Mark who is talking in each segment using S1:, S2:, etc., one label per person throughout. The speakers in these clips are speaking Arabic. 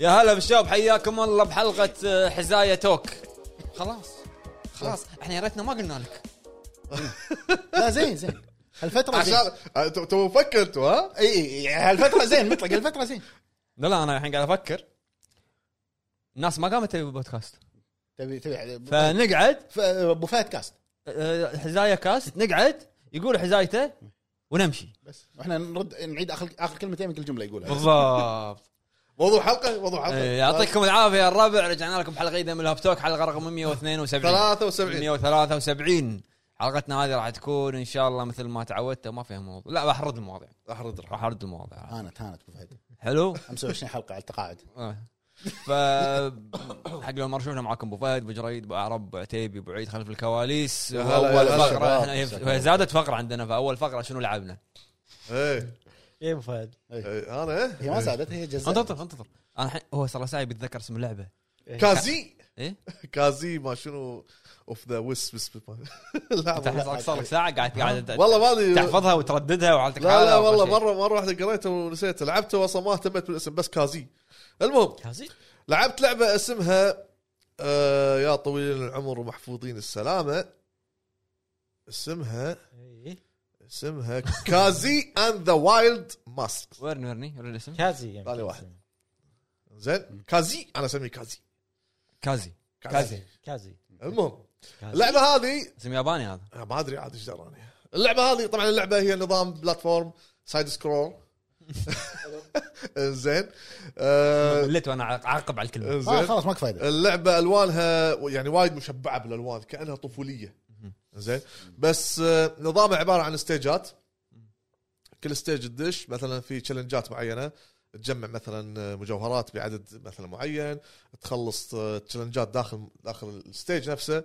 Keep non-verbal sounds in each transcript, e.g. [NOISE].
S1: يا هلا بالشباب حياكم الله بحلقه حزايه توك خلاص خلاص احنا يا ريتنا ما قلنا لك
S2: لا زين زين هالفتره زين
S3: عشان آه، تو- تو مفكر انتوا ها؟
S2: اي إي، يعني هالفتره زين مطلق هالفتره زين
S1: لا لا انا الحين قاعد افكر الناس ما قامت تبي بودكاست
S2: تبي تبي
S1: فنقعد
S2: ف- ابو فهد كاست
S1: آه، حزايه كاست نقعد يقول حزايته ونمشي
S2: بس احنا نرد نعيد اخر اخر كلمتين من كل جمله يقولها
S1: [LAUGHS] بالضبط
S3: موضوع حلقه موضوع حلقه
S1: إيه، يعطيكم العافيه يا الربع رجعنا لكم حلقه جديده من الهابتوك حلقه رقم 172
S3: 73
S1: 173 حلقتنا هذه راح تكون ان شاء الله مثل ما تعودت ما فيها موضوع لا راح ارد المواضيع
S3: احرد الرحمة.
S1: راح ارد المواضيع
S2: هانت هانت ابو فهد
S1: حلو
S2: 25 حلقه على التقاعد
S1: آه. ف [COUGHS] حق لو مرشونا معاكم ابو فهد ابو جريد ابو عرب ابو عتيبي ابو عيد خلف الكواليس
S3: يا هلا، يا
S1: اول
S3: هلا،
S1: فقره
S2: شباب.
S1: إحنا- هي زادت فقره عندنا فاول فقره شنو لعبنا؟
S3: ايه
S4: اي ابو فهد
S3: إيه، انا ايه
S2: هي ما ساعدت هي جزاء
S1: انتظر انتظر انا الحين هو صار ساعي بيتذكر اسم اللعبه
S3: كازي
S1: ايه
S3: كازي ما شنو اوف ذا ويس بس
S1: انت الحين صار لك- صار لك ساعه قاعد قاعد أنت
S3: والله ما ادري
S1: تحفظها وترددها وعلتك
S3: لا لا والله مره مره واحده قريته ونسيته لعبته اصلا ما اهتميت بالاسم بس كازي المهم
S4: كازي
S3: لعبت لعبه اسمها آه يا طويل العمر ومحفوظين السلامه اسمها
S4: إي.
S3: اسمها كازي اند ذا وايلد ماسك
S1: ورني ورني ورني الاسم
S4: كازي يعني
S3: ثاني واحد. زين كازي انا اسميه كازي
S1: كازي
S3: كازي
S4: كازي
S3: المهم
S4: كازي.
S3: اللعبه هذه
S1: اسم ياباني هذا
S3: أنا ما ادري عاد ايش دراني اللعبه هذه طبعا اللعبه هي نظام بلاتفورم سايد سكرول [LAUGHS] زين آه،
S1: مليت وانا اعقب على الكلمه
S2: آه
S3: زين
S2: خلاص ماك فايده
S3: اللعبه الوانها يعني وايد مشبعه بالالوان كانها طفوليه زين بس آه، نظامها عباره عن ستيجات كل ستيج تدش مثلا في تشالنجات معينه تجمع مثلا مجوهرات بعدد مثلا معين تخلص آه، تشالنجات داخل داخل الستيج نفسه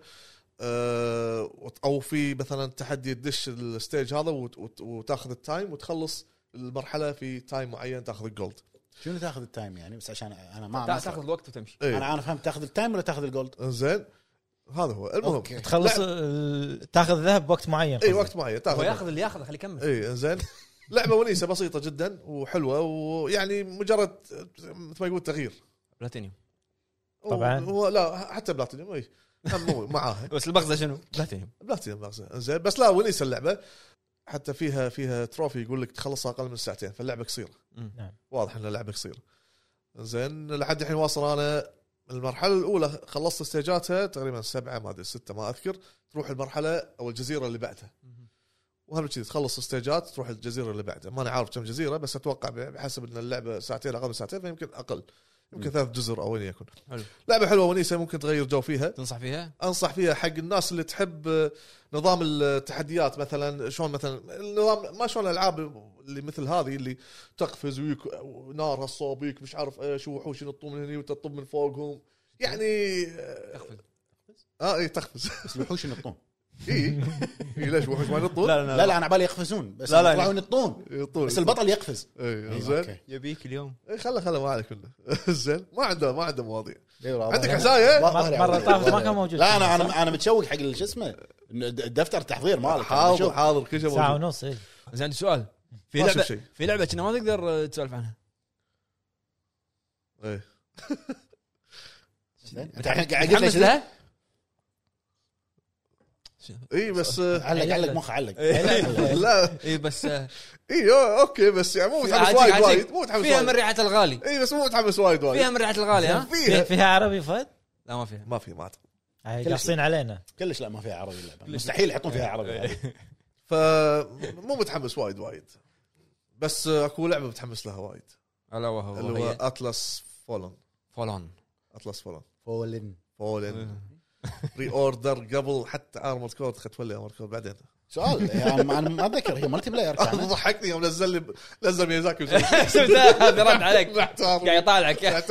S3: آه، وت- او في مثلا تحدي تدش الستيج هذا وت- وت- وتاخذ التايم وتخلص المرحله في تايم معين تاخذ الجولد
S2: شنو تاخذ التايم يعني بس عشان انا ما ما-
S1: تاخذ الوقت وتمشي
S3: إيه.
S2: انا انا فهمت تاخذ التايم ولا تاخذ الجولد؟
S3: زين هذا هو المهم [LAUGHS]
S2: أوكي.
S4: تخلص ال- تاخذ ذهب بوقت معين
S3: اي إيه، وقت معين إيه،
S1: هو
S3: تاخذ
S1: ياخذ اللي ياخذه خليه يكمل
S3: اي انزين لعبه ونيسه بسيطه جدا وحلوه ويعني مجرد مثل ما يقول تغيير
S1: بلاتينيوم
S4: طبعاً.
S3: هو لا حتى بلاتينيوم اي هم مو معاها
S1: بس البغزه شنو؟ بلاتينيوم
S3: بلاتينيوم مغزى انزين بس لا ونيسه اللعبه حتى فيها فيها تروفي يقول لك تخلصها اقل من ساعتين فاللعبه قصيره
S4: نعم.
S3: واضح ان اللعبه قصيره زين لحد الحين واصل انا المرحله الاولى خلصت استيجاتها تقريبا سبعه ما ادري سته ما اذكر تروح المرحله او الجزيره اللي بعدها وهم كذي تخلص استيجات تروح الجزيره اللي بعدها ماني عارف كم جزيره بس اتوقع بحسب ان اللعبه ساعتين اقل من ساعتين فيمكن اقل يمكن ثلاث جزر او وين يكون
S1: حلو.
S3: لعبه حلوه ونيسه ممكن تغير جو فيها
S1: تنصح فيها؟
S3: انصح فيها حق الناس اللي تحب آه، نظام التحديات مثلا شلون مثلا النظام ما شلون الالعاب اللي مثل هذه اللي تقفز ويك نار الصوبيك مش عارف ايش وحوش ينطون من هني وتطب من فوقهم يعني آه،
S1: تقفز.
S3: اه اي تقفز [LAUGHS]
S2: بس الوحوش ينطون
S3: اي إي، ليش وحوش ما ينطون؟
S2: لا لا انا على بالي يقفزون بس
S1: لا، لا،
S2: يطلعون ينطون
S3: ينطون
S2: بس البطل يقفز
S3: اي
S2: إي،
S3: زين
S2: إيه، أوكي.
S1: يبيك اليوم
S3: اي خله خله ما عليك منه [LAUGHS] زين ما عنده ما عنده مواضيع
S2: إيوه، والله.
S3: عندك حزايه
S2: ما-
S4: مرة
S2: ما-
S4: طافت ما كان موجود.
S2: لا انا انا انا متشوق حق شو اسمه دفتر التحضير مالك
S3: حاضر حاضر كل شيء
S4: ساعه
S3: موجود.
S4: ونص إيه. اي
S1: زين عندي سؤال في
S3: ما
S1: لعبه
S3: شفت شيء.
S1: في لعبه كنا ما تقدر تسولف عنها
S3: إيه.
S2: زين. انت الحين قاعد قلت لي
S1: متحمس
S2: كذا؟
S1: لها؟
S3: اي بس آه،
S2: [LAUGHS] علق علق مخ علق
S3: إيه.
S2: علق.
S3: لا
S1: اي بس آه،
S3: اي آه، اوكي بس يعني مو متحمس
S1: عجيب،
S3: وايد
S1: عجيب.
S3: وايد مو متحمس
S1: فيها من
S3: وايد
S1: ريحه الغالي
S3: اي بس مو متحمس وايد
S1: فيها
S3: وايد
S1: من ريحه الغالي
S3: [LAUGHS]
S1: ها؟
S4: في-
S3: فيها
S4: فيها عربي فهد؟
S1: لا ما فيها
S3: ما في ما أعتقد.
S4: هاي قاصين علينا
S2: كلش لا ما فيها عربي اللعبه مستحيل يحطون فيها عربي
S3: فمو متحمس وايد وايد بس آه، اكو لعبه متحمس لها وايد
S1: الا وهو
S3: اللي هو
S1: هي
S3: اتلس فولن
S1: فولون
S3: اتلس فولن
S2: فولن
S3: فولن
S1: إيه.
S3: ري اوردر قبل حتى ارمر كور تولي ارمر كور
S1: [LAUGHS]
S3: بعدين
S2: سؤال يعني انا انا ما اتذكر هي مالتي بلاير
S3: [LAUGHS]
S2: كانت
S3: ضحكتني يوم نزل لي نزل ميازاكي
S1: [LAUGHS] [LAUGHS] شفتها هذا رد عليك
S3: رحت
S1: قاعد يطالعك
S3: [LAUGHS]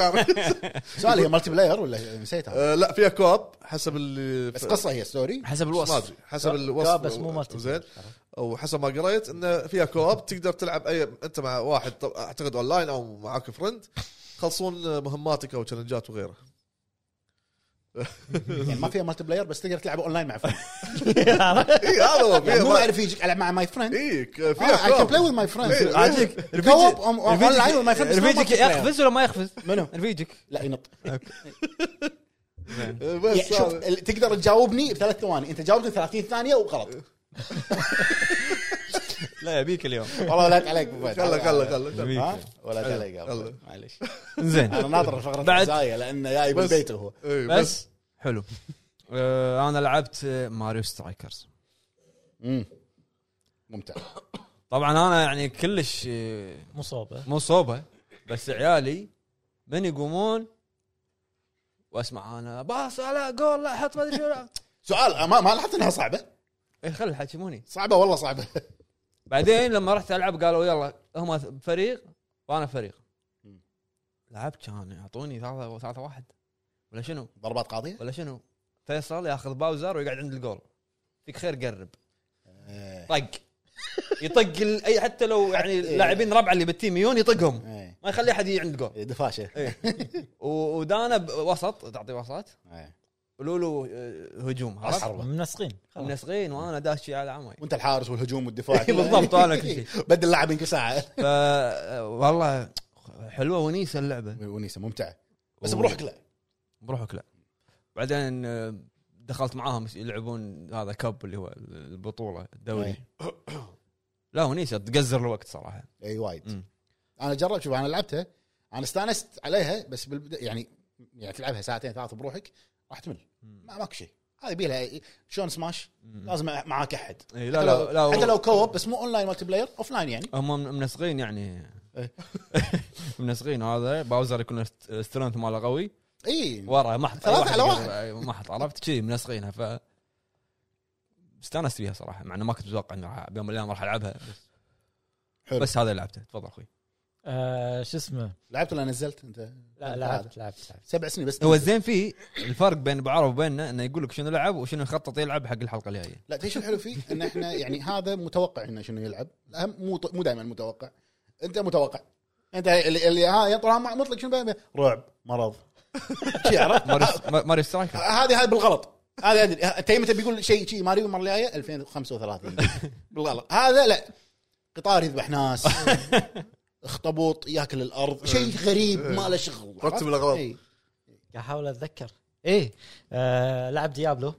S2: سؤال هي مالتي بلاير ولا نسيتها
S3: آه، لا فيها كوب حسب اللي
S2: بس قصه هي ستوري
S1: حسب
S3: ما
S1: الوصف
S3: ادري حسب الوصف
S4: لا، بس مو مالتي
S3: زين او حسب ما قريت انه فيها كوب تقدر تلعب اي انت مع واحد طب- اعتقد اونلاين او معاك فرند تخلصون مهماتك او تشالنجات وغيره
S2: يعني ما فيها مالتي بلاير بس تقدر تلعب اونلاين مع فريند
S3: اي هذا هو
S2: يعني مو
S3: فيها
S2: اعرف يجيك العب مع آه، ماي فريند
S3: اي
S2: اي كان بلاي
S3: فيها
S2: وذ ماي فريند
S3: إيه.
S1: عاجبك
S2: كوب اونلاين وذ ماي فريند
S1: رفيجك يقفز ولا ما يقفز؟
S2: منو؟
S1: رفيجك
S2: لا ينط
S3: بس
S2: يعني شوف
S3: هذا.
S2: ال- تقدر تجاوبني بثلاث ثواني انت جاوبتني 30 ثانيه وغلط
S1: لا يبيك اليوم
S2: والله ولات عليك ابو فهد
S3: خله خله خله
S1: يبيك.
S2: ها ولات عليك أبو
S3: يلا.
S2: فهد. معليش
S1: زين
S2: انا ناطر فقره
S1: بعد.
S2: الحزايه لانه جاي من
S3: بس.
S2: بيته هو
S3: إي، بس
S1: بس حلو آه، انا لعبت آه، ماريو سترايكرز
S2: مم. ممتع
S1: طبعا انا يعني كلش آه،
S4: مصوبه
S1: مو صوبه بس عيالي من يقومون واسمع انا باص لا جول لا حط ما ادري شو لا.
S2: سؤال أه، ما ما لاحظت انها صعبه
S1: إيه، خل الحكي موني
S2: صعبه والله صعبه
S1: بعدين لما رحت العب قالوا يلا هم فريق وانا فريق
S2: مم.
S1: لعبت كان يعطوني ثلاثة ثلاثة واحد ولا شنو
S2: [LAUGHS] ضربات قاضيه
S1: ولا شنو فيصل ياخذ باوزر ويقعد عند الجول فيك خير قرب
S2: إيه،
S1: طق يطق ال- اي حتى لو يعني اللاعبين ربعه اللي بالتيم يجون يطقهم
S2: إيه.
S1: ما يخلي احد يجي عند جول
S2: دفاشه
S1: و- ودانا بوسط تعطي وسط
S2: إيه.
S1: ولولو آه، هجوم عرفت؟
S2: أسحر.
S4: منسقين خلاص.
S1: منسقين وانا داشي على عمي
S2: وانت الحارس والهجوم والدفاع
S1: إيه، [LAUGHS] بالضبط، أنا كل شيء.
S2: [LAUGHS] بدل لاعبين كل ساعه
S1: ف آه، والله حلوه ونيسه اللعبه
S2: ونيسه ممتعه بس
S1: و-
S2: بروحك لا
S1: بروحك لا بعدين آه، دخلت معاهم يلعبون هذا كب اللي هو البطوله الدوري
S2: إيه.
S1: [COUGHS] لا ونيسه تقزر الوقت صراحه
S2: اي إيه، وايد
S1: مم.
S2: انا جربت شوف انا لعبتها انا استانست عليها بس بالبدا يعني يعني تلعبها ساعتين ثلاث بروحك راح تمل ما ماكو شيء هذه بيها شلون سماش لازم معاك احد
S1: إيه، لا لا لا
S2: حتى لو كوب بس مو اونلاين مالتي بلاير اوف لاين يعني
S1: هم من- منسقين يعني [LAUGHS] منسقين هذا باوزر يكون است- سترينث ماله قوي
S2: اي
S1: ورا محط
S2: ثلاثة على
S1: محط عرفت كذي منسقينها ف استانست فيها صراحه مع انه ما كنت متوقع اني راح بيوم من الايام راح العبها بس,
S2: حلو.
S1: بس هذا اللي لعبته تفضل اخوي
S4: آه، شو اسمه
S2: لعبت ولا نزلت انت
S4: لا لعبت لعبت لعبت
S2: سبع سنين بس
S1: هو الزين فيه الفرق بين ابو عرب وبيننا انه يقول لك شنو لعب وشنو يخطط يلعب حق الحلقه الجايه
S2: لا تدري شو الحلو فيه؟ ان احنا يعني هذا متوقع انه شنو يلعب، الاهم مو مو دائما متوقع. انت متوقع. انت اللي, اللي ها يطلع مع مطلق شنو بقى؟ رعب، مرض. [LAUGHS] شي عرفت؟
S1: [LAUGHS] ماريو- ما- ماريو سترايكر
S2: هذه هذه بالغلط. هذا ادري انت متى بيقول شيء شيء ماريو المره الجايه 2035 بالغلط. هذا لا قطار يذبح ناس اخطبوط ياكل الارض شيء غريب ما له شغل عرفت؟ إيه.
S3: رتب الأغراض.
S2: إي.
S4: قاعد احاول اتذكر ايه آه، لعب ديابلو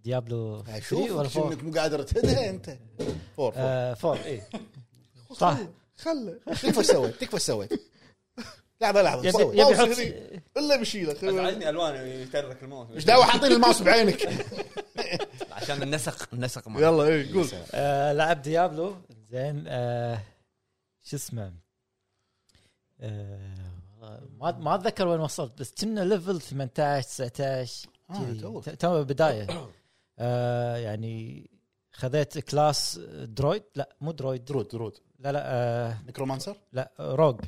S4: ديابلو 3 إيه، ولا
S2: اشوف
S4: 4
S2: انك مو قادر تهدها انت فور فور
S4: 4 ايه صح
S3: خله
S2: تكفى ايش سويت تكفى ايش سويت لحظه لحظه
S4: يبي
S2: صوت.
S4: يبي
S2: صوت.
S4: يحط
S3: الا بشيله
S1: الوان يترك الموت
S2: ايش دعوه حاطين الماوس بعينك
S1: عشان النسق النسق ماله.
S3: يلا اي قول
S4: آه، لعب ديابلو زين آه، شو اسمه آه، ما ما اتذكر وين وصلت بس كنا ليفل 18 19
S2: آه،
S4: كذي.
S2: تو.
S4: ت- تو البدايه آه، يعني خذيت كلاس درويد لا مو درويد
S2: درود درود
S4: لا لا آه،
S2: نكرومانسر
S4: لا روج روج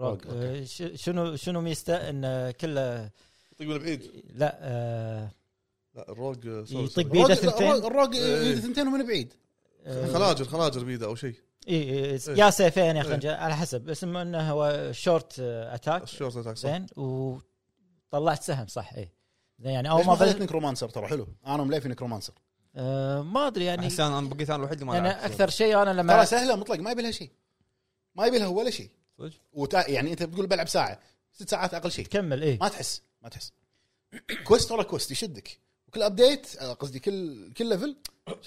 S2: روج، أوكي.
S4: آه، ش- شنو شنو ميزته انه كله
S3: طق من بعيد
S4: لا آه،
S3: لا الروج سوري،
S4: يطق
S3: سوري.
S4: بيده ثنتين
S2: الروج
S3: إيه.
S2: ثنتين ومن بعيد
S4: آه،
S3: خناجر خناجر بيده او شيء
S4: اي إي،
S3: إيه.
S4: يا سيفين
S3: إيه.
S4: يا خنجر على حسب بس المهم انه هو شورت اتاك
S3: الشورت اتاك صح
S4: زين وطلعت سهم صح اي زين يعني اول
S2: ليش
S4: ما
S2: ما خليت
S4: بدأت
S2: نكرومانسر ترى حلو انا مليفي نكرومانسر
S4: آه، ما ادري يعني
S1: حسان انا بقيت انا الوحيد اللي ما
S4: انا
S1: لعبت
S4: اكثر شيء انا
S2: ترى
S4: لما
S2: سهله مطلق ما يبي لها شيء ما يبي لها ولا شيء
S1: صدق؟
S2: وتا يعني انت بتقول بلعب ساعه ست ساعات اقل شيء
S4: تكمل اي
S2: ما تحس ما تحس كويست ورا كويست يشدك وكل ابديت آه، قصدي كل كل ليفل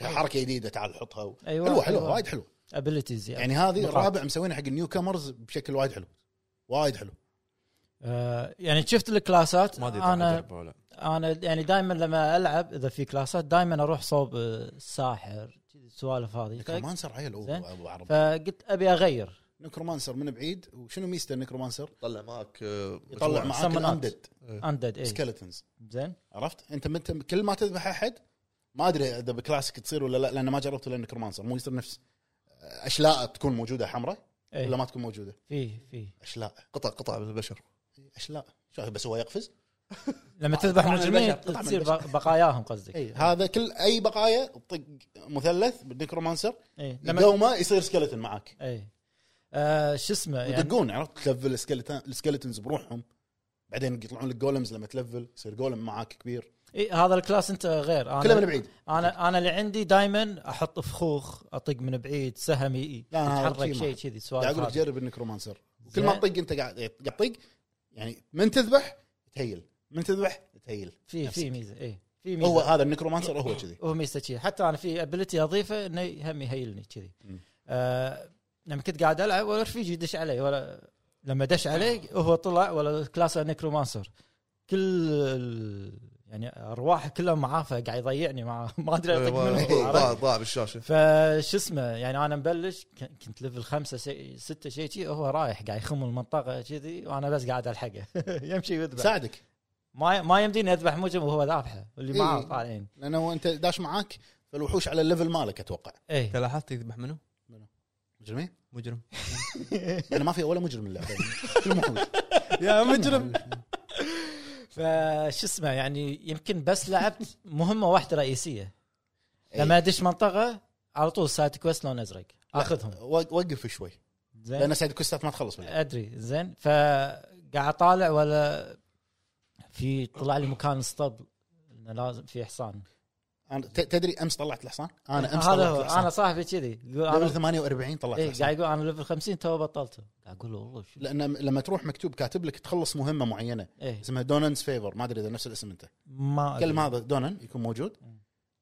S2: حركه جديده تعال حطها و...
S4: أيوة،
S2: حلوه
S4: أيوة.
S2: حلوه وايد حلوه
S4: ابيلتيز يعني
S2: يعني هذه
S4: نقاط.
S2: الرابع مسوينها حق النيو كامرز بشكل وايد حلو وايد حلو
S4: طيب. آه، يعني شفت الكلاسات
S1: ما ادري إذا
S4: انا
S1: أجربه ولا
S4: انا يعني دائما لما العب اذا في كلاسات دائما اروح صوب آه، الساحر السوالف هذه ف-
S2: نكرومانسر عيل أوه،
S4: زين.
S2: ابو عرب
S4: فقلت ابي اغير
S2: نكرومانسر من بعيد وشنو ميزته النكرومانسر؟
S3: طلع معك آه،
S2: يطلع
S3: مجموعة.
S2: معاك
S4: Summoners.
S2: الاندد
S4: اندد اي
S2: سكلتنز
S4: زين
S2: عرفت؟ انت مت... كل ما تذبح احد ما ادري اذا بكلاسيك تصير ولا لا لان ما جربت الا نكرومانسر مو يصير نفس اشلاء تكون موجوده حمراء
S4: إي،
S2: ولا ما تكون موجوده؟
S4: في في
S2: اشلاء
S3: قطع قطع من البشر
S2: اشلاء شوف بس هو يقفز
S4: لما تذبح
S2: طبعاً
S4: مجرمين
S2: البشر، طبعاً
S4: تصير
S2: البشر.
S4: بق- بقاياهم قصدك
S2: اي هذا كل اي بقايا طق مثلث بالنكرومانسر
S4: اي إيه، لما
S2: يقومه يصير سكلتن معاك
S4: اي آه، شو اسمه يعني
S2: يطقون عرفت تلفل السكلتن السكلتنز بروحهم بعدين يطلعون لك جولمز لما تلفل يصير جولم معاك كبير
S4: إيه هذا الكلاس انت غير انا
S2: كله من بعيد
S4: انا انا اللي عندي دائما احط فخوخ اطق من بعيد سهم ي-
S2: لا، أنا هذا
S4: يتحرك
S2: شيء
S4: شيء
S2: ما-
S4: كذي
S2: قاعد
S4: سوالف
S2: اقول لك
S4: هذه.
S2: جرب النكرومانسر وكل ما
S4: زين.
S2: تطق انت قاعد قاعد تطق يعني من تذبح تهيل من تذبح تهيل
S4: في
S2: نفسك.
S4: في ميزه اي في ميزه
S2: هو هذا النكرومانسر هو كذي
S4: هو ميزته كذي حتى انا في ابيلتي اضيفه انه هم يهيلني كذي
S2: مم.
S4: آه لما كنت قاعد العب ولا رفيجي يدش علي ولا لما دش علي هو طلع ولا كلاسه نكرومانسر كل ال- يعني ارواحه كلها معافى قاعد يضيعني مع ما ادري
S3: إيه،
S4: اطق
S2: أيوة،
S3: ما-
S4: منو
S3: ضاع
S4: عرفت؟
S3: ضاع بالشاشه
S4: فشو اسمه يعني انا مبلش ك- كنت ليفل خمسه سي- سته شيء شي هو رايح قاعد يخم المنطقه كذي وانا بس قاعد الحقه [LAUGHS] يمشي ويذبح
S2: ساعدك
S4: ما ما يمديني اذبح موجب وهو ذابحه واللي معاه
S2: إيه.
S4: طالعين
S2: لانه انت داش معاك فالوحوش على الليفل مالك اتوقع
S4: اي
S1: انت لاحظت يذبح منو؟
S4: [LAUGHS]
S2: مجرمين؟
S1: مجرم
S2: انا ما في ولا مجرم اللعبه كلهم
S4: [LAUGHS]
S2: وحوش
S4: يا مجرم فشو اسمه يعني يمكن بس لعبت مهمه واحده رئيسيه لما ادش منطقه على طول سايد كويست لون ازرق اخذهم
S2: وق- وقف شوي
S4: زين
S2: لان سايد كوستات ما تخلص باللعبة.
S4: ادري زين فقاعد طالع ولا في طلع لي مكان اسطبل إنه لازم في حصان
S2: انا ت- تدري امس طلعت الحصان انا امس
S4: هذا
S2: طلعت
S4: هو انا
S2: الحصان
S4: صاحبي كذي يقول
S2: ليفل
S4: أنا-
S2: 48 طلعت
S4: إيه،
S2: الحصان
S4: قاعد يقول انا ليفل 50 تو بطلته قاعد اقول له والله شو
S2: لان لما تروح مكتوب كاتب لك تخلص مهمه معينه
S4: ايه
S2: اسمها دونانز فيفر ما ادري اذا نفس الاسم انت
S4: ما أدري.
S2: كلم هذا دونان يكون موجود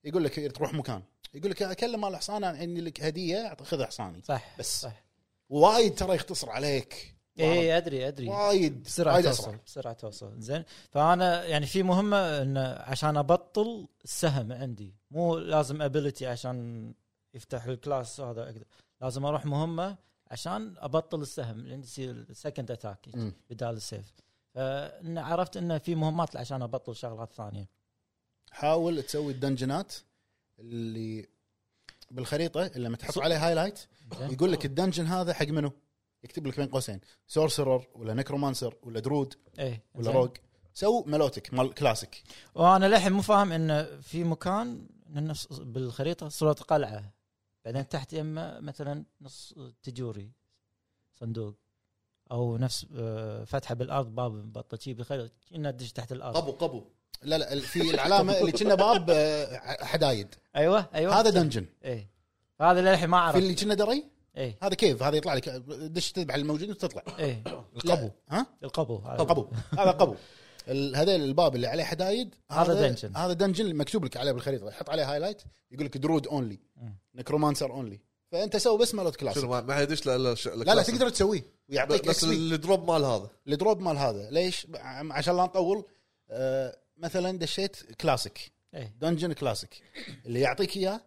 S2: يقول لك إيه، تروح مكان يقول لك اكلم مال حصان انا عندي لك هديه أعط- خذ حصاني
S4: صح
S2: بس.
S4: صح
S2: وايد ترى يختصر عليك
S4: ايه ادري ادري
S2: وايد
S4: بسرعه
S2: وايد
S4: توصل
S2: اسرع
S4: بسرعه توصل زين فانا يعني في مهمه ان عشان ابطل السهم عندي مو لازم ابيلتي عشان يفتح الكلاس هذا أقدر. لازم اروح مهمه عشان ابطل السهم لان يصير سكند اتاك
S2: مم.
S4: بدال السيف فان عرفت انه في مهمات عشان ابطل شغلات ثانيه
S2: حاول تسوي الدنجنات اللي بالخريطه اللي لما تحط عليه هايلايت
S4: زين؟
S2: يقول لك الدنجن هذا حق منو؟ يكتب لك بين قوسين سورسرر ولا نكرومانسر ولا درود
S4: ايه
S2: ولا
S4: زين.
S2: روج سو ملوتك مال كلاسيك
S4: وانا للحين مو فاهم انه في مكان إنه ص- بالخريطه صوره قلعه بعدين تحت يمه مثلا نص تجوري صندوق او نفس آه، فتحه بالارض باب بطه شي بالخريطه كنا تدش تحت الارض
S3: قبو قبو
S2: لا لا ال- في العلامه اللي كنا باب آه، ع- حدايد
S4: ايوه ايوه
S2: هذا دنجن
S4: اي هذا للحين ما إيه،
S2: في
S4: اعرف
S2: اللي كنا دري
S4: اي
S2: هذا كيف هذا يطلع لك دش تذبح الموجود وتطلع
S4: اي
S2: لا، ها
S4: إيه. القبو
S2: قبو هذا قبو ال- هذيل الباب اللي عليه حدايد
S4: هذا دنجن.
S2: هذا دنجن اللي مكتوب لك عليه بالخريطه يحط عليه هايلايت يقول لك درود اونلي
S4: مم.
S2: نكرومانسر اونلي فانت سوي بس مالوت كلاس
S3: شنو
S2: لا
S3: ما- ما يدش لا لا
S2: لا تقدر تسويه ويعطيك
S3: بس
S2: بس
S3: الدروب مال هذا
S2: الدروب مال هذا ليش ب- عم- عشان لا نطول آه مثلا دشيت كلاسيك
S4: اي
S2: دنجن كلاسيك اللي يعطيك اياه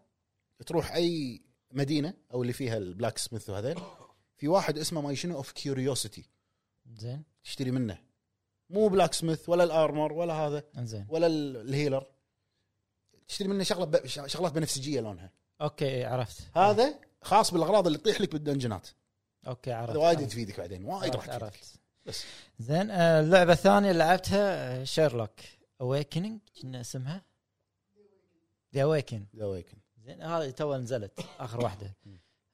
S2: تروح اي مدينه او اللي فيها البلاك سميث وهذيل في واحد اسمه ما شنو اوف كيوريوسيتي
S4: زين
S2: تشتري منه مو بلاك سميث ولا الارمر ولا هذا
S4: زين
S2: ولا ال- الهيلر تشتري منه شغله ب... ش- شغلات بنفسجيه لونها
S4: اوكي إيه، عرفت
S2: هذا خاص بالاغراض اللي تطيح لك بالدنجنات
S4: اوكي عرفت
S2: هذا وايد
S4: عرفت.
S2: تفيدك بعدين وايد راح
S4: عرفت
S2: تفيدك
S4: عرفت.
S2: بس.
S4: زين آه، اللعبه الثانيه اللي لعبتها آه، شيرلوك اويكننج كنا اسمها ذا اويكن
S2: ذا ويكن
S4: زين هذه تو نزلت اخر
S1: [LAUGHS]
S4: واحده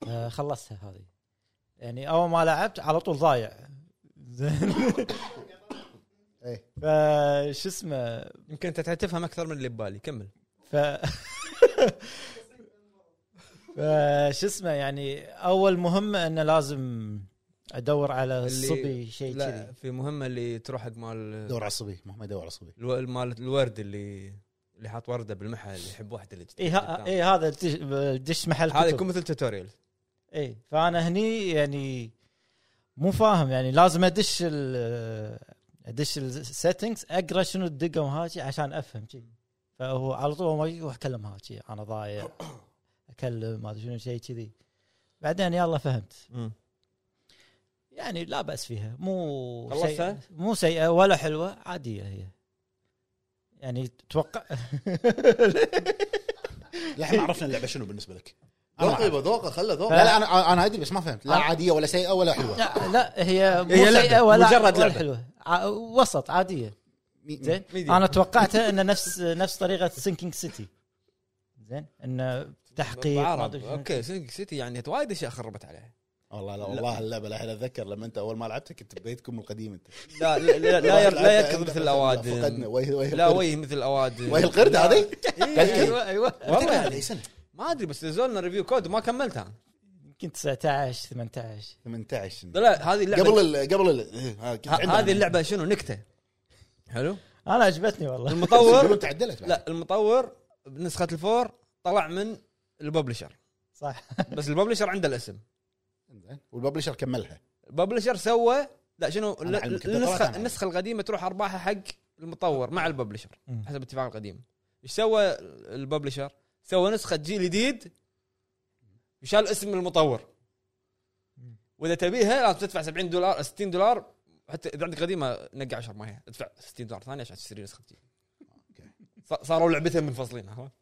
S4: آه، خلصتها هذه يعني اول ما لعبت على طول ضايع زين [LAUGHS]
S2: ايه
S4: فشو اسمه
S1: يمكن انت تفهم اكثر من اللي ببالي كمل
S4: ف [LAUGHS] فشو اسمه يعني اول مهمه انه لازم ادور على
S1: اللي-
S4: الصبي شيء
S1: لا
S4: إيه، كذي
S1: في مهمه اللي تروح حق مال
S2: دور عصبي مهما دور عصبي
S1: الو- مال الورد اللي اللي حاط ورده بالمحل اللي يحب واحده اللي
S4: اي ها- اي إيه، هذا الدش- دش محل
S1: هذا
S4: كتب.
S1: يكون مثل توتوريال
S4: اي فانا إيه، هني يعني مو فاهم يعني لازم ادش ال ادش السيتنجز اقرا شنو الدقم هاجي عشان افهم شي فهو على طول ما يروح اكلم هاجي انا ضايع اكلم ما ادري شنو شيء كذي بعدين يلا فهمت يعني لا باس فيها مو
S1: خلصتها؟
S4: سيئة- مو سيئه ولا حلوه عاديه هي يعني تتوقع
S2: لا احنا عرفنا اللعبه شنو بالنسبه لك أنا ما
S3: ذوقه
S2: أعرف.
S3: يبا ذوقه خله ذوقه
S2: لا لا انا انا ادري بس ما فهمت لا
S4: أنا-
S2: عاديه ولا سيئه ولا حلوه
S4: [LAUGHS] لا, لا هي مو
S1: هي لعبة،
S4: سيئه ولا
S1: مجرد
S4: ولا
S1: لعبة.
S4: حلوه ع- وسط عاديه
S2: مي-
S4: زين
S1: ميديا.
S4: انا توقعتها انه نفس نفس طريقه سينكينج سيتي زين انه تحقيق ما
S1: بعرب
S4: أدري شنو.
S1: اوكي سينج سيتي يعني وايد اشياء خربت عليها
S2: والله لا والله اللعبه الحين اتذكر لما انت اول ما لعبتها كنت ببيتكم القديم انت
S1: لا لا لا, لا يركض مثل
S2: فقدنا
S1: الاوادم
S2: ويه ويه
S1: لا وجه مثل الاوادم
S2: ويه القرد هذه
S4: إيه. أيوة،
S1: ايوه ايوه والله
S2: اي سنه
S1: ما ادري بس نزلنا ريفيو كود ما كملتها أنا.
S4: يمكن 19 18
S2: 18
S1: لا، لا هذه اللعبه
S2: قبل ال قبل ال إيه، ها، كنت عندنا.
S1: ه- هذه اللعبه شنو نكته حلو
S4: انا عجبتني والله
S2: بس [LAUGHS]
S1: المطور
S2: قبل تعدلت بعد.
S1: لا المطور بنسخه الفور طلع من الببلشر
S4: صح
S1: بس الببلشر عنده الاسم
S2: إنزين. والببلشر كملها
S1: الببلشر سوى لا شنو ال-
S2: أنا علمك، أنت طلعت
S1: النسخه
S2: عنها.
S1: النسخه القديمه تروح ارباحها حق المطور مع الببلشر
S4: مم.
S1: حسب اتفاق القديم ايش سوى الببلشر؟ سوى نسخه جيل جديد وشال اسم المطور واذا تبيها لازم تدفع 70 دولار 60 دولار حتى اذا عندك قديمه نقع 10 ما هي ادفع 60 دولار ثانيه عشان تشتري نسخه جديده ص- صاروا لعبتين منفصلين عرفت؟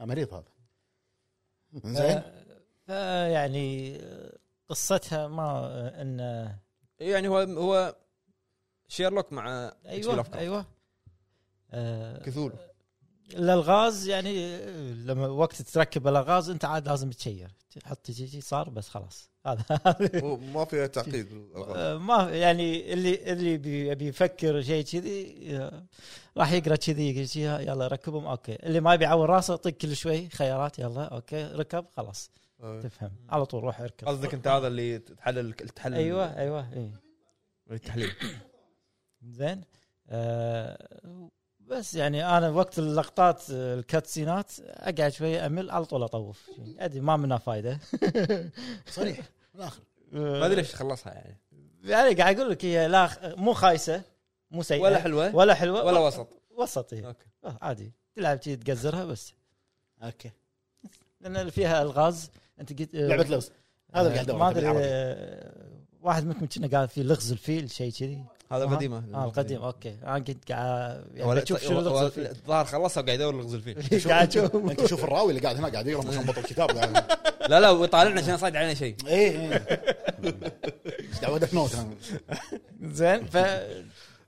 S2: آه، مريض هذا
S4: آه.
S2: زين
S4: يعني قصتها ما آه، ان
S1: يعني هو هو شيرلوك مع
S4: ايوه
S1: Lovecraft.
S4: ايوه آه،
S1: كثول
S4: الالغاز يعني لما وقت تركب الالغاز انت عاد لازم تشير تحط شي شي صار بس خلاص هذا
S3: ما فيها تعقيد
S4: [LAUGHS]
S3: بالألغاز.
S4: آه، ما يعني اللي اللي بي- بي يفكر شيء كذي آه، راح يقرا كذي يقول شي، ها، يلا ركبهم اوكي اللي ما يبي يعور راسه يعطيك كل شوي خيارات يلا اوكي ركب خلاص
S3: آه.
S4: تفهم على طول روح اركب
S1: قصدك انت هذا اللي تحلل تحلل
S4: ايوه ايوه اي
S1: التحليل [LAUGHS]
S4: زين آه بس يعني انا وقت اللقطات آه، الكاتسينات اقعد شوي امل على طول اطوف ادري ما منها
S1: [LAUGHS]
S4: فايده
S2: صريح من الاخر
S1: ما ادري ليش خلصها يعني
S4: آه، يعني قاعد اقول لك هي لا خ- مو خايسه مو سيئه
S1: ولا حلوه
S4: ولا حلوه
S1: ولا وسط
S4: وسط هي.
S1: اوكي
S4: آه، عادي تلعب شي تقزرها بس
S2: اوكي
S4: لان اللي فيها الغاز انت قلت آه،
S2: لعبه لغز هذا اللي قاعد
S4: ما
S2: ادور
S4: ادري
S2: بالعربي.
S4: آه، واحد منكم كنا قاعد في لغز الفيل شيء كذي
S1: هذا
S4: آه.
S1: قديمه
S4: اه القديم اوكي انا كنت قاعد
S1: هو
S4: يعني
S1: لا-
S4: بشوف
S1: هو-
S4: شنو لغز
S1: هو-
S4: الفيل
S1: الظاهر خلصها وقاعد يدور لغز
S2: [LAUGHS]
S1: الفيل
S4: قاعد اشوف
S2: انت شوف الراوي اللي قاعد هنا قاعد يقرا مشنبط الكتاب قاعد-
S1: لا لا ويطالعنا عشان صايد علينا شيء
S2: ايه ايه ايش دعوه دث نوت أنا؟
S4: زين ف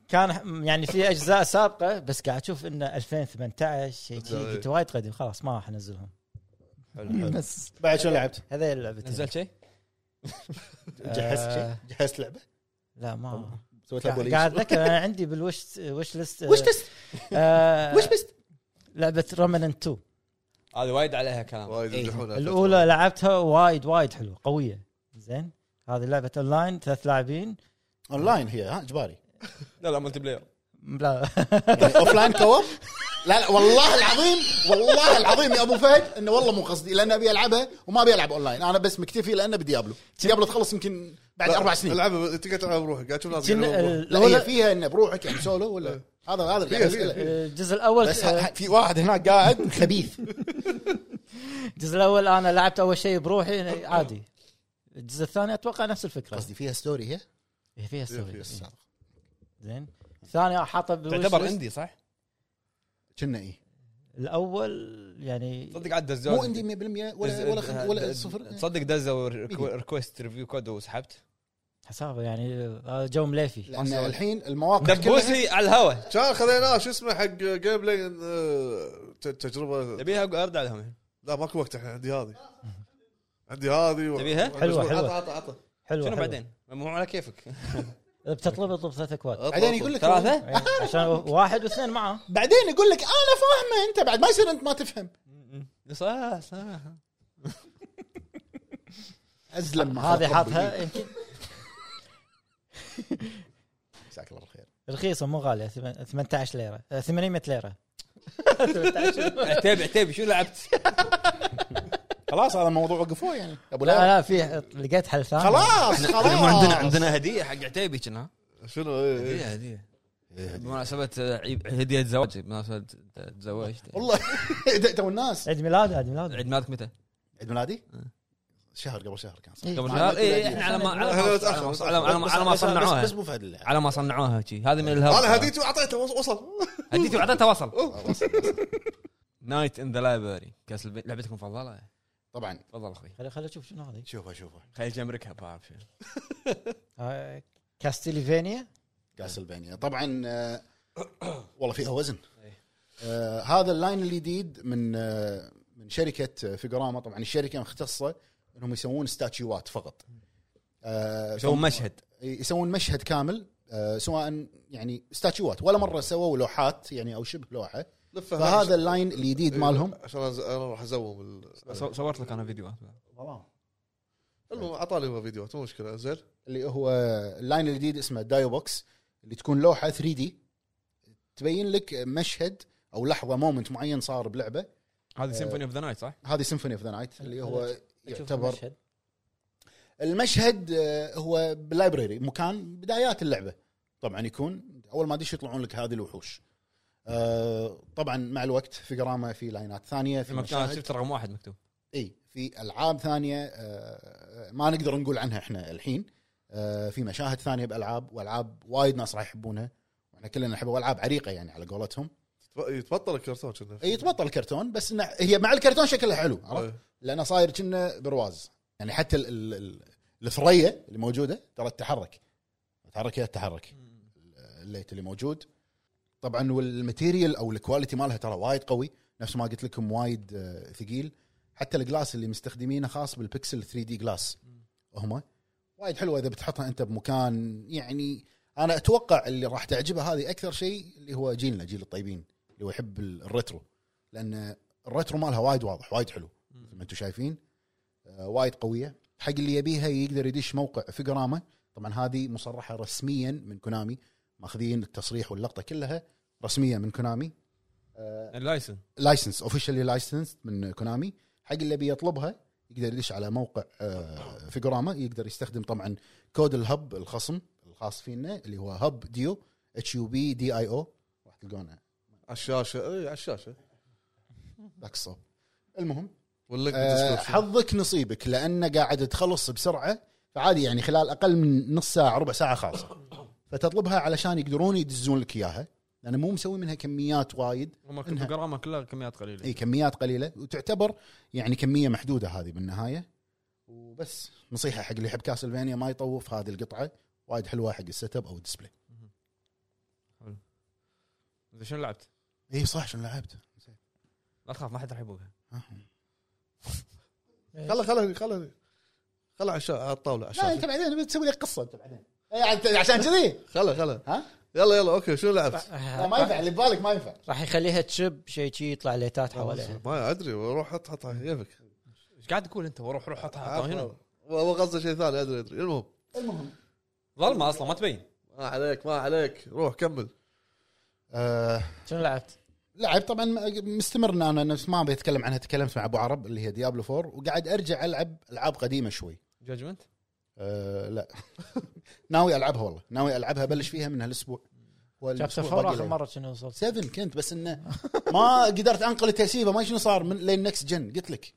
S4: كان يعني في اجزاء سابقه بس قاعد اشوف انه 2018 شيء كذي قلت وايد قديم خلاص ما راح انزلهم بس
S2: بعد شو لعبت؟
S4: هذا اللعبتين
S1: نزلت شيء؟
S2: جهزت
S4: آه.
S2: شيء؟ جهزت لعبه؟
S4: لا ما
S2: سويت لها
S4: قاعد
S2: بوليش؟
S4: قاعد اتذكر انا عندي بالوش وش ليست
S2: وش تست؟
S4: آه
S2: وش بست؟
S4: لعبه رومانن 2
S1: هذه وايد عليها كلام
S3: وايد يمدحونها
S4: الاولى لعبتها وايد وايد حلوه قويه زين هذه لعبه اونلاين ثلاث لاعبين
S2: اونلاين هي ها اجباري
S1: لا لا ملتي بلاير
S4: لا [LAUGHS]
S2: يعني اوف لاين كوب لا لا والله العظيم والله العظيم يا ابو فهد انه والله مو قصدي لان ابي العبها وما ابي العب اونلاين انا بس مكتفي لانه بديابلو ديابلو تخلص يمكن بعد
S3: لا،
S2: اربع سنين
S3: العبها تقدر تلعب بروحك قاعد تشوف ناس
S4: كنا
S3: يلعبون بروحك.
S2: لا هي
S4: الاولى
S2: فيها انه بروحك يعني سولو ولا هذا هذا اللي قاعد
S3: إيه. فيها-
S2: أسأله.
S3: فيها-
S4: الجزء الاول
S2: بس ه- ه- في واحد هناك قاعد خبيث
S4: الجزء الاول انا لعبت اول شيء بروحي عادي الجزء الثاني اتوقع نفس الفكره
S2: قصدي فيها ستوري هي
S4: إيه، فيها ستوري
S3: فيها
S4: إيه.
S2: ستوري.
S4: زين الثاني حاطه بالوش
S1: تعتبر
S4: ليست.
S1: عندي صح؟
S2: كنا اي
S4: الاول يعني
S1: صدق عاد دزوا
S2: مو عندي 100% ولا ولا خم- ولا صفر
S1: تصدق دزوا ريكوست ريفيو كود وسحبت
S4: حسابه يعني آه، جو مليفي
S2: لان الحين المواقع كلها
S1: دبوسي على الهواء
S3: كان خذيناه شو اسمه حق جيم بلاي آه، ت- تجربه
S1: تبيها ارد عليهم
S3: لا ماكو وقت الحين عندي هذه عندي هذه و-
S1: تبيها؟
S4: حلوة،
S3: عطا-
S4: حلوة.
S3: عطا عطا
S4: حلو
S1: شنو
S4: حلو.
S1: بعدين؟ مو على كيفك
S4: بتطلب اطلب ثلاث اكواد
S2: بعدين يقول لك
S1: ثلاثه؟
S4: إيه، [LAUGHS] عشان واحد واثنين معه
S2: بعدين يقول لك انا فاهمه انت بعد ما يصير انت ما تفهم
S1: صح صح [LAUGHS]
S2: ازلم
S4: هذه حاطها يمكن
S2: جزاك الله خير
S4: رخيصه مو غاليه ثم- 18 ليره آه، 800 ليره
S1: عتيبي عتيبي شو لعبت؟
S2: خلاص هذا الموضوع وقفوه يعني ابو
S4: لا
S2: لا
S4: لا في لقيت حل ثاني
S2: خلاص خلاص
S1: عندنا عندنا هديه حق عتيبي كنا
S3: شنو إيه، إيه.
S1: هديه هديه بمناسبة آه، عيد- هدية زواج بمناسبة أنت تزوجت
S2: والله [LAUGHS] تو الناس
S4: عيد ميلاد عيد ميلاد
S1: عيد ميلادك متى؟
S2: عيد ميلادي شهر قبل شهر كان صح.
S4: إيه.
S1: قبل
S2: مع
S1: شهر؟
S2: الميلاد
S1: اي احنا على ما على
S3: إحنا
S1: ما
S3: نتأخر.
S1: على ما- على ما- على ما-
S2: بس-
S1: على ما
S2: بس-
S1: صنعوها
S2: بس مو فهد اللي لعب.
S1: على ما صنعوها شي هذه من الهوى
S3: انا هديتي واعطيته وص- وصل
S1: هديتي وعطيتها وصل نايت ان ذا لايبرري كاس لعبتك المفضلة
S2: طبعا
S1: تفضل اخوي
S4: خلي خلي اشوف شنو هذه
S2: شوفه شوفه
S1: خلي جمركها بعرف شنو
S4: آه، كاستيليفينيا
S2: كاسلفينيا طبعا آه، والله فيها وزن
S1: إيه.
S2: آه هذا اللاين الجديد من آه من شركه فيجوراما طبعا الشركه مختصه انهم يسوون ستاتشيوات فقط آه،
S1: يسوون مشهد
S2: يسوون مشهد كامل آه، سواء يعني ستاتشوات ولا مره سووا لوحات يعني او شبه لوحه
S3: لفه
S2: فهذا اللاين الجديد مالهم
S3: إيه. عشان أز- انا راح ازوم ال-
S1: سو- صورت لك انا فيديوهات
S3: المهم اعطاني فيديوهات مو مشكله زين
S2: اللي هو اللاين الجديد اسمه دايو بوكس اللي تكون لوحه 3 دي تبين لك مشهد او لحظه مومنت معين صار بلعبه
S1: هذه
S2: إيه.
S1: سيمفوني اوف ذا نايت صح؟
S2: هذه سيمفوني اوف ذا نايت اللي هو
S4: أشوف
S2: يعتبر
S4: المشهد.
S2: المشهد آه، هو باللايبرري مكان بدايات اللعبه طبعا يكون اول ما دش يطلعون لك هذه الوحوش آه، طبعا مع الوقت في قرامه في لاينات ثانيه في
S1: في مكان
S2: مشاهد.
S1: شفت رقم واحد مكتوب
S2: اي في العاب ثانيه آه، ما نقدر نقول عنها احنا الحين آه، في مشاهد ثانيه بالعاب والعاب وايد ناس راح يحبونها واحنا كلنا نحبها والعاب عريقه يعني على قولتهم
S3: تب- يتبطل الكرتون كنا
S2: إي، يتبطل الكرتون بس إنه هي مع الكرتون شكلها حلو عرفت
S3: إيه.
S2: لانه صاير كنا برواز يعني حتى ال- ال- ال- الثريه اللي موجوده ترى تتحرك تتحرك هي تتحرك الليت اللي موجود طبعا والماتيريال او الكواليتي مالها ترى وايد قوي نفس ما قلت لكم وايد آه، ثقيل حتى الجلاس اللي مستخدمينه خاص بالبكسل 3 دي جلاس هم وايد حلوه اذا بتحطها انت بمكان يعني انا اتوقع اللي راح تعجبه هذه اكثر شيء اللي هو جيلنا جيل الطيبين اللي هو يحب ال- الريترو لان الريترو مالها وايد واضح وايد حلو مثل ما انتم شايفين آه، وايد قويه حق اللي يبيها يقدر يدش موقع فيجراما طبعا هذه مصرحه رسميا من كونامي ماخذين التصريح واللقطه كلها رسميا من كونامي آه،
S1: اللايسن
S2: لايسنس اوفشلي لايسنس من كونامي حق اللي بيطلبها يقدر يدش على موقع آه، فيجراما يقدر يستخدم طبعا كود الهب الخصم الخاص فينا اللي هو هب ديو اتش يو بي دي اي او راح تلقونه
S3: على الشاشه اي إيه، على الشاشه
S2: ذاك الصوب المهم
S3: واللينك
S2: آه،
S3: بالدسكربشن.
S2: حظك نصيبك لانه قاعد تخلص بسرعه فعادي يعني خلال اقل من نص ساعه ربع ساعه خالصه فتطلبها علشان يقدرون يدزون لك اياها لانه مو مسوي منها كميات وايد
S1: هم
S2: إنها- إيه.
S1: كرامه كلها كميات قليله
S2: اي كميات قليله وتعتبر يعني كميه محدوده هذه بالنهايه وبس نصيحه حق اللي يحب كاسلفينيا ما يطوف هذه القطعه وايد حلوه حق السيت اب او الديسبلاي
S1: زين شنو لعبت؟
S2: اي إيه، صح شنو لعبت
S1: لا تخاف ما حد راح يبوقها
S2: آه.
S3: خله خله خله خله على الشا- على الطاوله على
S2: لا انت
S3: الشاشه
S2: بعدين بتسوي لك قصه انت بعدين إي، عشان- عشان [LAUGHS] كذي
S3: خله خله
S2: ها؟
S3: يلا يلا اوكي شنو لعبت؟
S2: لا ما ينفع اللي ببالك ما ينفع
S4: راح يخليها تشب شيء شي يطلع ليتات حواليها
S3: ما ادري روح حط حط على كيفك
S1: ايش قاعد تقول انت وروح روح حطها هنا
S3: عفوا. هو قصده شيء ثاني ادري ادري المهم
S2: المهم
S1: ظلمه اصلا ما تبين
S3: ما عليك ما عليك روح كمل
S2: آه
S4: شنو لعبت؟
S2: لعب طبعا مستمر إن انا نفس ما بيتكلم عنها تكلمت مع ابو عرب اللي هي ديابلو 4 وقاعد ارجع العب العاب قديمه شوي
S1: جاجمنت
S2: أه لا [LAUGHS] ناوي العبها والله ناوي العبها بلش فيها من هالاسبوع هو
S4: شابتر
S2: الأسبوع
S4: 4
S2: باقي
S4: اخر
S2: لي.
S4: مره شنو وصلت؟
S2: 7 كنت بس انه ما
S1: [LAUGHS]
S2: قدرت انقل التسييفه ما شنو صار من لين نكست جن قلت لك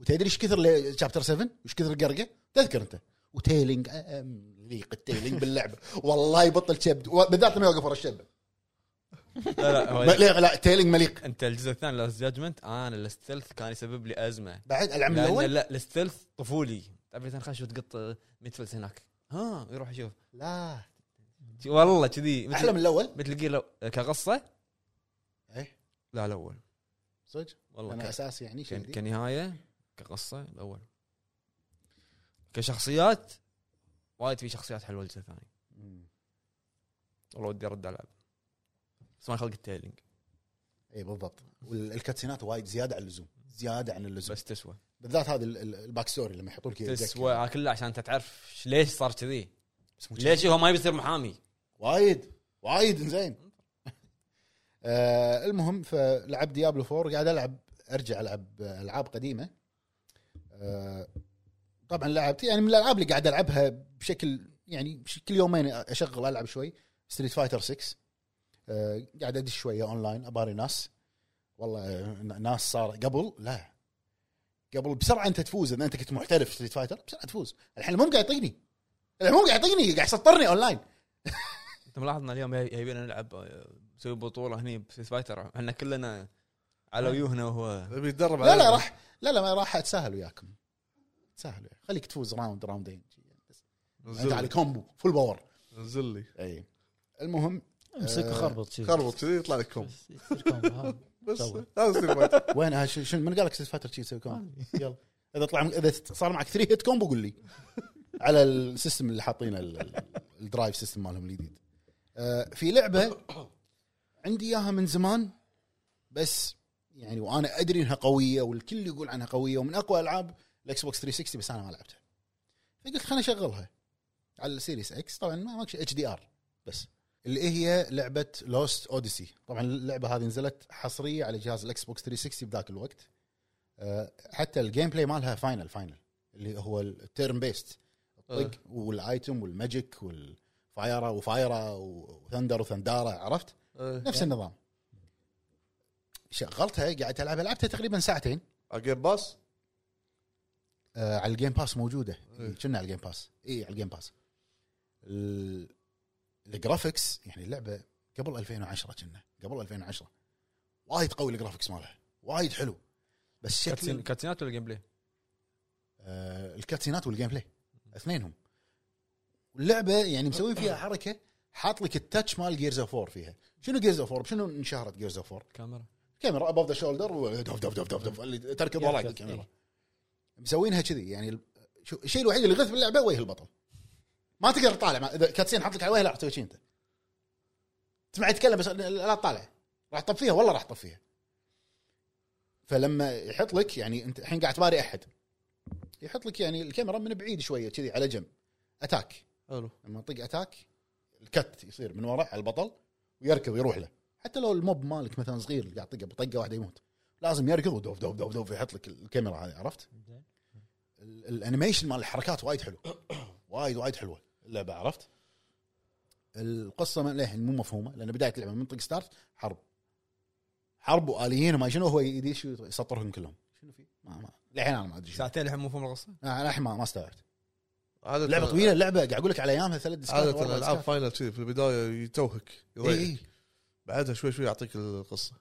S2: وتدري ايش كثر شابتر 7 وش كثر القرقه تذكر انت وتيلينج أم، ليق
S1: [LAUGHS]
S2: التيلينج باللعبه والله يبطل شبد بالذات انه يوقف ورا الشبه
S1: لا لا هو-
S2: مليق لا تيلينج مليق
S1: انت الجزء الثاني لاست جاجمنت انا الستلث كان يسبب لي ازمه
S2: بعد العب من
S1: لأن
S2: الاول
S1: لا الستلث طفولي تعرف إذا خش وتقط ميتفلس هناك ها يروح يشوف
S2: لا
S1: والله كذي
S2: احلى من
S1: مثل
S2: الاول
S1: مثل جير لو- كقصه
S2: إيه.
S1: لا الاول
S2: صدق
S1: والله
S2: انا
S1: ك-
S2: اساس يعني شيء
S1: كان
S2: جديد.
S1: كنهايه كقصه الاول كشخصيات وايد في شخصيات حلوه الجزء الثاني
S2: مم.
S1: والله ودي ارد العب بس ما خلق التيلينج
S2: اي إيه، بالضبط والكاتسينات وايد زياده عن اللزوم زياده عن اللزوم
S1: بس تسوى
S2: بالذات هذه ال- ال- الباك ستوري لما يحطوا لك إياه يدك.
S1: تسوى آه، كله عشان انت تعرف ش- ليش صار كذي
S2: بس مو
S1: ليش هو ما يبي يصير محامي
S2: وايد وايد زين [LAUGHS] آه المهم فلعب ديابلو 4 قاعد العب ارجع العب العاب قديمه آه طبعا لعبت يعني من الالعاب اللي قاعد العبها بشكل يعني بش- كل يومين اشغل العب شوي ستريت فايتر 6 آه قاعد ادش شويه اونلاين اباري ناس والله آه، ناس صار قبل لا قبل بسرعه انت تفوز اذا انت كنت محترف ستريت فايتر بسرعه تفوز الحين المهم قاعد يطقني المهم قاعد يطقني قاعد يسطرني اونلاين
S1: انت ملاحظ ان اليوم يبينا نلعب آه، نسوي بطوله هني بسيس فايتر احنا كلنا على ويوهنا وهو
S3: نبي يتدرب
S2: لا
S3: علينا.
S2: لا راح لا لا ما راح اتساهل وياكم اتساهل وياك. خليك تفوز راوند راوندين انت على
S3: انزل
S2: كومبو فول باور
S3: انزل لي
S2: اي المهم
S4: امسك
S2: آه،
S4: وخربط شي.
S3: خربط كذي يطلع لك كوم
S4: بس يصير كومبو، ها.
S3: بس
S4: سوي.
S3: هذا ستريت فايتر
S2: [LAUGHS] وين آه، ها، شو شو- من قال لك ستريت فايتر شي تسوي كومبو يلا اذا طلع اذا صار معك 3 هيت كومبو قول لي على السيستم اللي حاطينه ال- ال- الدرايف سيستم مالهم الجديد آه، في لعبه عندي اياها من زمان بس يعني وانا ادري انها قويه والكل يقول عنها قويه ومن اقوى العاب الاكس بوكس 360 بس انا ما لعبتها فقلت خليني اشغلها على السيريس اكس طبعا ما ماكش اتش دي ار بس اللي هي لعبه لوست اوديسي طبعا اللعبه هذه نزلت حصريه على جهاز الاكس بوكس 360 بذاك الوقت آه، حتى الجيم بلاي مالها فاينل فاينل اللي هو التيرن بيست
S3: آه.
S2: الطق والايتم والماجيك والفايره وفايره وثندر وثنداره عرفت؟
S3: آه،
S2: نفس النظام شغلتها قعدت العبها لعبتها تقريبا ساعتين
S3: جيم باس
S2: آه على الجيم باس موجوده
S3: إيه.
S2: كنا على الجيم باس اي على الجيم باس ال- الجرافكس يعني اللعبه قبل 2010 كنا قبل 2010 وايد قوي الجرافكس مالها وايد حلو بس شكل
S1: كاتسينات ولا جيم بلاي؟
S2: آه، الكاتسينات والجيم بلاي اثنينهم اللعبه يعني مسوي فيها حركه حاط لك التاتش مال جيرز اوف 4 فيها شنو جيرز اوف 4 شنو انشهرت جيرز اوف 4
S1: كاميرا
S2: كاميرا ابوف ذا شولدر ودف دف دف دف دف اللي تركض وراك
S4: يركض،
S2: الكاميرا
S4: إيه.
S2: مسوينها كذي يعني ال- شو- الشيء الوحيد اللي يغث باللعبه وجه البطل ما تقدر تطالع ما- اذا كاتسين حط لك على وجهه لا راح تسوي شي انت تسمع يتكلم بس لا لا تطالع راح تطفيها والله راح تطفيها فلما يحط لك يعني انت الحين قاعد تباري احد يحط لك يعني الكاميرا من بعيد شويه كذي على جنب اتاك
S3: حلو
S2: لما يطق اتاك الكت يصير من ورا على البطل ويركض يروح له حتى لو الموب مالك مثلا صغير قاعد طقه بطقه واحده يموت لازم يركض ودوف دوف دوف دوف يحط لك الكاميرا هذه عرفت؟
S4: زين.
S2: ال- الانيميشن مال الحركات وايد حلو [COUGHS] وايد وايد حلوه اللعبه عرفت؟ القصه ما- للحين مو مفهومه لان بدايه اللعبه من منطق ستارت حرب حرب واليين وما شنو هو يدش يسطرهم كلهم شنو في؟ ما ما للحين انا ما ادري شنو.
S1: ساعتين الحين مو فاهم القصه
S2: انا للحين ما ما استوعبت
S3: عادة
S2: لعبه طويله اللعبه قاعد اقول لك على ايامها ثلاث ديسكات
S3: عادة
S2: وأربع إيه،
S3: الالعاب
S2: ديسكات.
S3: فاينل كذي في البدايه يتوهك
S2: إي
S3: يضيعك
S2: إي.
S3: بعدها شوي شوي يعطيك القصه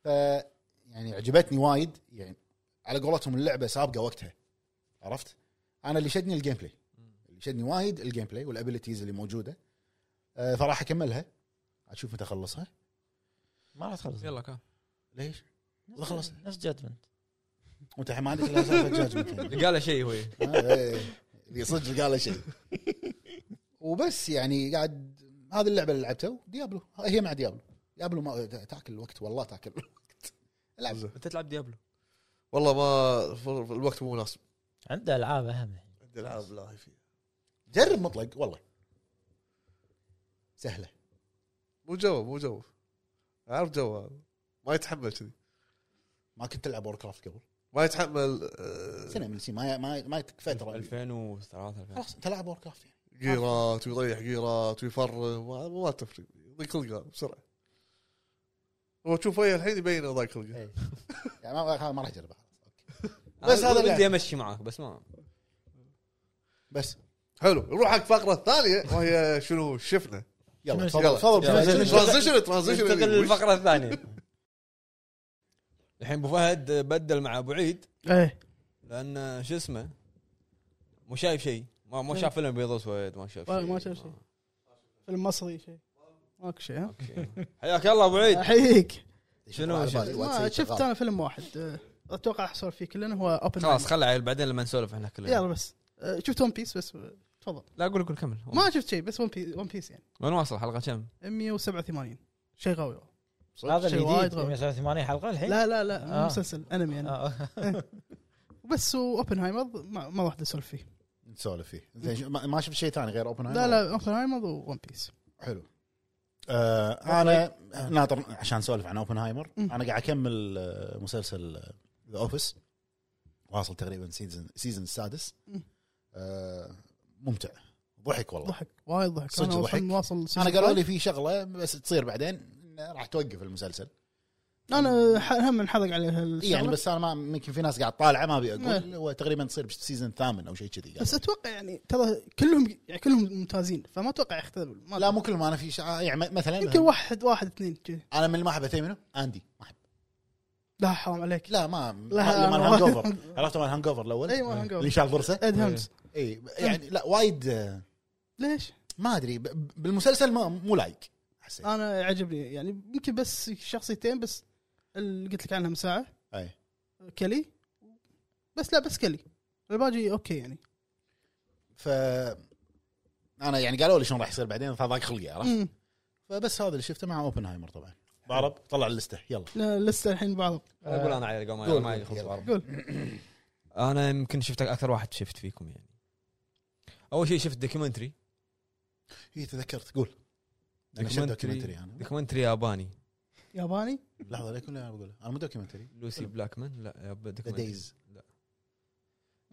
S2: ف يعني عجبتني وايد يعني على قولتهم اللعبه سابقه وقتها عرفت؟ انا اللي شدني الجيم بلاي اللي شدني وايد الجيم بلاي والابيلتيز اللي موجوده آه، فراح اكملها اشوف متى اخلصها
S4: ما راح تخلص
S1: [LAUGHS] يلا كان
S2: ليش؟ والله خلص.
S4: نفس جادمنت
S2: وانت الحين ما عندك الا سالفه
S1: [LAUGHS]
S2: جاجمنت
S1: قال له شيء هو
S2: آه، إيه. اللي صدق قال شيء وبس يعني قاعد هذه اللعبه اللي لعبتها ديابلو هي مع ديابلو ديابلو ما تاكل الوقت والله تاكل الوقت العب
S1: انت تلعب [LAUGHS] ديابلو
S3: والله ما فر- الوقت مو مناسب
S4: عنده العاب اهم الحين.
S3: عندي العاب لا هي فيها
S2: جرب مطلق والله سهله
S3: مو جو مو جو اعرف جو هذا ما يتحمل كذي
S2: ما كنت العب وور كرافت قبل
S3: ما يتحمل آه،
S2: سنه من سنين ما ما ما يك- فتره
S1: 2003 2000
S2: خلاص انت لاعب وور كرافت يعني
S3: جيرات ويطيح جيرات ويفرم ما, ما تفرق يضيق خلقه بسرعه هو تشوف وجهه الحين يبين انه ضايق خلقه
S2: يعني ما, ما راح اجربها
S1: [LAUGHS] بس
S2: هذا
S1: هذا
S2: اللي
S1: بدي امشي معاك بس [LAUGHS] ما
S2: بس
S3: حلو نروح حق فقره الثانيه وهي شنو شفنا
S2: يلا
S3: يلا.
S2: تفضل تفضل
S1: يلا.
S2: بسم الله.
S3: ترانزيشن ترانزيشن
S1: ننتقل للفقره الثانيه [LAUGHS] الحين ابو فهد بدل مع ابو عيد
S4: ايه
S5: إيه.
S1: لان شو اسمه مو شايف شيء ما مو شاف فيلم بيض اسود ما شاف
S5: والله
S1: شيء
S5: ما شاف شيء. فيلم مصري إيه. شيء ماكو شيء ها
S1: أوكي. [LAUGHS] حياك الله ابو عيد
S5: احييك
S1: شنو
S2: على
S1: شفت؟
S2: بالي.
S5: ما
S2: الواد سيد
S5: شفت
S2: شغال.
S5: انا فيلم واحد أه، اتوقع راح اسولف فيه كلنا هو اوبن
S1: خلاص خلى عيل بعدين لما نسولف احنا كلنا
S5: يلا بس أه، شفت ون بيس بس أه، تفضل
S1: لا قول قول كمل
S5: ما شفت شيء بس ون بيس ون بيس يعني
S1: وين واصل حلقه كم؟
S5: 187 شيء قوي والله.
S4: هذا
S5: شيء
S4: اللي
S5: وايد
S4: جديد
S5: غريب.
S4: 187 حلقه
S2: إيه؟
S4: الحين
S5: لا لا لا
S4: آه.
S5: مو مسلسل انمي يعني
S4: آه. [LAUGHS]
S5: بس واوبنهايمر ما, ما راح اسولف فيه
S2: نسولف فيه زين شو- ما ما شفت شيء ثاني غير اوبن
S5: لا لا اوبنهايمر وون بيس
S2: حلو آه انا ناطر عشان اسولف عن اوبنهايمر
S5: مم.
S2: انا قاعد اكمل آه، مسلسل ذا اوفيس واصل تقريبا سيزون سيزون السادس
S5: مم.
S2: آه ممتع ضحك والله
S5: ضحك وايد ضحك
S2: صدق
S5: انا واصل-
S2: ضحك.
S5: واصل
S2: انا
S5: season
S2: قالوا لي في شغله بس تصير بعدين إنه راح توقف المسلسل
S5: five. انا ح- هم انحرق على
S2: إي
S5: هالشغلة.
S2: يعني بس انا ما يمكن في ناس قاعد طالعه ما ابي اقول هو تقريبا تصير بالسيزون الثامن او شيء كذي
S5: إيه. بس اتوقع يعني ترى كلهم يعني كلهم ممتازين فما اتوقع يختلفون ما
S2: لا مو كلهم انا في شع... يعني مثلا
S5: يمكن واحد واحد اثنين كذي
S2: انا من اللي ما احب أثير منه اندي ما احب
S5: لا حرام عليك
S2: لا ما
S5: لا، أيوة.
S2: لا مال
S5: أنا-
S2: هانج اوفر عرفت مال هانج اوفر الاول
S5: اي ما
S2: اللي
S5: هنقول
S2: شال فرصه
S5: اد هامز
S2: اي
S5: إيه.
S2: يعني لا وايد آه،
S5: ليش؟
S2: ما ادري ب- ب- بالمسلسل ما مو لايق حسيت
S5: انا عجبني يعني يمكن بس شخصيتين بس اللي قلت لك عنها من ساعه
S2: اي
S5: كلي بس لا بس كلي الباقي اوكي يعني
S2: ف انا يعني قالوا لي شلون راح يصير بعدين فضاق خلقي عرفت
S5: مم.
S2: فبس هذا اللي شفته مع اوبنهايمر طبعا بعرب طلع اللسته يلا
S5: لا، لسه الحين بعض
S1: اقول انا على قبل ما-
S2: قول.
S1: ما يخلص العرب.
S5: آه، قول
S1: انا يمكن شفتك اكثر واحد شفت فيكم يعني اول شيء شفت دوكيومنتري
S2: هي إيه، تذكرت قول انا شفت دوكيومنتري انا
S1: دوكيومنتري ياباني
S5: ياباني
S2: لحظه لا يكون انا بقول انا مو دوكيومنتري
S1: لوسي بلاكمان لا ياب-
S2: ذا
S1: دوكيومنتري
S2: دايز
S5: إيه؟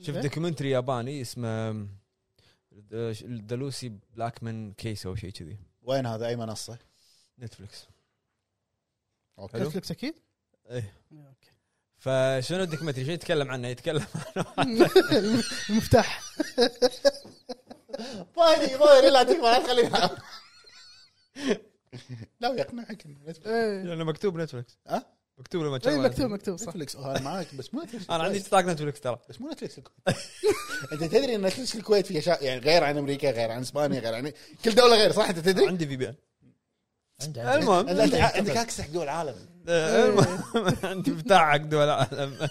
S1: شفت دوكيومنتري ياباني اسمه ذا لوسي بلاكمان كيس او شيء كذي
S2: وين هذا اي منصه؟
S1: نتفلكس
S2: اوكي
S1: حلو.
S5: نتفلكس [LAUGHS] اكيد
S1: ايه
S5: اوكي
S1: فشنو الدوكيومنتري شنو يتكلم عنه يتكلم
S5: [LAUGHS] المفتاح
S2: ضايقني ضايقني لا تكفى لا [LAUGHS] تخليني لا يقنعك إيه،
S5: اي
S1: لانه مكتوب نتفلكس
S2: أه؟
S1: مكتوب لما تشغل
S5: مكتوب مكتوب صح
S2: نتفلكس هذا معك بس مو نتفلكس
S1: انا عندي
S2: الكويت.
S1: اشتراك نتفلكس ترى
S2: بس مو نتفلكس الكويت. [LAUGHS] انت تدري ان نتفلكس الكويت في اشياء يعني غير عن امريكا غير عن اسبانيا غير عن كل دوله غير صح انت تدري؟
S1: عندي في بي ان
S4: عندي- عندي.
S1: المهم آه،
S2: انت عندك اكس حق دول العالم
S1: المهم [LAUGHS] عندي بتاع حق دول العالم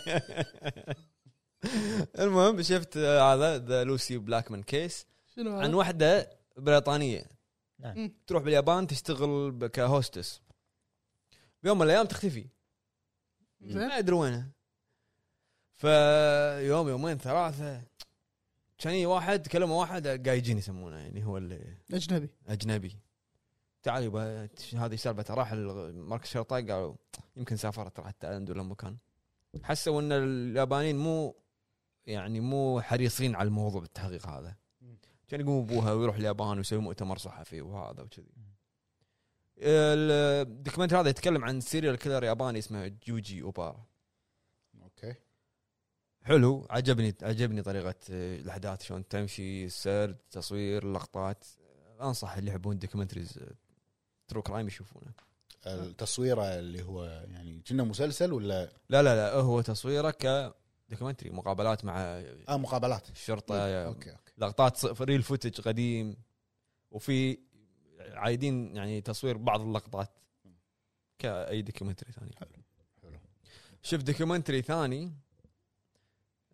S1: المهم شفت آه، هذا ذا لوسي بلاكمان كيس
S5: [LAUGHS] شنو
S1: عن
S5: هذا؟
S1: واحده بريطانيه
S4: نعم.
S1: تروح باليابان تشتغل ب- كهوستس بيوم من الايام تختفي
S5: زين
S1: ما ادري وينها فيوم يومين ثلاثه كان واحد كلمه واحد قايجين يسمونه يعني هو اللي
S5: اجنبي
S1: اجنبي تعال يبا ش- هذه سالفه راح الغ- مركز شرطه قالوا يمكن سافرت راحت تايلاند ولا مكان حسوا ان اليابانيين مو يعني مو حريصين على الموضوع بالتحقيق هذا كان يقوم ابوها ويروح اليابان ويسوي مؤتمر صحفي وهذا وكذي الدوكيومنتري هذا يتكلم عن سيريال كيلر ياباني اسمه جوجي اوبارا
S2: اوكي
S1: حلو عجبني عجبني طريقه آه، الاحداث شلون تمشي السرد تصوير اللقطات آه، انصح اللي يحبون دوكيومنتريز ترو كرايم يشوفونه
S2: التصويره اللي هو يعني كنا مسلسل ولا
S1: لا لا لا هو تصويره كدوكيومنتري مقابلات مع
S2: اه مقابلات
S1: الشرطه
S2: اوكي اوكي
S1: لقطات ص- ريل فوتج قديم وفي عايدين يعني تصوير بعض اللقطات كاي دوكيومنتري ثاني
S2: حلو
S1: شفت دوكيومنتري ثاني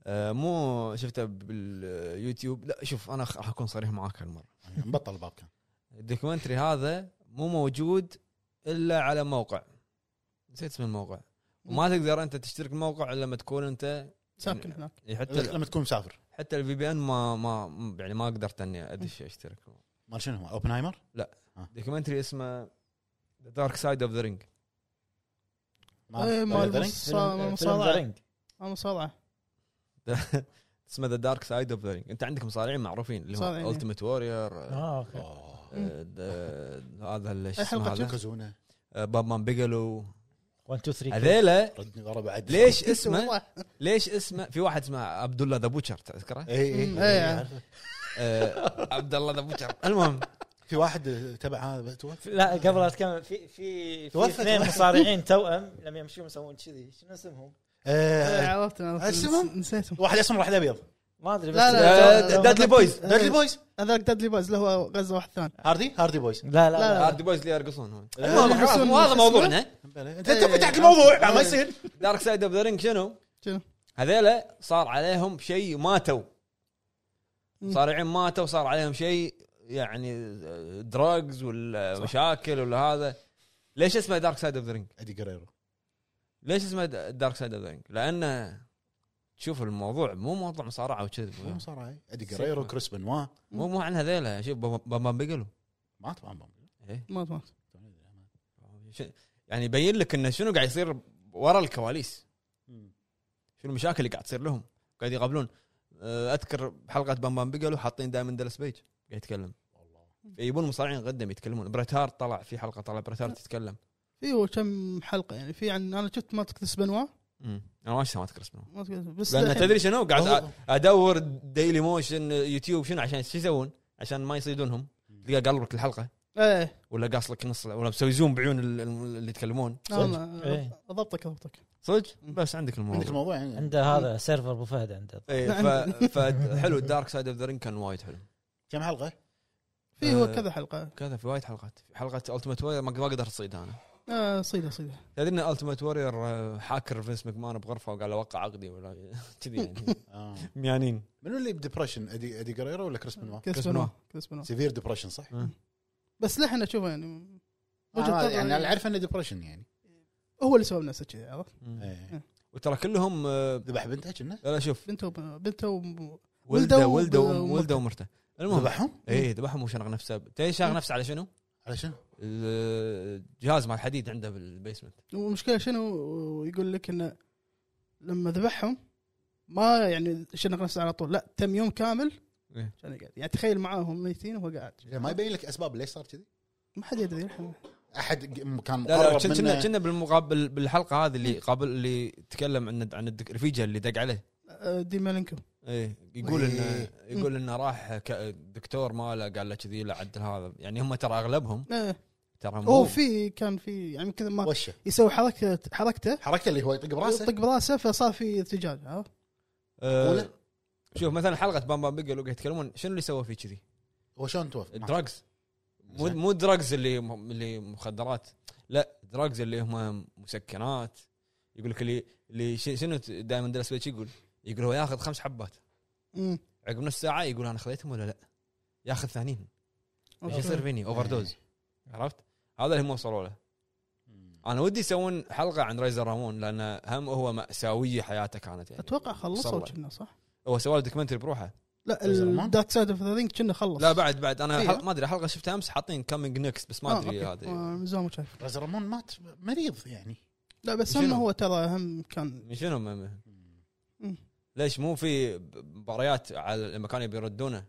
S1: آه، مو شفته باليوتيوب لا شوف انا خ- راح اكون صريح معاك هالمره
S2: مبطل الباب كان
S1: الدوكيومنتري هذا مو موجود الا على موقع نسيت اسم الموقع وما تقدر انت تشترك الموقع الا لما تكون انت
S5: ساكن هناك [LAUGHS]
S1: حتى
S2: [LAUGHS] لما تكون مسافر
S1: حتى الفي بي ان ما ما يعني ما قدرت اني ادش اشترك
S2: مال شنو هو اوبنهايمر؟
S1: دوكيومنتري اسمه ذا دارك سايد اوف ذا رينج
S5: إيه، مال
S2: مال
S5: مص- صار-
S4: فيلم-
S5: مصارعة.
S4: فيلم The Ring.
S5: المصارعه [LAUGHS]
S1: اسمه ذا دارك سايد اوف ذا رينج انت عندك مصارعين معروفين اللي هم
S5: مصارعين. إيه. آه.
S1: التيمت وورير
S4: اه اوكي
S1: هذا ال- شو
S5: أي حلقة
S1: اسمه هذا
S2: كازونا
S1: آه، بابمان بيجلو
S4: 1 2 3
S1: هذيلا
S2: ردني ورا بعد
S5: [LAUGHS]
S1: ليش اسمه
S5: والله.
S1: ليش اسمه في واحد اسمه عبد الله ذا بوتشر تذكره؟
S2: اي
S5: مم،
S2: اي
S5: إيه.
S2: عارفه.
S1: آه، عبد الله ذا بوتشر المهم
S2: في واحد تبع هذا توفى
S4: لا قبل لا تكمل في في في
S2: توفت
S4: اثنين
S2: واحد.
S4: مصارعين توأم لما يمشون يسوون كذي شنو اسمهم؟
S5: إيه،
S2: آه،
S5: عرفت عرفت.
S2: اسمهم؟
S5: نسيتهم
S2: واحد اسمر واحد ابيض
S1: إيه.
S4: ما ادري بس
S5: لا، لا. إيه.
S1: آه، دادلي بويز
S2: دادلي بويز
S5: هذاك دادلي باز اللي هو غزه واحد ثاني
S2: هاردي هاردي بويز
S4: لا لا,
S5: لا،
S4: لا.
S1: دارك بويز آه، اللي يرقصون هون
S2: لا،
S1: المهم،
S5: يرقصون
S1: خلاص، مو
S5: شو
S1: هذا
S5: اسمه؟
S1: موضوعنا
S2: انت
S1: إيه.
S2: انت فتحت الموضوع ما يصير
S1: دارك سايد اوف ذا رينج شنو؟
S5: شنو؟
S1: هذيلا صار عليهم شيء ماتوا
S5: مم.
S1: صارعين ماتوا صار عليهم شيء يعني دراجز ولا مشاكل ولا هذا ليش اسمه دارك سايد اوف ذا رينج؟
S2: ادي جريرو
S1: ليش اسمه دارك سايد اوف ذا رينج؟ لانه شوف الموضوع مو موضوع مصارعه
S2: مو
S1: وكذب
S2: مصارعه ادي جريرو كريس بنوا
S1: مو مو عن هذيلا شوف بام- بام بيجلو
S2: ما طبعا بام.
S1: إيه.
S5: ما مات
S1: ش- يعني يبين لك انه شنو قاعد يصير ورا الكواليس شنو المشاكل اللي قاعد تصير لهم قاعد يقابلون أه، اذكر بحلقه بامبام بيجلو حاطين دائما دلس بيج قاعد يتكلم يبون مصارعين قدم يتكلمون بريت هارت طلع في حلقه طلع بريت هارت يتكلم
S5: في هو كم حلقه يعني في عن انا شفت ما تكتس بنوا
S1: مم. انا ما شفت- ما اذكر اسمه
S5: ما تكتس بس يعني
S1: لان
S5: الحين-
S1: تدري شنو قاعد
S2: أوه.
S1: أ- ادور ديلي موشن يوتيوب شنو عشان شو يسوون عشان ما يصيدونهم تلقى قلبك الحلقه
S5: ايه
S1: ولا قاص لك نص ولا مسوي زوم بعيون ال- ال- اللي يتكلمون
S5: نعم
S4: إيه.
S5: اضبطك اضبطك
S1: صدق بس عندك الموضوع
S2: عندك الموضوع يعني
S4: عنده هذا سيرفر ابو فهد عنده
S1: ايه ف... فحلو الدارك سايد اوف ذا رينج كان وايد حلو
S2: كم حلقه؟
S5: في هو
S1: آه.
S5: كذا حلقه
S1: كذا في وايد حلقات في حلقه التيمت وير ما ما قدرت اصيدها انا
S5: آه صيده صيده
S1: تدري ان التيمت وورير آه، حاكر فينس ماكمان بغرفه وقال له وقع عقدي ولا [LAUGHS] كذي يعني
S2: آه.
S1: ميانين
S2: منو اللي بديبرشن ادي ادي جريرو ولا كريس بنوا؟
S5: كريس
S1: آه، بنوا.
S5: بنوا كريس بنوا
S2: سيفير ديبرشن صح؟
S5: بس لحن اشوفه يعني وجهة
S2: آه
S5: نظر
S2: يعني انا اعرف انه ديبرشن يعني
S5: هو اللي سوى بنفسه كذي عرفت
S2: إيه.
S1: وترى كلهم آه،
S2: ذبح بنته كنا؟
S1: لا لا شوف
S5: بنته وب- بنته وب-
S1: ولده ولده
S5: ولده وب-
S1: ولده ومرته المهم
S2: ذبحهم؟
S1: اي ذبحهم وشنق نفسه تدري شنق نفسه على شنو؟
S2: على شنو؟
S1: الجهاز مال الحديد عنده بالبيسمنت
S5: والمشكله شنو يقول لك انه لما ذبحهم ما يعني شنق نفسه على طول لا تم يوم كامل
S1: إيه.
S5: عشان يقعد يعني تخيل معاهم ميتين وهو قاعد
S2: ما يبين لك اسباب ليش صار كذي؟
S5: ما حد يدري الحين
S2: احد كان
S1: لا لا
S2: مقرب
S1: كنا
S2: منه
S1: كنا بالمقابل بالحلقه هذه اللي قابل اللي تكلم عن عن الدك- رفيجه اللي دق عليه
S5: آه، دي مالينكو
S1: ايه يقول انه
S2: إيه.
S1: يقول انه راح ك- دكتور ماله قال له كذي لا عدل هذا يعني هم ترى اغلبهم
S5: آه،
S1: ترى
S5: هو
S1: مو
S5: في كان في يعني كذا ما
S2: وشه
S5: يسوي حركه حركته
S2: حركه اللي هو يطق براسه
S5: يطق براسه فصار في ارتجاج عرفت؟
S1: آه،
S2: أولى.
S1: شوف مثلا حلقه بام بام بيجل وقاعد يتكلمون شنو اللي سوى فيه كذي؟
S2: هو شلون توفى؟
S1: دراجز مو
S2: زين.
S1: مو دراجز اللي اللي مخدرات لا دراجز اللي هم مسكنات يقول لك اللي اللي ش- شنو دائما درس بيتش يقول يقول هو ياخذ خمس حبات
S5: أمم.
S1: عقب نص ساعه يقول انا خذيتهم ولا لا ياخذ ثانيين ايش يعني يصير فيني اوفر دوز عرفت هذا اللي هم وصلوا له انا ودي يسوون حلقه عن رايزر رامون لان هم هو مأساوية حياته كانت يعني
S5: اتوقع خلصوا
S1: صلى.
S5: كنا صح؟
S1: هو سوى له دوكيومنتري بروحه
S5: لا
S2: ريزر مان؟
S5: الدارك سايد اوف ذا رينج كنا خلص
S1: لا بعد بعد انا
S5: فيه.
S1: حل... ما ادري حلقه شفتها امس حاطين كامينج نكس بس ما ادري
S5: إيه. آه، أوكي.
S1: هذه
S5: آه، من زمان ما شايف
S2: رزرمون مات مريض يعني
S5: لا بس
S1: شنو؟
S5: هم هو ترى هم كان
S1: من شنو م- م-
S5: مم.
S1: ليش مو في ب- مباريات على لما كانوا بيردونه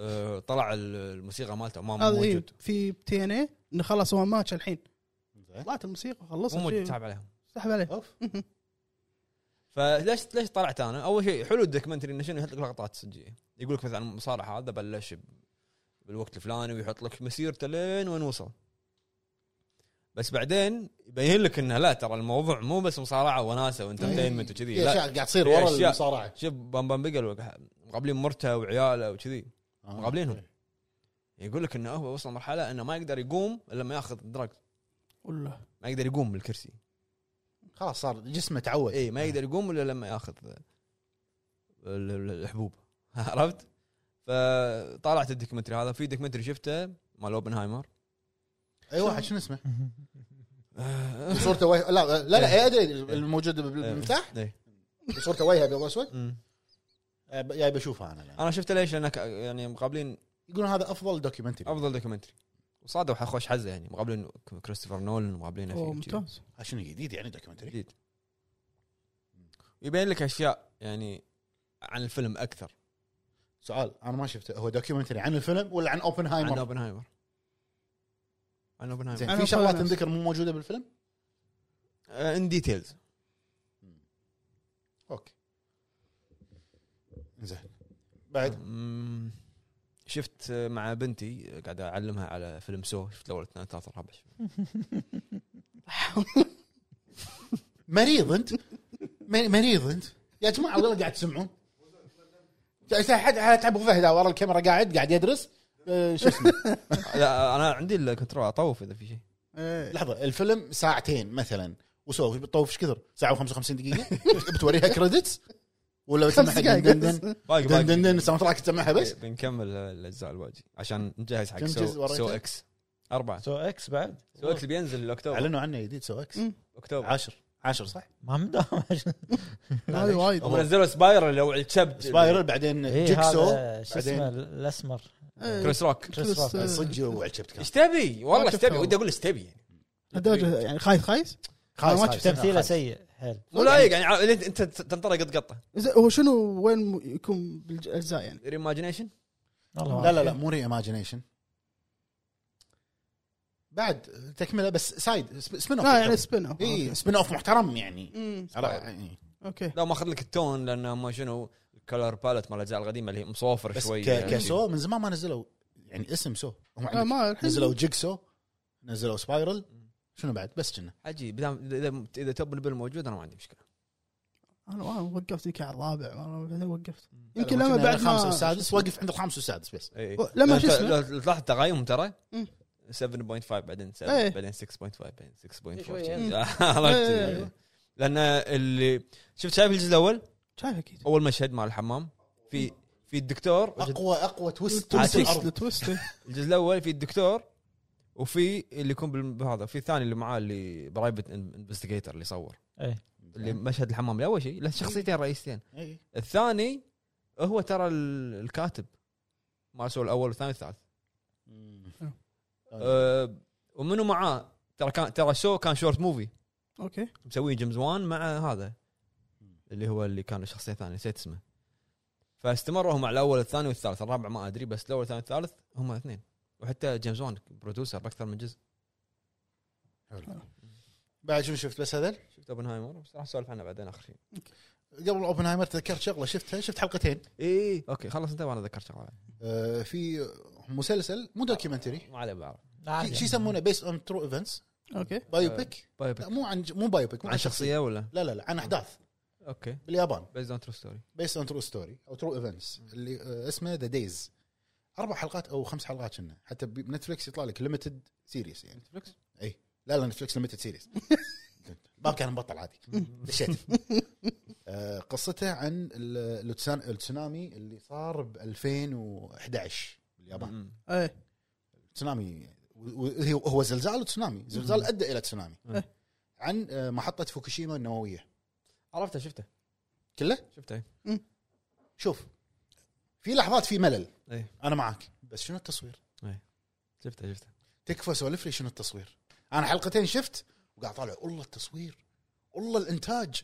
S1: أه طلع ال- الموسيقى مالته ما مو
S5: هذا إيه،
S1: موجود إيه.
S5: في تي ان اي انه خلاص هو ماتش الحين
S2: زين.
S5: طلعت الموسيقى
S1: مو موجود
S5: خلصت
S1: تعب عليهم
S5: سحب عليه
S2: اوف
S1: فليش ليش طلعت انا؟ اول شيء حلو الدوكيومنتري انه شنو يحط لك لقطات صجيه يقول لك مثلا المصارع هذا بلش ب- بالوقت الفلاني ويحط لك مسيرته لين وين وصل بس بعدين يبين لك انه لا ترى الموضوع مو بس مصارعه وناسه وانترتينمنت وكذي
S2: في
S1: لا
S2: اشياء قاعد تصير
S1: في
S2: ورا
S1: أشياء.
S2: المصارعه
S1: شوف بام بام بيقل مقابلين مرته وعياله وكذي
S2: آه.
S1: مقابلينهم. يقول لك انه هو وصل مرحله انه ما يقدر يقوم الا لما ياخذ دراج
S5: ولا
S1: ما يقدر يقوم من الكرسي
S2: خلاص صار جسمه تعود
S1: اي إيه، ما يقدر يقوم الا لما ياخذ ال- ال- الحبوب [LAUGHS] عرفت؟ فطالعت الدوكيومنتري هذا في دوكيومنتري شفته مال اوبنهايمر
S2: اي واحد شنو اسمه؟
S1: آه،
S2: صورته وجه لا لا لا إيه ادري الموجود بالمفتاح
S1: إيه.
S2: صورته وجهه ابيض واسود
S1: أمم.
S2: آه، ب- جاي بشوفها انا الآن.
S1: انا شفته ليش؟ لان ك- يعني مقابلين
S2: يقولون هذا افضل دوكيومنتري
S1: افضل دوكيومنتري وصادوا ح- خوش حزه يعني مقابلين كريستوفر نولن مقابلينه
S5: أوه،
S1: في كذي.
S5: ممتاز
S2: آه، شنو جديد يعني دوكيومنتري
S1: جديد يبين لك اشياء يعني عن الفيلم اكثر
S2: سؤال انا ما شفته هو دوكيومنتري عن الفيلم ولا عن
S1: عن
S2: اوبنهايمر؟
S1: اوبنهايمر عن اوبنهايمر
S2: زين
S5: أنا
S2: في شغلات
S5: أوبنهايمر.
S2: تنذكر مو موجوده بالفيلم؟
S1: ان ديتيلز
S2: اوكي زين بعد
S1: مم، شفت مع بنتي قاعد اعلمها على فيلم سو شفت الاول اثنين ثلاثة رابع [LAUGHS]
S2: مريض انت م- مريض انت يا جماعه والله قاعد تسمعون حد حد تعب فهد ورا الكاميرا قاعد قاعد يدرس آه، شو اسمه
S1: لا انا عندي الكنترول اطوف اذا في شيء
S5: [LAUGHS] إيه.
S2: لحظه الفيلم ساعتين مثلا وسوف بتطوف ايش كثر؟ ساعه و55 دقيقه [LAUGHS] بتوريها كريدتس ولا
S5: خمس
S2: بتسمعها
S5: دقائق
S2: دن دن دن
S1: باقي
S2: دن دن
S1: باقي
S2: دن الساوند تراك تسمعها بس
S1: إيه، بنكمل الاجزاء الباقي عشان نجهز حق
S2: كم جزء
S1: سو,
S2: وريته؟
S1: سو اكس اربعة
S4: سو اكس بعد
S1: سو اكس بينزل اكتوبر
S2: اعلنوا عنه جديد سو اكس
S5: مم.
S1: اكتوبر
S2: 10 10 صح؟
S4: ما [LAUGHS] مداوم
S5: هذه وايد
S1: هم نزلوا سبايرل لو الشب
S2: سبايرل بعدين
S4: اي
S2: جيكسو
S4: إيه، هذا شو
S2: بعدين-
S4: اسمه الاسمر
S5: إيه.
S1: كريس روك
S4: كريس روك.
S5: كريس- آه،
S2: صدق وعجبت كان
S1: ايش تبي؟ والله
S5: ما
S1: ايش تبي؟
S5: شفته.
S1: ودي اقول ايش تبي يعني
S5: لدرجه يعني خايس خايس
S2: خايس-
S5: ما
S2: خايس.
S4: تمثيله
S2: خايس.
S4: سيء حيل
S1: مو لايق يعني ع- انت أنت تنطره قط قطه
S5: زين، هو شنو وين م- يكون بالاجزاء يعني
S1: ريماجينيشن
S4: والله
S2: لا لا لا مو ري ايماجينيشن بعد تكمله بس سايد سب- سبين اوف
S5: لا يعني سبين اوف
S2: اي سبين اوف إيه، محترم يعني
S5: أمم.
S2: عرفت؟ إي. [LAUGHS]
S5: اوكي
S1: لا ماخذ لك التون لانه ما شنو الكلر باليت مال الاجزاء القديمه اللي مصوفر
S2: بس
S1: شوي
S2: ك-
S1: يعني.
S2: كسو من زمان ما نزلوا يعني اسم سو هم
S5: آه،
S2: عندك
S5: ما الحين
S2: نزلوا جيكسو نزلوا سبايرل شنو بعد بس كنا
S1: عجيب دام- اذا اذا توب البل موجود انا ما عندي مشكله
S5: انا أنا وقفت يمكن على الرابع والله بعدين وقفت
S2: لا،
S5: يمكن
S2: يعني كنا
S5: لما بعد
S2: الخامس
S5: ما إيه.
S2: والسادس وقف عند الخامس والسادس بس
S1: اي
S5: و- لما شو
S1: إيه. ت-
S5: اسمه؟
S1: لو تلاحظ تغايم ترى
S5: مم.
S1: 7.5 بعدين 7
S5: إيه.
S1: بعدين 6.5 بعدين 6.4
S4: شوية.
S1: شي. [LAUGHS] عرفت
S5: إيه.
S1: لان اللي شفت شايف الجزء الاول
S5: شايف اكيد
S1: اول مشهد مع الحمام في في الدكتور
S2: اقوى اقوى تويست
S1: عسيس.
S2: الأرض.
S5: تويست
S1: الجزء الاول في الدكتور وفي اللي يكون بالم- بهذا في الثاني اللي معاه اللي برايفت انفستيجيتر اللي يصور
S4: إيه.
S1: اللي مشهد الحمام اول شيء له شخصيتين رئيسيتين
S2: إي.
S1: الثاني هو ترى ال- الكاتب ما سوى الاول والثاني والثالث
S2: مم. إيه.
S1: أه ومنو معاه ترى كان ترى شو كان شورت موفي
S5: اوكي
S1: مسويه جيمز وان مع هذا اللي هو اللي كان الشخصيه الثانيه نسيت اسمه فاستمروا هم على الاول الثاني والثالث الرابع ما ادري بس الاول الثاني والثالث هم اثنين وحتى جيمز وان برودوسر باكثر من جزء
S2: بعد شنو شفت بس هذا
S1: شفت اوبنهايمر بس راح اسولف عنه بعدين اخر شيء
S2: قبل اوبنهايمر تذكرت شغله شفتها شفت حلقتين
S1: اي اوكي خلص انت وانا ذكرت شغله
S2: آه، في مسلسل مو دوكيومنتري
S1: ما عليه بعرف
S4: عادي.
S2: شو يسمونه بيس اون ترو ايفنتس
S5: اوكي
S2: بايوبيك
S1: بايوبيك.
S2: لا، مو عن مو بايوبيك مو
S1: عن شخصيه ولا
S2: لا لا لا عن احداث
S1: اوكي
S2: باليابان
S1: بيز اون ترو ستوري
S2: بيست اون ترو ستوري او ترو ايفنتس اللي آه، اسمه ذا دايز اربع حلقات او خمس حلقات كنا حتى بنتفلكس يطلع لك ليمتد سيريس يعني
S1: نتفلكس
S2: لا لا نتفلكس ليمتد سيريس بابك انا مبطل عادي دشيت آه، قصته عن ال- التسان- التسونامي اللي صار ب 2011 باليابان
S5: ايه
S2: تسونامي و- و- هو- هو زلزال وتسونامي زلزال ادى الى تسونامي
S1: إيه.
S2: عن آه، محطه فوكوشيما النوويه
S1: عرفته شفته
S2: كله
S1: شفته
S2: شوف في لحظات في ملل
S1: إيه.
S2: انا معك بس شنو التصوير
S1: شفته شفته
S2: تكفى سولف لي شنو التصوير انا حلقتين شفت وقاعد طالع والله التصوير والله الانتاج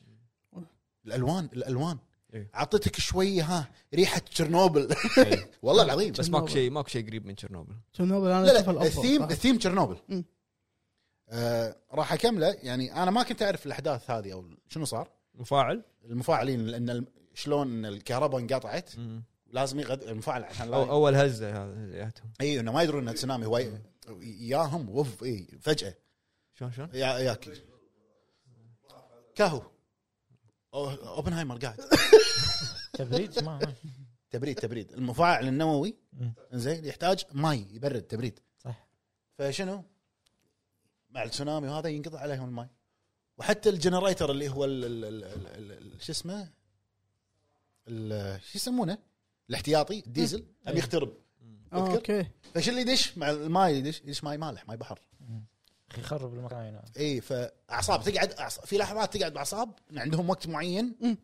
S2: الالوان الالوان
S1: إيه.
S2: اعطيتك شوي ها ريحه تشيرنوبل
S1: إيه.
S2: [LAUGHS] والله العظيم
S1: بس ماكو شيء ماكو شيء قريب من تشيرنوبل
S5: تشيرنوبل انا
S2: لا
S5: أشوفها
S2: لا
S5: الافضل
S2: الثيم
S5: صراحة.
S2: الثيم تشيرنوبل
S5: مم.
S2: آه راح اكمله يعني انا ما كنت اعرف الاحداث هذه او شنو صار
S1: مفاعل
S2: المفاعلين لان ال- شلون إن الكهرباء انقطعت لازم يغد المفاعل عشان
S1: أو
S2: لا
S1: اول هزه هذا جاتهم
S2: اي انه ما يدرون انه تسونامي هو ي- ياهم وف اي فجاه
S1: شلون شلون؟
S2: يا ياك كاهو أو- اوبنهايمر قاعد
S4: تبريد ما ما.
S2: تبريد تبريد المفاعل النووي
S4: مم.
S2: زين يحتاج ماي يبرد تبريد
S4: صح.
S2: فشنو؟ مع التسونامي وهذا ينقطع عليهم الماي وحتى الجنريتر اللي هو ال- ال- ال- ال- ال- شو اسمه؟ ال- شو يسمونه؟ الاحتياطي الديزل عم يخترب
S5: آه،
S2: تذكر؟
S5: اوكي
S2: فش اللي يدش مع الماي يدش يدش ماي مالح ماي بحر
S4: أخي يخرب المكان
S2: اي فاعصاب تقعد أعصاب في لحظات تقعد باعصاب إن عندهم وقت معين
S5: مم.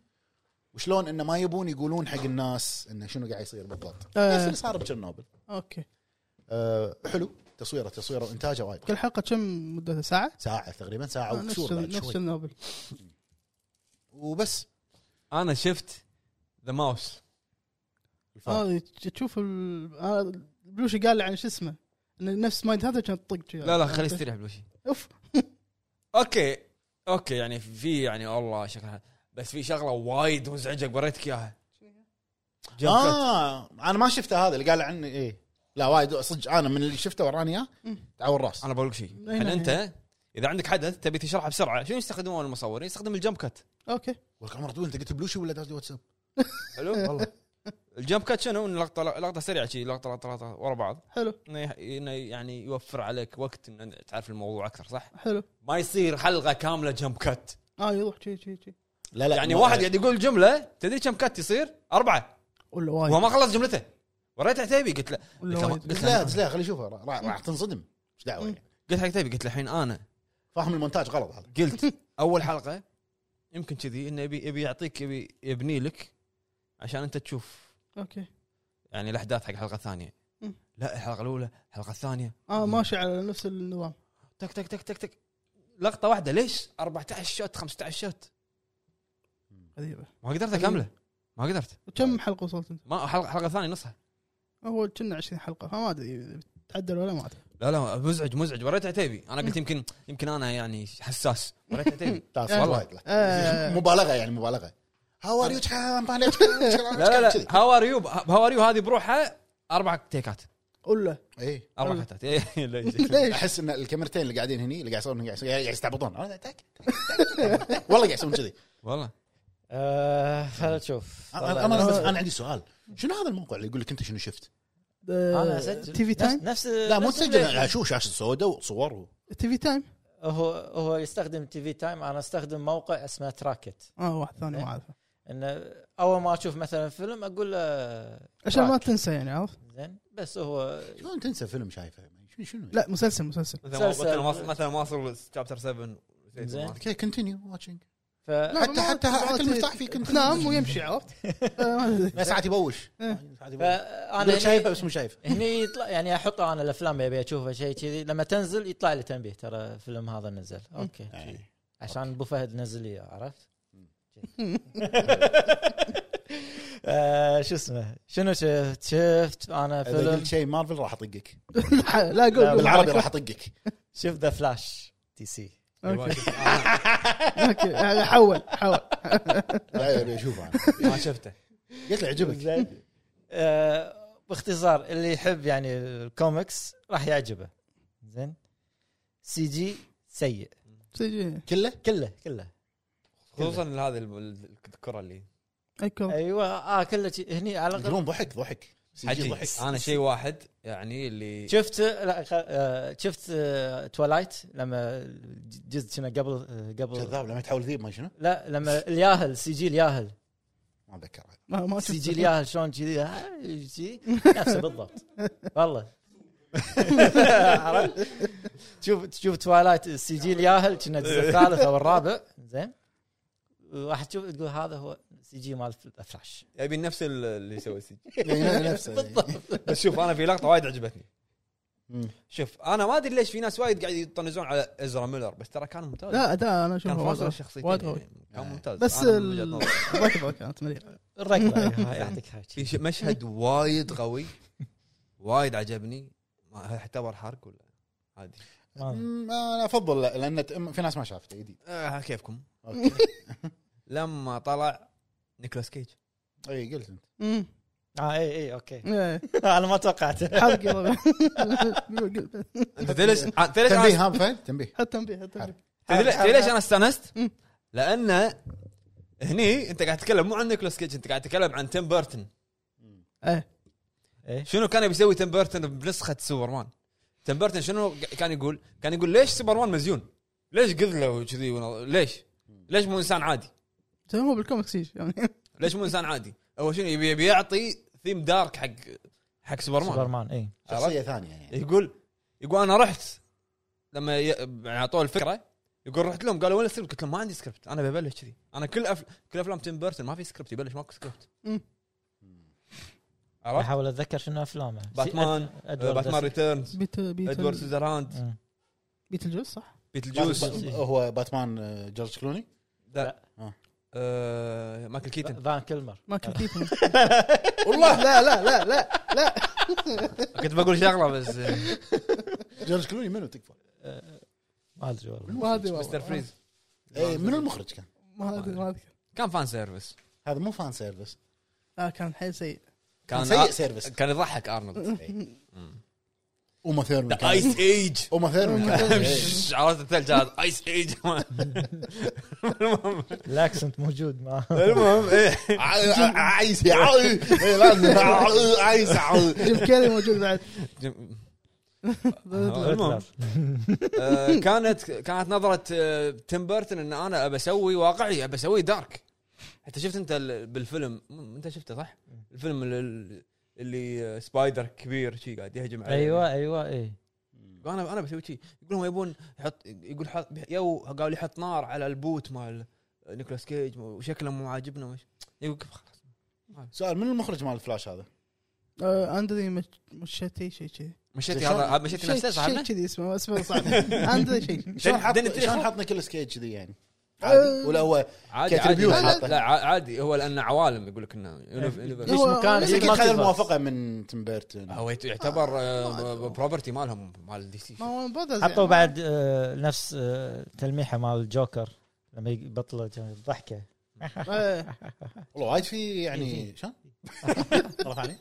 S2: وشلون انه ما يبون يقولون حق الناس انه شنو قاعد يصير بالضبط
S5: آه.
S2: نفس اللي صار بتشيرنوبل
S5: اوكي
S2: أه حلو تصويره تصويره وانتاجه وايد
S5: كل حلقه كم مدتها ساعه؟
S2: ساعه تقريبا ساعه
S5: آه، نفس
S2: وكسور بعد
S5: نفس
S2: شوي
S5: تشيرنوبل
S2: وبس
S1: انا شفت ذا ماوس
S2: الفار.
S5: هذه آه، تشوف ال- آه، بلوشي قال لي عن شو اسمه إن نفس مايند هذا كان طق
S1: لا لا خليه يستريح بلوشي
S5: اوف
S1: اوكي اوكي يعني في يعني والله شكلها بس في شغله وايد مزعجه وريتك اياها جمب كات.
S2: اه انا ما شفته هذا اللي قال عنه ايه لا وايد صدق انا من اللي شفته وراني اياه تعور راس
S1: انا بقول لك شيء
S5: لا،
S1: الحين
S5: لا،
S1: انت اذا عندك حدث تبي تشرحه بسرعه شنو يستخدمون المصورين؟ يستخدم الجمب كات
S5: اوكي
S2: ولك عمرك تقول انت قلت بلوشي ولا داز واتساب
S1: حلو والله الجمب كات شنو إن لقطه لقطه سريعه شي لقطه لقطه لقطه ورا بعض
S5: حلو
S1: انه يح- إنه يعني يوفر عليك وقت ان أنت تعرف الموضوع اكثر صح؟
S5: حلو
S1: ما يصير حلقه كامله جمب كات
S5: اه يروح شي شي شي
S2: لا لا
S1: يعني
S2: ما-
S1: واحد قاعد يقول جمله تدري كم كات يصير؟ اربعه
S5: ولا
S1: وهو
S5: وايد
S1: ما خلص جملته وريته عتيبي قلت له
S5: ولا
S1: كمان-
S5: وايد
S2: قلت لا قلت لا خليني اشوفها را- را- راح تنصدم ايش دعوه يعني
S1: قلت حق عتيبي قلت له الحين انا
S2: فاهم المونتاج غلط
S1: [LAUGHS]
S2: هذا
S1: قلت اول حلقه يمكن كذي انه يبي يبي يعطيك يبي يبني لك عشان انت تشوف
S5: اوكي
S1: يعني الاحداث حق الحلقه الثانيه
S5: مم.
S1: لا الحلقه الاولى الحلقه الثانيه
S5: اه ماشي على نفس النظام
S1: تك تك تك تك تك لقطه واحده ليش 14 شوت 15 شوت
S5: غريبه
S1: ما قدرت اكمله ما قدرت
S5: وكم حلقه وصلت انت؟
S1: ما حلقه حلقه ثانيه نصها
S5: هو كنا 20 حلقه فما ادري إذا تعدل ولا ما ادري
S1: لا لا مزعج مزعج وريت عتيبي انا قلت يمكن يمكن انا يعني حساس وريت
S2: [LAUGHS]
S1: عتيبي
S2: تعرف
S5: آه.
S2: وايد لا.
S1: [LAUGHS]
S5: آه.
S2: مبالغه يعني مبالغه هاو ار يو [LAUGHS]
S1: لا لا لا هاو ار يو هاو ار يو هذه بروحها اربع تيكات
S5: ولا
S2: اي
S1: اربع
S5: والله.
S1: كاتات إيه، [LAUGHS] ليش؟
S5: ليش؟
S2: احس ان الكاميرتين اللي قاعدين هني اللي قاعد يصورون قاعد يصورون- قاعد يستعبطون أنا تك- تك- تك. والله قاعد يسوون كذي
S1: والله
S4: آه خلنا نشوف آه،
S2: انا أنا- انا عندي سؤال شنو هذا الموقع اللي يقول لك انت شنو شفت؟
S4: انا اسجل
S5: آه، تي في
S4: نفس-
S5: تايم
S4: نفس
S2: لا مو
S4: نفس
S2: تسجل
S4: البلاي-
S2: لا، شو شاشه سوداء وصور و-
S5: تي في تايم
S4: هو هو يستخدم تي في تايم انا استخدم موقع اسمه تراكت
S5: اه واحد ثاني
S4: إيه.
S5: ما اعرفه
S4: انه اول ما اشوف مثلا فيلم اقول له
S5: عشان ما
S4: تراك.
S5: تنسى يعني عرفت
S4: زين بس هو
S2: شلون تنسى فيلم شايفه شنو شنو
S5: لا مسلسل مسلسل
S1: مثلا ما-
S4: مسلسل.
S1: مثلا ما- مثلا ما وصل شابتر 7
S4: زين.
S2: اوكي كونتينيو واتشنج
S4: ف
S5: لا،
S2: حتى-
S5: ما-
S2: حتى-
S5: ما-
S2: حتى
S5: ت-
S2: المفتاح فيه كنت-
S5: نام ويمشي عرفت
S2: [LAUGHS]
S5: آه، ما أدري.
S2: لا ساعات يبوش
S5: إيه.
S2: ساعات يبوش.
S4: فانا
S2: يقول شايفه
S4: هني,
S2: بس مو شايفه
S4: هني يطلع يعني احط انا الافلام اللي ابي اشوفها شيء كذي لما تنزل يطلع لي تنبيه ترى الفيلم هذا نزل اوكي
S2: إيه.
S4: عشان ابو فهد نزل لي إياه، عرفت؟
S5: مم.
S4: [LAUGHS] آه، شو اسمه شنو شفت شفت انا
S2: اذا
S4: فيلم
S2: قلت شيء مارفل راح اطقك
S5: [LAUGHS] لا قول
S4: لا،
S5: قول.
S2: بالعربي
S5: [LAUGHS]
S2: راح اطقك
S4: شفت ذا فلاش دي سي
S5: اوكي اوكي يعني حول حول
S2: لا ابي اشوفه أنا.
S1: ما شفته
S2: قلت له عجبك
S4: زين آه، باختصار اللي يحب يعني الكوميكس راح يعجبه زين سي جي سيء
S5: سجي
S2: كله
S4: كله كله
S1: خصوصا هذه ال- ال- الكره اللي
S5: ايكو
S4: ايوه اه كله شي- هني على الاقل
S2: يقولون ضحك ضحك سي جي
S1: حجي
S2: ضحك
S1: انا شيء واحد يعني اللي
S4: شفت لا خ- آه، شفت توالايت لما جزء كنا قبل آه، قبل
S2: كذاب لما تحول ذيب ما شنو
S4: لا لما الياهل سي جي الياهل
S2: ما اتذكر
S5: ما ما
S4: سي
S5: شفت
S4: جي الياهل شلون كذي آه، جي، نفسه بالضبط والله عرفت؟ شوف تشوف توالايت سي جي الياهل كنا الجزء الثالث او الرابع زين راح تشوف تقول هذا هو سي جي مال فلاش
S1: ابي نفس ال- اللي يسوي سي جي.
S2: يعني نفسه
S1: بس شوف انا في لقطه وايد عجبتني
S2: مم.
S1: شوف انا ما ادري ليش في ناس وايد قاعد يطنزون على ازرا ميلر بس ترى كان ممتاز
S5: لا اداء انا اشوفه
S1: كان
S5: وايد
S1: فاصل
S5: قوي.
S1: الشخصيتين
S5: وايد قوي
S1: يعني. كان ممتاز
S5: بس
S1: أنا من وجهة [LAUGHS] نظري.
S5: ال- [LAUGHS] الركضه كانت مليئه
S4: الركضه هاي يعطيك هاي
S1: [LAUGHS] في ش- مشهد وايد قوي وايد عجبني ما هل يعتبر حرق ولا عادي
S4: ما-
S2: مم، انا افضل لا، لان ت- في ناس ما شافته جديد
S1: آه كيفكم
S2: اوكي
S1: [LAUGHS] لما طلع نيكلاس كيج
S2: اي قلت انت
S5: مم.
S4: اه اي اي
S5: [LAUGHS]
S4: اوكي
S5: إيه.
S4: انا ما توقعته
S5: حرق [LAUGHS] يلا قول- قول.
S1: انت تدري ليش ع- تدري ليش أنا- آه،
S2: تنبيه ها فهد تنبيه
S5: حط تنبيه حط تنبيه
S1: تدري ليش- تدري ليش انا استانست؟
S5: مم.
S1: لان هني انت قاعد تتكلم مو عن نيكلاس كيج انت قاعد تتكلم عن تيم بيرتون
S5: ايه
S1: شنو كان بيسوي تيم بيرتون بنسخه سوبرمان؟ تيم بيرتون شنو كان يقول؟ كان يقول ليش سوبرمان مزيون؟ ليش قذله وكذي ونظ- ليش؟ ليش مو انسان عادي؟
S5: زي هو بالكوميكس هيك يعني
S1: ليش مو انسان عادي؟ هو شنو يبي يبي يعطي ثيم دارك حق حق سوبرمان,
S4: سوبرمان اي
S2: شخصيه ثانيه يعني
S1: يقول يقول انا رحت لما ي- يعني اعطوه الفكره يقول رحت لهم قالوا وين السكريبت؟ قلت لهم ما عندي سكريبت انا ببلش كذي انا كل أف... كل افلام تيم بيرتون ما في سكريبت يبلش ماكو سكريبت
S5: مم.
S1: عرفت؟
S4: [LAUGHS] احاول اتذكر شنو افلامه
S1: إيه. باتمان آه، باتمان ريتيرنز
S5: بيت
S1: ادوارد
S5: بيت
S1: سيزرهاند
S5: بيتل جوز صح؟
S1: بيتل
S2: بات-
S1: جوز
S2: بات- هو باتمان آه، جورج كلوني
S1: لا
S2: آه.
S1: آه، مايكل كيتن
S4: فان كلمر
S5: ما كان كيتن
S4: [LAUGHS]
S1: والله لا لا لا لا لا كنت بقول شغله بس آه،
S2: جورج كلوني منو تكفى
S4: ما ادري والله
S1: [LAUGHS]
S5: ما ادري والله.
S1: مستر فريز
S2: اي منو المخرج كان
S5: ما ادري ما اذكر
S1: كان فان سيرفيس
S2: هذا مو فان سيرفيس
S5: آه كان حيل سيء
S1: كان آه،
S2: سيء سيرفيس.
S1: كان يضحك إيه. ارنولد
S2: وما ثيرمون
S1: ذا
S2: كان.
S1: ايس ايج
S2: وما ثيرمون
S1: [LAUGHS]
S2: كان. إيه.
S1: عرفت الثلج هذا ايس ايج المهم
S4: الاكسنت موجود ما
S1: المهم ايه [LAUGHS]
S2: ع- عايز [LAUGHS] عايز إيه، لازم عايز- عايز عايز.
S5: جيم كيري موجود بعد
S4: [LAUGHS]
S1: المهم آه، كانت كانت نظره آه، تيم بيرتون ان انا ابى اسوي واقعي ابى اسوي دارك حتى شفت انت ال- بالفيلم م- انت شفته صح؟ الفيلم ال- ال- اللي آه، سبايدر كبير شي قاعد يهجم عليه
S4: ايوه ايوه اي
S1: انا انا بسوي شي يقولون يبون يحط يقول حط يو قالوا لي حط نار على البوت مال نيكولاس كيج وشكله مو عاجبنا وش يقول خلاص
S2: سؤال من المخرج مال الفلاش هذا؟
S5: آه اندري مش- مشتي شيء كذي
S1: مشيتي
S2: شلون-
S1: هذا مشيتي
S5: شيء
S1: نفسه صاحبنا
S5: شيء كذي اسمه
S4: [LAUGHS]
S5: اسمه صعب اندري شيء
S2: شلون حط
S1: دني تريخو.
S2: شلون حط نيكولاس كيج كذي يعني؟ عادي ولا هو
S1: عادي
S2: كتر
S1: عادي
S2: بيوت
S1: لا, لا,
S2: حاطه.
S1: لا ع- عادي هو لانه عوالم يقول لك انه يونيف-
S4: إيه.
S1: يونيفرس.
S5: هو-
S4: ليش مكان
S2: بس
S4: ليش
S2: اكيد
S4: ما
S2: خذ
S4: تفرق؟
S2: الموافقه من تيم بيرتون
S1: هو يت- يعتبر آه، بروبرتي مالهم مال دي سي
S5: ما هو برودرز
S4: حطوا بعد آه، نفس آه، تلميحه مال الجوكر لما يبطل ضحكه
S5: آه،
S2: والله وايد في
S4: إيه،
S2: يعني
S4: [LAUGHS]
S2: شلون؟ مره ثانيه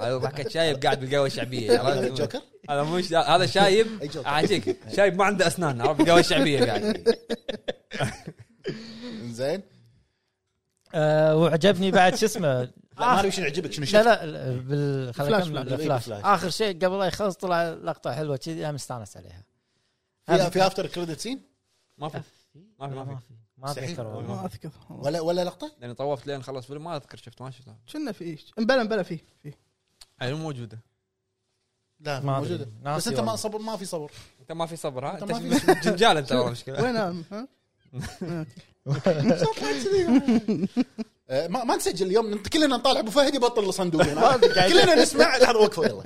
S1: هذا ضحكه شايب قاعد بالقهوه
S2: [LAUGHS]
S1: الشعبيه
S4: إيه.
S2: هذا
S1: عرفت؟
S2: الجوكر
S1: هذا مو ش- هذا شايب
S2: أي
S4: آه.
S2: جوكر.
S1: اعجيك شايب ما عنده اسنان عرفت بالقهوه الشعبيه قاعد
S2: زين
S4: [LAUGHS] آه، وعجبني بعد شو اسمه
S2: لا ما ادري شنو عجبك شنو
S4: لا
S2: شفت
S4: لا لا، بال
S5: فلاش،
S4: فلاش
S5: فلاش.
S4: الفلاش
S2: فلاش.
S4: اخر شيء قبل لا يخلص طلع لقطه حلوه كذي انا مستانس عليها
S2: في في افتر كريدت سين
S1: ما في
S4: ما في ما في ما
S2: مستحيل.
S4: اتذكر والله
S5: ما اذكر والله.
S2: ولا ولا لقطه
S1: لاني طوفت لين خلص فيلم ما اذكر شفت ما شفت
S5: كنا في ايش امبلا امبلا فيه فيه
S1: يعني مو موجوده
S2: لا
S4: ما أدري.
S2: موجوده
S4: ناسي
S2: بس انت ما
S4: والله.
S2: صبر ما في صبر
S1: انت ما في صبر ها
S2: أنت
S1: انت
S2: ما
S1: جنجال انت والله [LAUGHS] مشكله
S5: وين أنا؟ ها؟
S2: آه، ما, ما نسجل اليوم نط- كلنا نطالع ابو فهد يبطل الصندوق
S4: [LAUGHS]
S2: هنا
S4: أدري، قاعد-
S2: كلنا نسمع لحظه وقفوا
S4: [LAUGHS]
S2: يلا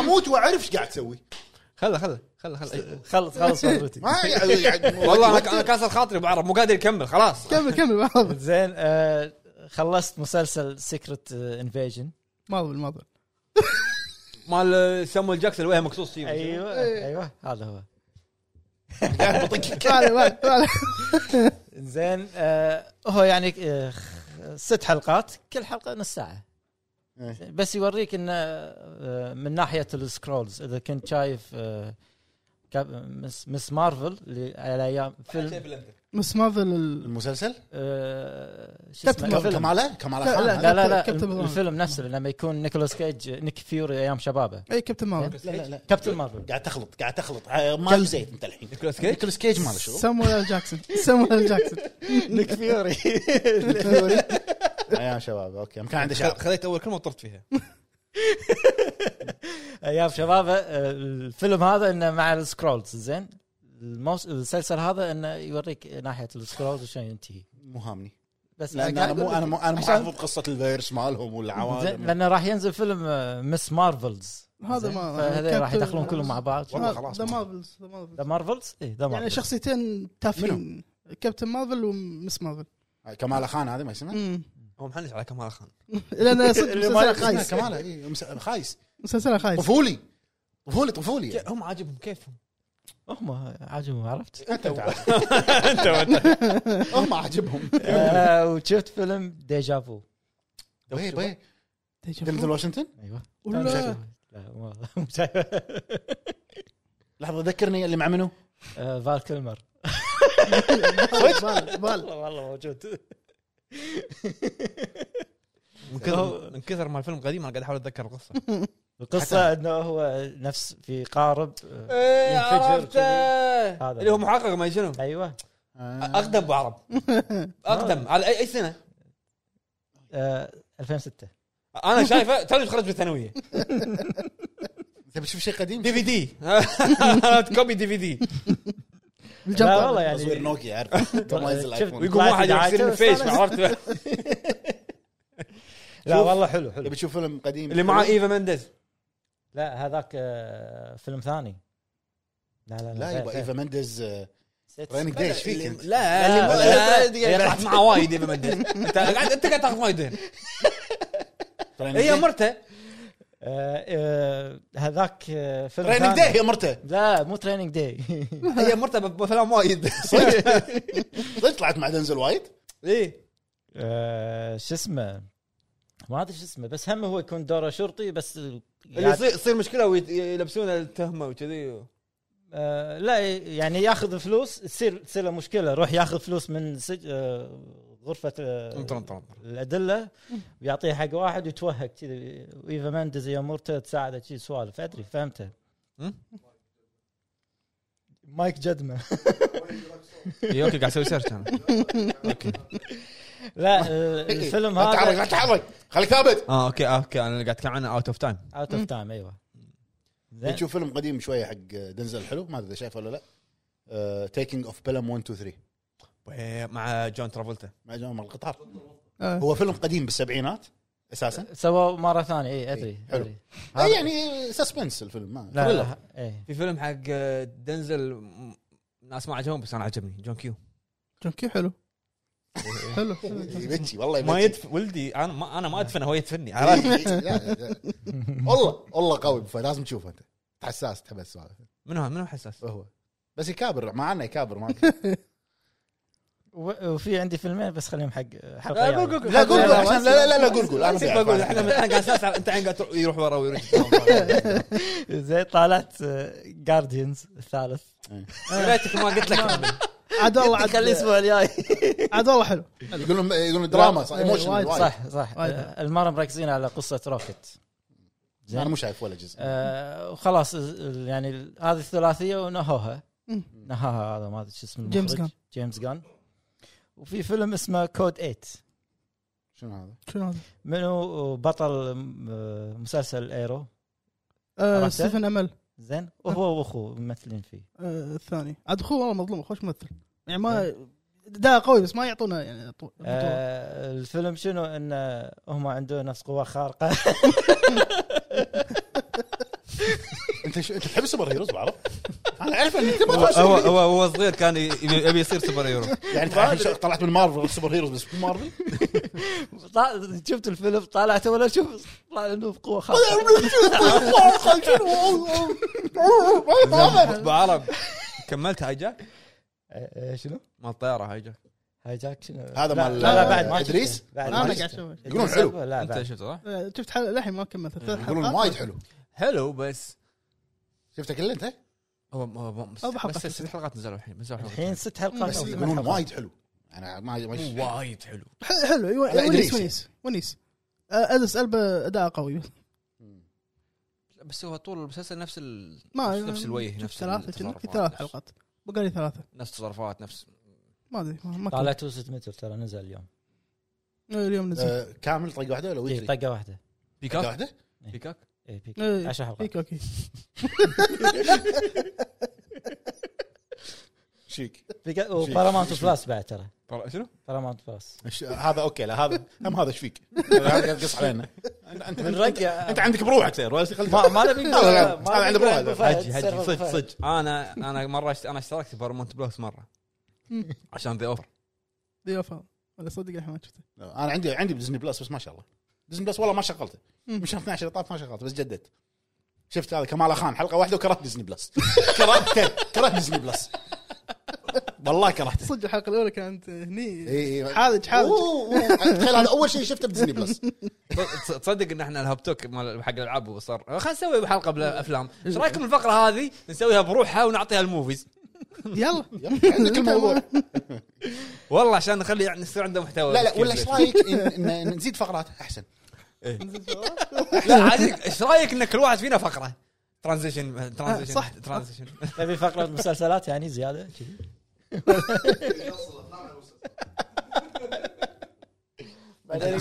S2: اموت واعرف ايش قاعد تسوي
S1: خله خله خله خله
S4: خلص [LAUGHS] خلص مرتي
S2: ما يعني يعني-
S1: والله انا انا كاسر خاطري بعرف مو قادر يكمل خلاص
S5: كمل كمل ماضي
S4: زين آه، خلصت مسلسل آه، سكرت انفيجن
S5: ماضي ماضي
S1: مال سامويل جاكسون وجهه مقصوص فيه
S4: ايوه ايوه هذا هو
S2: قاعد بطق
S5: ما عليه، ما عليه، ما عليه.
S4: زين آه، هو يعني آه، خ- ست حلقات كل حلقه نص ساعه
S2: إيه.
S4: بس يوريك انه آه، من ناحيه السكرولز اذا كنت شايف آه، كاب- مس مس مارفل اللي على ايام فيلم
S5: بس ماضي لل
S2: المسلسل
S4: آه، شو
S5: كابتن
S4: اسمه؟ فيلم.
S2: كماله كماله
S5: لا،
S2: خان
S5: لا،
S2: هذا؟
S4: لا لا لا
S5: كابتن مارفل.
S4: الفيلم نفسه لما يكون نيكولاس كيج نيك فيوري ايام شبابه
S5: اي إيه، كابتن ماضي
S2: لا لا لا
S4: كابتن مارفل
S2: قاعد تخلط قاعد تخلط آه، ما يزيد انت الحين
S1: نيكولاس كيج
S2: نيكولاس كيج ماله شغل
S5: سامويل جاكسون سامويل جاكسون
S4: [LAUGHS]
S2: نيك فيوري نيك فيوري آه، يا شباب اوكي ما كان عنده شعر
S1: خذيت اول كلمه وطرت فيها
S4: ايام شبابه آه، الفيلم هذا انه مع السكرولز زين الموس... المسلسل هذا انه يوريك ناحيه السكرولز وشلون ينتهي
S2: مو هامني
S4: بس
S2: لان انا
S4: قاعد
S2: مو
S4: أقول
S2: انا مو انا مو
S4: عشان-
S2: حافظ قصه الفيرس مالهم
S4: زين،
S2: والعوالم
S4: لانه راح ينزل فيلم آه، مس مارفلز
S5: هذا
S4: زين،
S5: ما-
S4: فهذا راح
S5: كابتن-
S4: يدخلون كلهم مع بعض
S3: والله خلاص.
S5: ذا مارفلز ذا مارفلز
S4: ذا مارفلز؟ اي ذا
S5: يعني
S4: مارفلز
S5: شخصيتين تافهين كابتن مارفل ومس مارفل
S2: كمال خان هذا ما يسمع
S5: مم.
S1: هو محنش على كمال خان
S2: [LAUGHS]
S5: لان صدق
S4: اللي ما
S5: مسلسل
S4: يسمع
S5: خايس
S2: كمال إيه، مس- خايس
S5: مسلسل خايس
S2: طفولي طفولي طفولي يعني.
S1: هم عاجبهم كيفهم
S4: هم عاجبهم عرفت؟
S2: انت تعرف. هم عاجبهم
S4: آه، وشفت فيلم ديجافو
S2: بي بي
S5: تشوف؟
S2: ديمثل واشنطن
S4: ايوه
S5: ولا.
S4: لا مو مو [LAUGHS] شايفه.
S2: لحظه ذكرني اللي مع منو
S4: آه، فال كلمر
S5: بال- بال.
S4: والله والله موجود
S1: من كثر من كثر ما الفيلم قديم انا قاعد احاول اتذكر القصه
S4: القصه انه هو نفس في قارب آه،
S1: ايه
S4: ينفجر
S1: عرفته
S4: هذا.
S1: اللي هو محقق ما شنو
S4: ايوه
S1: اقدم أبو [LAUGHS] عرب اقدم على اي اي سنه
S4: آه، 2006
S1: انا شايفه [LAUGHS] توني متخرج من الثانويه
S2: انت بتشوف شيء قديم
S1: دي في دي [LAUGHS] كوبي دي في دي
S4: لا والله
S5: بالجبر
S2: تصوير
S4: يعني
S2: نوكيا عارف [LAUGHS] قبل ما ينزل
S4: شفت.
S2: ايفون
S1: ويقوم واحد
S4: طلعت
S1: يكسر
S4: دعايته
S1: الفيش
S4: وأستانس.
S1: عرفت [LAUGHS]
S4: لا
S2: شوف.
S4: والله حلو حلو
S2: اللي بتشوف فيلم قديم
S1: اللي معاه ايفا مندز
S4: لا هذاك آه، فيلم ثاني لا لا
S2: لا
S4: غير-
S2: يبا
S4: غير.
S2: ايفا مندز آه،
S4: نسيت اسمه.
S2: رينك ديش فيك انت
S1: لا
S4: لا،
S1: لا هي طلعت معاه وايد ايفا مندز انت قاعد انت قاعد تاخذ وايد
S2: رينك
S1: هي
S2: ديش.
S1: مرته
S4: آه، آه، هذاك آه، فيلم
S2: رينك
S4: ثاني.
S2: داي هي مرته
S4: لا مو تريننج داي
S1: هي مرته بفلام وايد [LAUGHS] إيه.
S2: صدق طيب، طلعت مع دنزل وايد
S1: ايه
S4: [LAUGHS] آه، شو اسمه ما ادري شو اسمه بس هم هو يكون دوره شرطي بس
S1: اللي يصير تصير مشكله ويلبسونه التهمه وكذي
S4: آه، لا يعني ياخذ فلوس تصير تصير له مشكله يروح ياخذ فلوس من سج... آه، غرفه آه، الادله ويعطيها حق واحد ويتوهق كذي وايفا مندز يا مورتا تساعده كذي سوالف ادري فهمته
S1: م?
S4: مايك جدمه
S1: يوكي قاعد اسوي سيرش انا اوكي
S4: [LAUGHS] لا آه،
S2: إيه.
S4: الفيلم
S2: لا تتحرك لا
S4: هذا
S2: تتحرك خليك ثابت
S1: اه اوكي آه، اوكي انا اللي قاعد اتكلم عنه اوت اوف تايم
S4: اوت اوف تايم ايوه زين.
S2: بتشوف فيلم قديم شويه حق دنزل حلو ما ادري إذا شايفه ولا آه، لا تيكينج اوف بلم 1 2 3
S1: إيه، مع جون ترافولتا
S2: مع جمع القطار
S5: آه.
S2: هو فيلم قديم بالسبعينات اساسا
S4: سووا مره ثانيه اي ادري
S2: إي، حلو.
S4: ادري
S2: اي يعني سسبنس الفيلم ما
S4: لا إيه.
S2: لا
S4: لا اي
S1: في فيلم حق آه، دنزل م- ناس ما عجبهم بس انا عجبني جون كيو
S5: جون كيو حلو حلو حلو.
S2: يبكي والله
S1: ما
S2: يبكي
S1: يدفن ولدي انا ما انا ما ادفن هو يدفني
S2: [LAUGHS] لا، لا، [LAUGHS] لا. والله والله قوي بفا لازم تشوفه انت حساس تحب السوالف
S1: منو منو حساس؟
S2: هو بس يكابر معنا يكابر ما
S4: و- وفي عندي فيلمين بس خليهم حق حلقه
S1: لا آه، قول
S4: يعني.
S1: قول
S2: لا قول قول عشان لا لا لا لا قول قول انا
S1: انا
S2: بيعرف،
S1: بقول
S2: أنا
S1: احنا
S2: بيعرف.
S1: انا قاعد اساس انت عين قاعد تروح- يروح ورا ويروح
S4: زين طالعت جارديانز آه، الثالث
S2: آه.
S1: يا ريتك ما قلت لك
S5: عاد والله
S4: يتكل
S5: عاد
S4: الاسبوع الجاي
S5: عاد والله حلو
S2: [LAUGHS] يقولون يقولون دراما صح
S5: إيه، وايد
S2: ايموشنال وايد
S4: صح صح
S5: وايد.
S4: آه، المره مركزين على قصه روكت
S2: انا مو شايف ولا جزء
S4: آه، وخلاص ال- يعني ال- هذه الثلاثيه ونهوها
S5: مم.
S4: نهاها هذا ما ادري شو اسمه
S5: جيمس
S4: المخرج.
S5: جان.
S4: جيمس جان وفي فيلم اسمه كود 8
S2: شنو هذا؟
S5: شنو هذا؟
S4: منو بطل م- مسلسل ايرو
S5: آه،
S4: عرفته؟
S5: ستيفن امل
S4: زين وهو واخوه ممثلين فيه
S5: آه، الثاني عاد اخوه والله مظلوم اخوه مش ممثل يعني ما ده قوي بس ما يعطونا يعني طو- بطولة.
S4: آه الفيلم شنو انه هم عندهم نفس قوة خارقة [LAUGHS]
S2: انت شو انت تحب السوبر هيروز [LAUGHS] بعرف؟ انا اعرف ان انت ما
S1: هو
S2: تخاف
S1: هو,
S2: سوبر هيروز.
S1: هو, هو صغير كان ي- يبي يصير سوبر
S2: [LAUGHS]
S1: هيرو
S2: يعني تعرف طلعت من مارفل سوبر هيروز بس مو مارفل
S4: طا- شفت الفيلم طالعته ولا شوف طلع انه بقوة خارقة
S1: بعرب كملت هايجاك
S4: آه، آه، شنو؟
S1: مال الطياره هايجاك
S4: هاجاك شنو؟
S2: هذا
S4: لا-
S2: مال-
S4: لا لا بعد ما
S2: إدريس؟
S4: شفته. بعد
S5: انا
S4: ما
S5: قاعد
S4: شفته.
S5: اشوف
S2: يقولون
S4: إدريس
S2: حلو.
S4: أبو- لا
S1: انت
S4: بعد.
S1: شفته صح؟
S5: آه، شفت حلقه للحين ما كملت ثلاث
S2: يقولون
S5: حلقات
S2: وايد حلو
S1: حلو بس
S2: شفته كله انت؟
S1: هو هو بس,
S5: أربع حلقات
S1: بس ست حلقات نزلوا الحين نزلوا حلقات.
S4: الحين ست حلقات
S5: بس
S4: أو ثمان
S2: يقولون
S4: حلقات.
S2: وايد حلو انا ما ما
S1: وايد حلو
S5: ح- حلو يو-
S2: على إدريس.
S5: ونيس ونيس ونيس آه، ادرس البا اداء قوي
S1: بس هو طول المسلسل نفس ال...
S5: ما
S1: نفس نفس الوجه
S5: شفت
S1: نفس
S5: ثلاثه شنو؟
S1: التصرفات،
S5: ثلاث
S1: نفس-
S5: حلقات بقى لي ثلاثه
S1: نفس التصرفات نفس
S5: ما ادري ما- ما كملت.
S4: طالعت وست متر ترى نزل اليوم
S5: آه، اليوم نزل
S2: آه، كامل طق واحده ولا
S4: إيه،
S2: ويكلي؟
S4: طقة واحدة
S2: طق
S1: بيكاك
S2: واحده؟
S1: بيكاك
S4: اي بيك
S5: إيه.
S4: 10 حلقات
S5: فيك اوكي
S2: شيك
S4: بيك- وبارامونت بلس بعد ترى
S1: طيب، شنو؟
S4: بارامونت
S2: [LAUGHS]
S4: بلس
S2: إيش- هذا اوكي لا هذا هم هذا ايش فيك؟ هذا قاعد تقص علينا انت انت
S4: نرجع
S2: انت عندك بروحك سير ولا خليك
S4: ما [LAUGHS] ما نبي
S2: هذا-
S4: ما
S2: هذا عنده
S4: نبي-
S2: بروح.
S4: أبو فهد،
S1: هجي هجي
S4: سيرفر أبو
S1: صدق
S4: فهد.
S1: صدق انا انا مره اشت... انا اشتركت بارمونت بلس
S5: [LAUGHS]
S1: مره
S5: مم.
S1: عشان ذا اوفر
S5: ذا اوفر ولا صدق الحين ما شفته
S2: انا عندي عندي ديزني بلس بس ما شاء الله ديزني بلس والله ما شغلته
S5: مم.
S2: من شهر 12 طاف ما شغلته بس جددت شفت هذا كمال خان حلقه واحده وكرهت ديزني [LAUGHS] بلس كرهت كرهت ديزني بلس والله كرهته
S5: صدق الحلقه الاولى كانت هني
S2: إي إي.
S5: حالج حالج
S2: أوه، أوه. تخيل هذا اول شيء شفته بديزني بلس
S1: تص- تصدق ان احنا الهبتوك مال حق الالعاب وصار خلينا نسوي حلقه بالافلام ايش رايكم الفقره هذه نسويها بروحها ونعطيها الموفيز
S5: يلا
S2: [LAUGHS] عندك الموضوع
S1: والله عشان نخلي يعني يصير عنده محتوى
S2: لا لا
S1: بالكيف
S2: ولا ايش
S1: ليش.
S2: رايك إن- إن نزيد فقرات احسن
S1: لا عادي ايش رايك ان كل واحد فينا فقره ترانزيشن ترانزيشن
S5: آه، صح.
S1: ترانزيشن
S4: تبي فقره مسلسلات يعني زياده كذي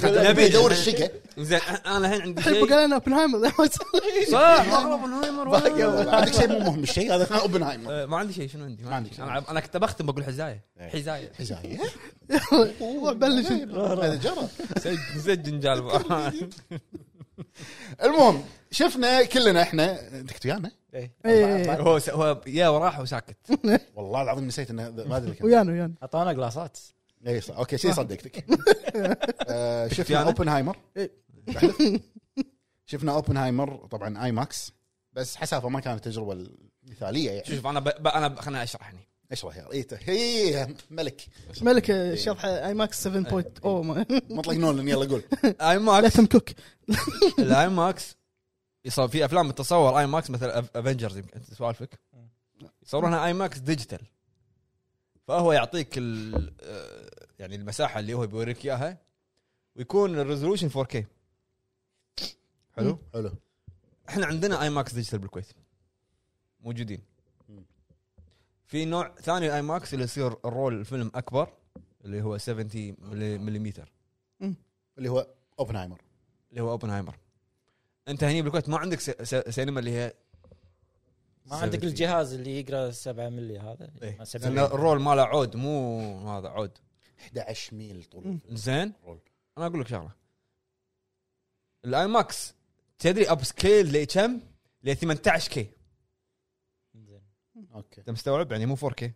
S2: نبي يدور الشقه
S1: زين انا الحين عندي
S5: آه. الحين
S1: شيء
S5: بقى لنا [LAUGHS] اوبنهايمر
S1: صح اوبنهايمر ولا-
S2: عندك شيء مو مهم الشيء هذا كان
S1: [LAUGHS]
S2: اوبنهايمر
S1: آه، ما عندي شيء شنو عندي؟ ما
S2: ما
S1: عندي
S2: عندك
S1: شيء. إيه. انا انا كنت بختم بقول حزايه حزايه
S2: حزاية.
S5: بلش
S2: هذا جرى
S1: زج- زج [LAUGHS] جالب
S2: المهم شفنا كلنا احنا انت كنت ويانا
S5: إيه.
S1: هو س- هو يا وراح وساكت
S2: والله العظيم نسيت انه ما ادري كم.
S5: ويانا ويانا
S4: اعطانا قلاصات
S2: اي صح اوكي شيء
S1: [LAUGHS]
S2: صدقتك آه، شفنا
S1: يعني؟
S2: اوبنهايمر
S5: إيه.
S2: أحلف. [LAUGHS] شفنا اوبنهايمر طبعا اي ماكس بس حسافه ما كانت التجربه المثاليه يعني
S1: شوف انا ب... ب- انا ب- خليني اشرح هني
S2: اشرح يا ايته هي ملك
S5: ملك آه، الشطح اي ماكس 7.0 ما-
S2: [LAUGHS] مطلق نولن يلا قول
S1: اي
S5: لا
S1: ماكس
S5: تمكك
S1: الاي ماكس يصور في افلام تتصور اي ماكس مثل افنجرز يمكن أنت سوالفك يصورونها اي ماكس ديجيتال فهو يعطيك ال... آه، يعني المساحه اللي هو بيوريك اياها ويكون الريزولوشن 4K حلو
S2: حلو
S1: احنا عندنا اي ماكس ديجيتال بالكويت موجودين في نوع ثاني اي ماكس اللي يصير الرول الفيلم اكبر اللي هو 70 ملي- مليمتر
S2: [LAUGHS] اللي هو اوبنهايمر
S1: اللي هو اوبنهايمر انت هني بالكويت ما عندك س- س- سينما اللي هي
S4: ما عندك
S1: 70.
S4: الجهاز اللي يقرا 7 ملي هذا
S1: إيه.
S4: ما
S1: لان
S4: 70
S1: الرول ماله عود مو هذا عود
S2: 11 ميل طول
S5: مم.
S1: زين
S2: الرول
S1: انا اقول لك شغله الاي ماكس تدري اب سكيل لكم؟ ل 18 كي
S4: زين.
S2: اوكي
S1: انت مستوعب يعني مو 4 كي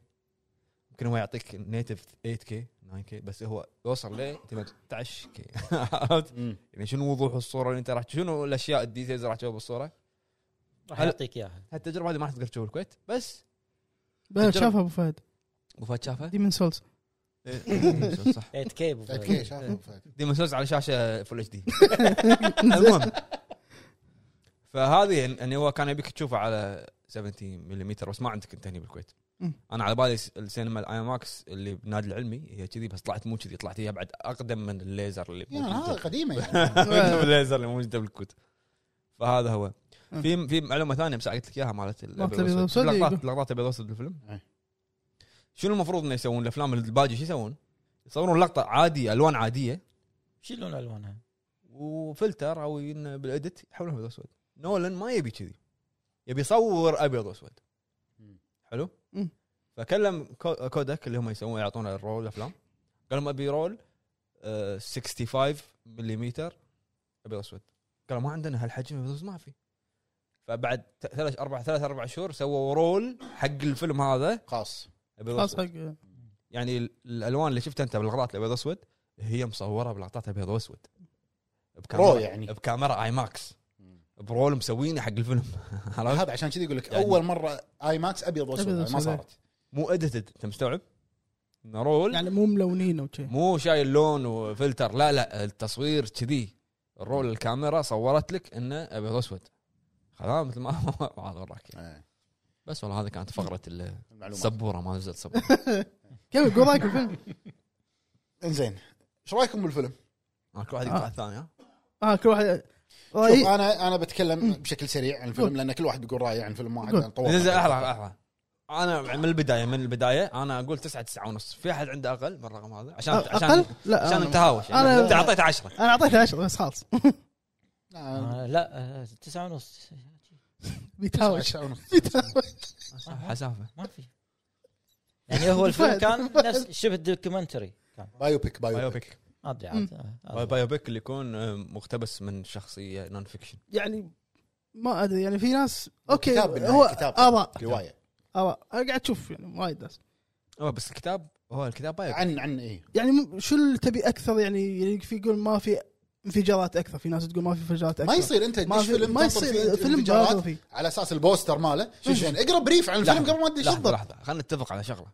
S1: يمكن هو يعطيك نيتف 8 كي 9 كي بس هو يوصل ل 18 كي عرفت؟
S2: مم.
S1: يعني شنو وضوح الصوره اللي انت راح شنو الاشياء الديتيلز راح تشوفها بالصوره
S4: راح
S1: هل-
S4: يعطيك اياها
S1: هالتجربه هذه ما راح تقدر تشوفها بالكويت بس
S5: بلا شافها ابو فهد
S1: ابو فهد شافها
S5: ديمن سولز
S1: [LAUGHS] إيه، صح
S4: 8 كي ابو فهد.
S2: اوكي شاف أبو فهد.
S1: ديمون سولز على شاشه فول
S5: [LAUGHS]
S1: اتش دي المهم فهذه يعني هو كان يعني يبيك تشوفه على 70 ملم بس ما عندك انت هني بالكويت
S5: مم.
S1: انا على بالي س- السينما الاي ماكس اللي بنادي العلمي هي كذي بس طلعت مو كذي طلعت هي بعد اقدم من الليزر اللي
S2: يعني
S1: موجودة.
S2: هذا
S1: [LAUGHS]
S2: قديمه يعني
S1: اقدم من الليزر اللي موجوده بالكوت فهذا هو
S5: مم.
S1: في في معلومه ثانيه بس قلت لك اياها مالت الأبيض
S5: الأبيض
S1: والأسود.
S5: والأسود
S1: لقطات
S5: يقول.
S1: لقطات ابيض واسود بالفيلم
S2: أي.
S1: شنو المفروض انه يسوون الافلام الباجي شو يسوون؟ يصورون لقطه عاديه الوان عاديه
S4: يشيلون الوانها
S1: وفلتر او إنه بالاديت يحولونها ابيض واسود نولن ما يبي كذي يبي يصور ابيض واسود حلو
S5: مم.
S1: فكلم كو- كودك اللي هم يسوون يعطونا الرول الافلام قال لهم ابي رول آه، 65 ملم ابيض اسود قالوا ما عندنا هالحجم ابيض أسود ما في فبعد ت- ثلاث اربع ثلاث اربع شهور سووا رول حق الفيلم هذا
S2: خاص
S1: ابيض
S5: خلاص
S1: اسود
S5: حق
S1: يعني ال- الالوان اللي شفتها انت بالغلط الابيض اسود هي مصوره بلقطات ابيض واسود
S2: برو
S1: بكاميرا
S2: يعني
S1: بكاميرا اي ماكس برول مسوينه حق الفيلم [LAUGHS] عرفت
S2: هذا عشان كذي يقول لك
S1: يعني-
S2: اول مره اي ماكس ابيض
S5: أبيض
S2: واسود ما
S5: وأسود.
S2: صارت
S1: مو اديتد انت مستوعب؟ إنه رول
S5: يعني مو ملونين او شيء
S1: مو شايل لون وفلتر لا لا التصوير كذي الرول الكاميرا صورت لك انه ابيض واسود خلاص مثل ما [LAUGHS] ما عاد وراك يعني.
S2: إيه،
S1: بس والله هذه كانت
S2: [LAUGHS]
S1: فقره ال-
S2: المعلومات
S1: السبوره ما نزلت [LAUGHS] سبوره
S5: كم يقول رايك الفيلم؟
S2: انزين ايش رايكم بالفيلم؟
S1: آه، كل واحد يقطع الثاني ها
S5: اه كل واحد آه،
S2: شوف
S5: رايي
S2: انا انا بتكلم بشكل سريع عن الفيلم لان كل واحد بيقول رايه عن فيلم واحد
S5: قول.
S2: لأن طولنا.
S1: زين لحظه لحظه انا من البدايه من البدايه انا اقول 9 9 ونص في احد عنده اقل من الرقم هذا عشان عشان
S5: اقل؟ لا
S1: عشان
S5: عشان
S1: انت هاوش يعني
S5: أنا-
S1: انت اعطيته 10
S5: انا اعطيته 10 بس خلاص [LAUGHS]
S2: لا،
S4: آه لا آه، تسعة ونص
S5: بيتهاوش
S2: عشرة ونص.
S1: حسافه
S4: ما في يعني هو [LAUGHS] الفيلم كان نفس شبه دوكيومنتري كان
S2: بايوبيك بايوبيك
S1: بايوبيك
S4: ما ادري
S5: مم.
S4: عاد آه، آه.
S1: بايوبيك اللي يكون آه، مقتبس من شخصيه نون فيكشن
S5: يعني ما ادري يعني في ناس اوكي
S2: كتاب بالنهاية،
S5: هو
S2: كتاب.
S5: اراء
S2: روايه
S5: اراء انا قاعد اشوف يعني وايد ناس
S1: اه بس الكتاب هو الكتاب بايوبيك
S2: عن عن ايه
S5: يعني م- شو اللي تبي اكثر يعني يعني في يقول ما في انفجارات اكثر في ناس تقول ما في انفجارات اكثر
S2: ما يصير انت
S5: ما
S2: تدش
S5: في
S2: فيلم
S5: ما يصير فيلم
S2: انفجارات إيه،
S5: بيوغرافي
S2: على اساس البوستر ماله زين اقرا بريف عن الفيلم
S1: لحظة،
S2: قبل ما تدش
S1: لحظه
S2: تضرب
S1: لحظه خلينا نتفق على شغله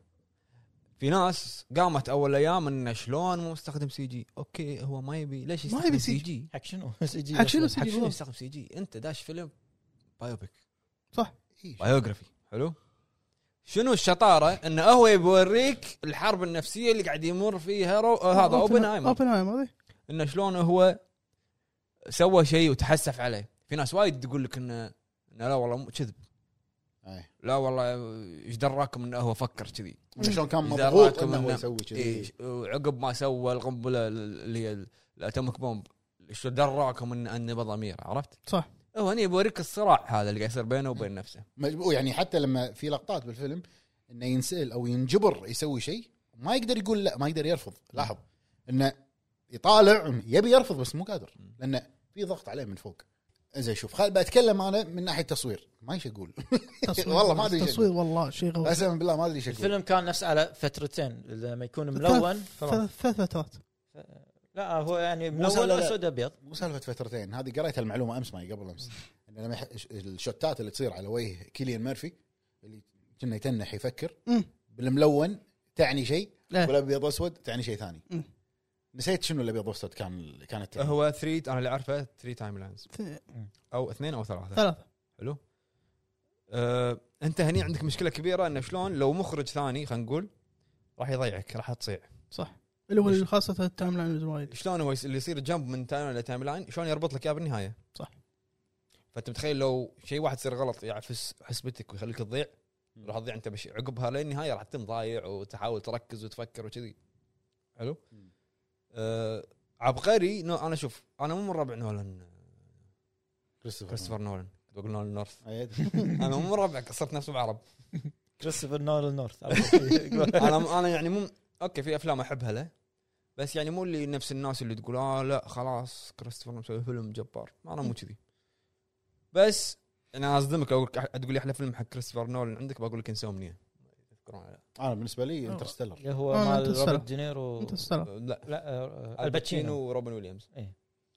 S1: في ناس قامت اول ايام انه شلون مو مستخدم سي جي اوكي هو ما يبي ليش يستخدم
S5: يبي
S1: سي
S5: CG.
S1: جي
S4: حق شنو؟ سي جي
S5: حق شنو
S4: أسود.
S1: حق
S5: CG
S1: شنو
S5: هو؟
S1: يستخدم سي جي انت داش فيلم بايوبيك
S5: صح.
S1: بايوغرافي حلو شنو الشطاره انه هو يوريك الحرب النفسيه اللي قاعد يمر فيها رو... آه، هذا اوبنهايمر
S5: اوبنهايمر
S1: انه شلون هو سوى شيء وتحسف عليه في ناس وايد تقول لك انه انه لا والله مو كذب
S2: إيه.
S1: لا والله ايش دراكم انه هو فكر كذي
S2: إنه شلون كان
S1: إذا
S2: مضغوط
S1: راكم
S2: انه هو
S1: إنه-
S2: يسوي كذي
S1: إيه، عقب ما سوى القنبله اللي هي الاتوميك بومب شو دراكم ان اني بضمير عرفت؟
S5: صح.
S1: هو هني بوريك الصراع هذا اللي قاعد يصير بينه وبين نفسه
S2: مجبور يعني حتى لما في لقطات بالفيلم انه ينسال او ينجبر يسوي شيء ما يقدر يقول لا ما يقدر يرفض لاحظ انه يطالع يبي يرفض بس مو قادر لانه في ضغط عليه من فوق زين شوف خل بتكلم انا من ناحيه تصوير ما ايش [LAUGHS] اقول
S5: تصوير
S2: [LAUGHS] والله ما أدري شو
S5: تصوير والله شيء غلط
S2: قسما بالله ما ادري ايش اقول
S4: الفيلم كان نفس على فترتين لما يكون ملون فما-
S5: ثلاث ثلاث فترات
S4: لا هو يعني
S2: لا،
S4: ملون
S2: لا، لا.
S4: اسود ابيض
S2: مو سالفه فترتين هذه قريتها المعلومه امس ماي قبل امس ان لما يح- الشوتات اللي تصير على وجه كيليان ميرفي اللي كنا يتنح يفكر
S5: مم.
S2: بالملون تعني شيء
S5: إيه.
S2: والابيض اسود تعني شيء ثاني
S5: مم.
S2: نسيت شنو الابيض اسود كان كانت
S1: هو ثري انا اللي اعرفه ثري تايم لاينز
S5: اثنين-
S1: او اثنين او ثلاثه
S5: ثلاثة
S1: حلو أه انت هني عندك مشكله كبيره انه شلون لو مخرج ثاني خلينا نقول راح يضيعك راح تصيع
S5: صح اللي هو
S1: مش-
S5: خاصة التايم لاين وايد
S1: شلون هو يس- اللي يصير جمب من تايم لاين لتايم لاين شلون يربط لك اياه بالنهايه
S5: صح.
S1: فانت متخيل لو شيء واحد يصير غلط يعفس حسبتك ويخليك تضيع راح تضيع انت بش... عقبها للنهايه راح تتم ضايع وتحاول تركز وتفكر وكذي حلو
S2: مم.
S1: آه عبقري نو انا شوف انا مو من ربع نولن
S2: كريستوفر
S1: كريستوفر نولن كنت بقول نولن نورث
S2: أي- [LAUGHS]
S1: انا مو من ربع قصرت نفسي بعرب
S4: كريستوفر نولان [LAUGHS] نورث
S1: انا انا يعني مو اوكي في افلام احبها له بس يعني مو اللي نفس الناس اللي تقول اه لا خلاص كريستوفر مسوي فيلم جبار انا مو كذي بس انا اصدمك اقول تقول لي احلى فيلم حق كريستوفر نولان عندك بقول لك انسومنيا تذكرون ولا
S2: انا بالنسبه لي انترستيلر
S4: اللي هو
S5: آه،
S4: مال
S5: انترستيلر.
S4: روبرت دينيرو
S5: انت السلام
S1: لا لا
S4: لا آه، آه،
S1: الباتشينو
S4: الباتشينو
S1: وروبن ويليامز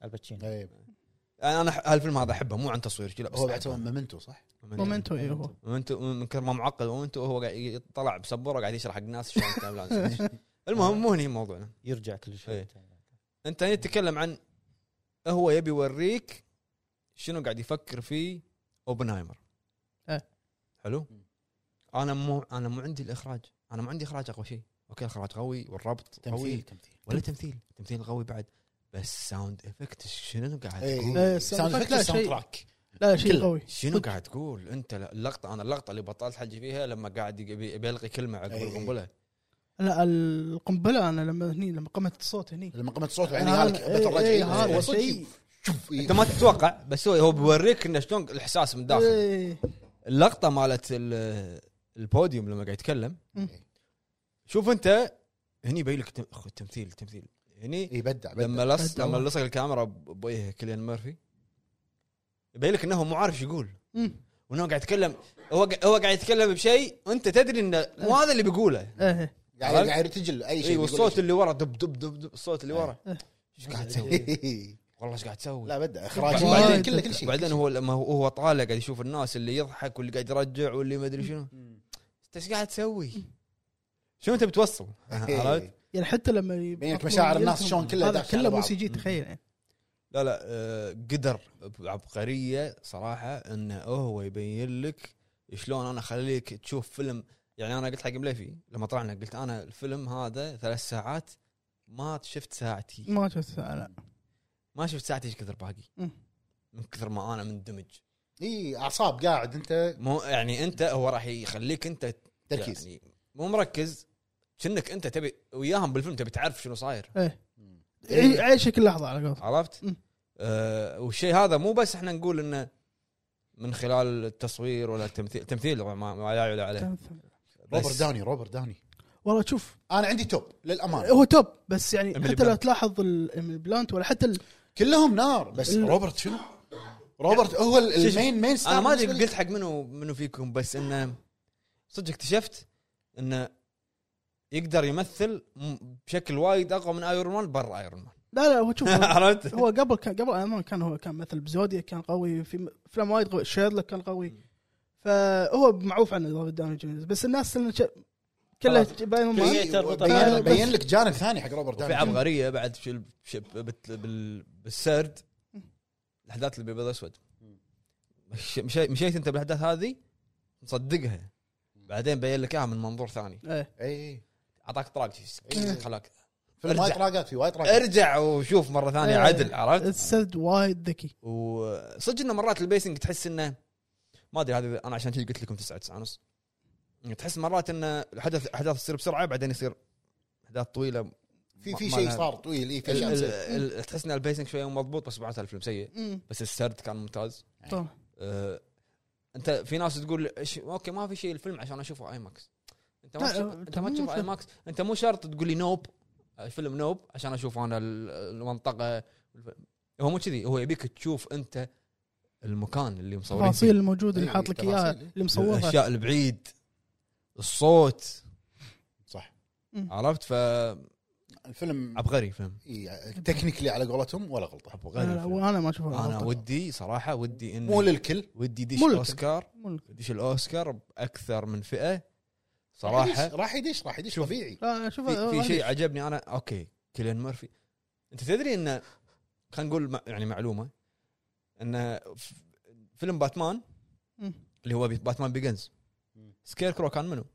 S4: الباتشينو
S2: إيه.
S5: طيب.
S1: انا انا ح- يعني هالفيلم هذا احبه مو عن تصوير لا بس
S2: هو بعد سوى ميمنتو صح؟
S5: مومنتو اي هو
S1: مومنتو من كثر ما معقد مومنتو هو قاعد ي- طلع بسبوره قاعد يشرح حق الناس شلون التايم
S5: [LAUGHS]
S1: لاين. المهم مو هني موضوعنا
S4: يرجع كل شوي
S1: إيه. انت هني تتكلم عن هو يبي يوريك شنو قاعد يفكر فيه اوبنهايمر
S5: إيه.
S1: حلو
S2: مم.
S1: انا مو انا مو عندي الاخراج انا مو عندي اخراج اقوى شيء اوكي الاخراج قوي والربط
S2: تمثيل
S1: قوي
S2: تمثيل
S1: ولا تمثيل تمثيل قوي بعد بس ساوند افكت شنو قاعد
S2: إيه.
S1: تقول
S5: إيه،
S2: ساوند
S5: لا،
S2: افكت الساوند
S5: شيء.
S2: تراك
S5: لا شيء
S2: كله.
S5: قوي
S1: شنو
S5: صدق.
S1: قاعد تقول انت لا- اللقطه انا اللقطه اللي بطلت حجي فيها لما قاعد يبي- يبي يلقي كلمه عقب
S2: إيه.
S1: القنبله
S5: لا القنبله انا لما هني لما قمت الصوت هني
S2: لما قمت صوت
S5: أنا-
S2: يعني هالك
S5: إيه،
S2: بث الرجعي
S5: إيه، هذا
S2: هو صوت
S5: شيء.
S2: شوف- شوف
S1: انت ما تتوقع بس هو هو بيوريك انه شلون الاحساس من داخل
S5: إيه.
S1: اللقطه مالت ال- البوديوم لما قاعد يتكلم
S5: مم.
S1: شوف انت هني يبين لك تم- أخ، تمثيل تمثيل هني
S2: يبدع بدع
S1: لما لص
S5: بدع
S1: لما
S5: إيه. والله.
S1: لصق الكاميرا بوجه كليان ميرفي يبين لك انه مو عارف شو يقول
S5: مم.
S1: وانه قاعد يتكلم هو قا- هو قاعد يتكلم بشيء وانت تدري انه مو
S5: إيه.
S1: هذا اللي بيقوله
S5: ايه
S2: يعني قاعد قاعد يرتجل
S1: اي
S2: اي شيء بيقول
S1: إيه، والصوت
S2: أي
S1: اللي ورا دب دب دب, دب الصوت اللي ورا
S5: إيه.
S1: ايش قاعد
S2: شيء.
S1: تسوي؟ والله ايش قاعد تسوي؟
S2: لا بدع اخراج
S5: بعدين-
S2: بعدين كله كل شيء
S1: بعدين هو لما هو هو طالع قاعد يشوف الناس اللي يضحك واللي قاعد يرجع واللي ما ادري شنو انت ايش قاعد تسوي؟ إيه. شنو انت بتوصل؟
S2: إيه.
S1: عرفت؟
S5: يعني حتى لما
S2: بينك مشاعر الناس شلون كلها
S5: هذا
S2: داخل على
S5: كله
S2: بعض.
S5: موسيقي تخيل يعني
S1: لا لا آه، قدر بعبقريه صراحه انه هو يبين لك شلون انا اخليك تشوف فيلم يعني انا قلت حق مليفي لما طلعنا قلت انا الفيلم هذا ثلاث ساعات ما شفت ساعتي
S5: ما شفت لا
S1: ما شفت ساعتي ايش كثر باقي
S5: مم.
S1: من كثر ما انا مندمج
S2: اي اعصاب إيه، قاعد انت
S1: مو يعني انت هو راح يخليك انت
S2: تركيز
S1: يعني مو مركز كأنك انت تبي وياهم بالفيلم تبي تعرف شنو صاير
S2: إيه.
S5: عي- عيشك اللحظه على قولتهم
S1: عرفت؟
S5: مم.
S1: آه والشيء هذا مو بس احنا نقول انه من خلال التصوير ولا التمثيل تمثيل طبعاً ما, ما لا يعلى عليه
S2: روبرت
S1: بس-
S2: داوني روبرت داوني
S5: والله شوف
S2: انا عندي توب للامانه
S5: هو توب بس يعني
S1: إيميلي
S5: حتى لو
S1: بلانت.
S5: تلاحظ ال- إيميلي بلانت ولا حتى ال-
S2: كلهم نار بس
S5: ال-
S2: روبرت شنو؟ روبرت هو ال-
S1: شوف-
S2: المين مين ستار
S1: انا ما ادري
S2: بالنسبة لي.
S1: قلت حق منو منو فيكم بس انه صدق اكتشفت انه يقدر يمثل م- بشكل وايد اقوى من ايرون مان برا ايرون مان
S5: لا لا هو شوف
S2: [LAUGHS]
S5: هو-
S1: [LAUGHS] عرفت؟
S5: هو قبل كان قبل ايرون كان هو كان مثل بزوديا كان قوي في م- افلام وايد قوي شيرلوك كان قوي فهو معروف عنه روبرت داوني جونيور بس الناس اللي ش- كلها
S4: خلاص.
S5: باين
S4: في-
S5: ما-
S4: كرييتر بطل.
S2: بين-
S5: بس-
S2: بين لك جانب ثاني حق روبرت
S1: وفي
S2: داوني
S1: عبقريه بعد في ال- ش- بت- بال- بالسرد الاحداث اللي بالابيض والاسود مش- مشي- مشيت انت بالاحداث هذه مصدقها بعدين بين لك اياها من منظور ثاني
S5: إيه.
S2: اي اي
S1: اعطاك طراق
S2: إيه.
S1: خلاك
S2: فيلم
S1: ارجع.
S2: وايد راقات في وايد راقات
S1: ارجع وشوف مره ثانيه
S5: إيه.
S1: عدل عرفت
S5: السرد وايد ذكي
S1: وصدق انه مرات البيسنج تحس انه ما ادري هذا انا عشان كذي قلت لكم 9 9 ونص تحس مرات انه الحدث الاحداث تصير بسرعه بعدين يصير احداث طويله
S2: في
S1: ما-
S2: في
S1: ما
S2: شيء
S1: لها-
S2: صار طويل اي في
S1: ال-
S2: شيء
S1: ال-
S2: مصير.
S1: ال- تحس ان البيسنج شويه مضبوط بس معناتها الفيلم سيء
S5: مم.
S1: بس السرد كان ممتاز
S5: طبعا
S1: أه انت في ناس تقول إيش اوكي ما في شيء الفيلم عشان اشوفه اي ماكس انت ما
S5: لا،
S1: تشوف-
S5: أنت
S1: انت ما
S5: مو
S1: تشوف
S5: شرط.
S1: اي ماكس انت مو شرط تقول لي نوب فيلم نوب عشان اشوف انا ال- المنطقه هو مو كذي هو يبيك تشوف انت المكان اللي مصورين
S5: التفاصيل
S1: فيه
S5: الموجوده اللي
S2: إيه،
S5: حاط لك
S2: تفاصيل،
S5: اياها
S2: إيه.
S5: اللي مصورها
S1: الاشياء البعيد الصوت
S2: صح
S1: عرفت ف
S2: الفيلم
S1: عبقري فيلم
S2: إي، تكنيكلي على قولتهم ولا غلطه
S5: لا،
S1: عبقري
S5: لا،
S1: الفيلم.
S5: وانا ما اشوفها
S1: انا
S5: غلطة.
S1: ودي صراحه ودي
S2: مو
S1: اني
S2: للكل
S1: ودي دش
S5: مو لك.
S1: اوسكار
S5: مو لك.
S1: ودش الاوسكار باكثر من فئه صراحه
S2: راح يدش راح يدش طبيعي
S5: لا شوف
S1: في, في شيء عجبني انا اوكي كيليان مورفي انت تدري انه خلينا نقول مع- يعني معلومه انه ف- فيلم باتمان
S5: مم.
S1: اللي هو بي- باتمان بيجنز
S2: مم.
S1: سكير كرو كان منو؟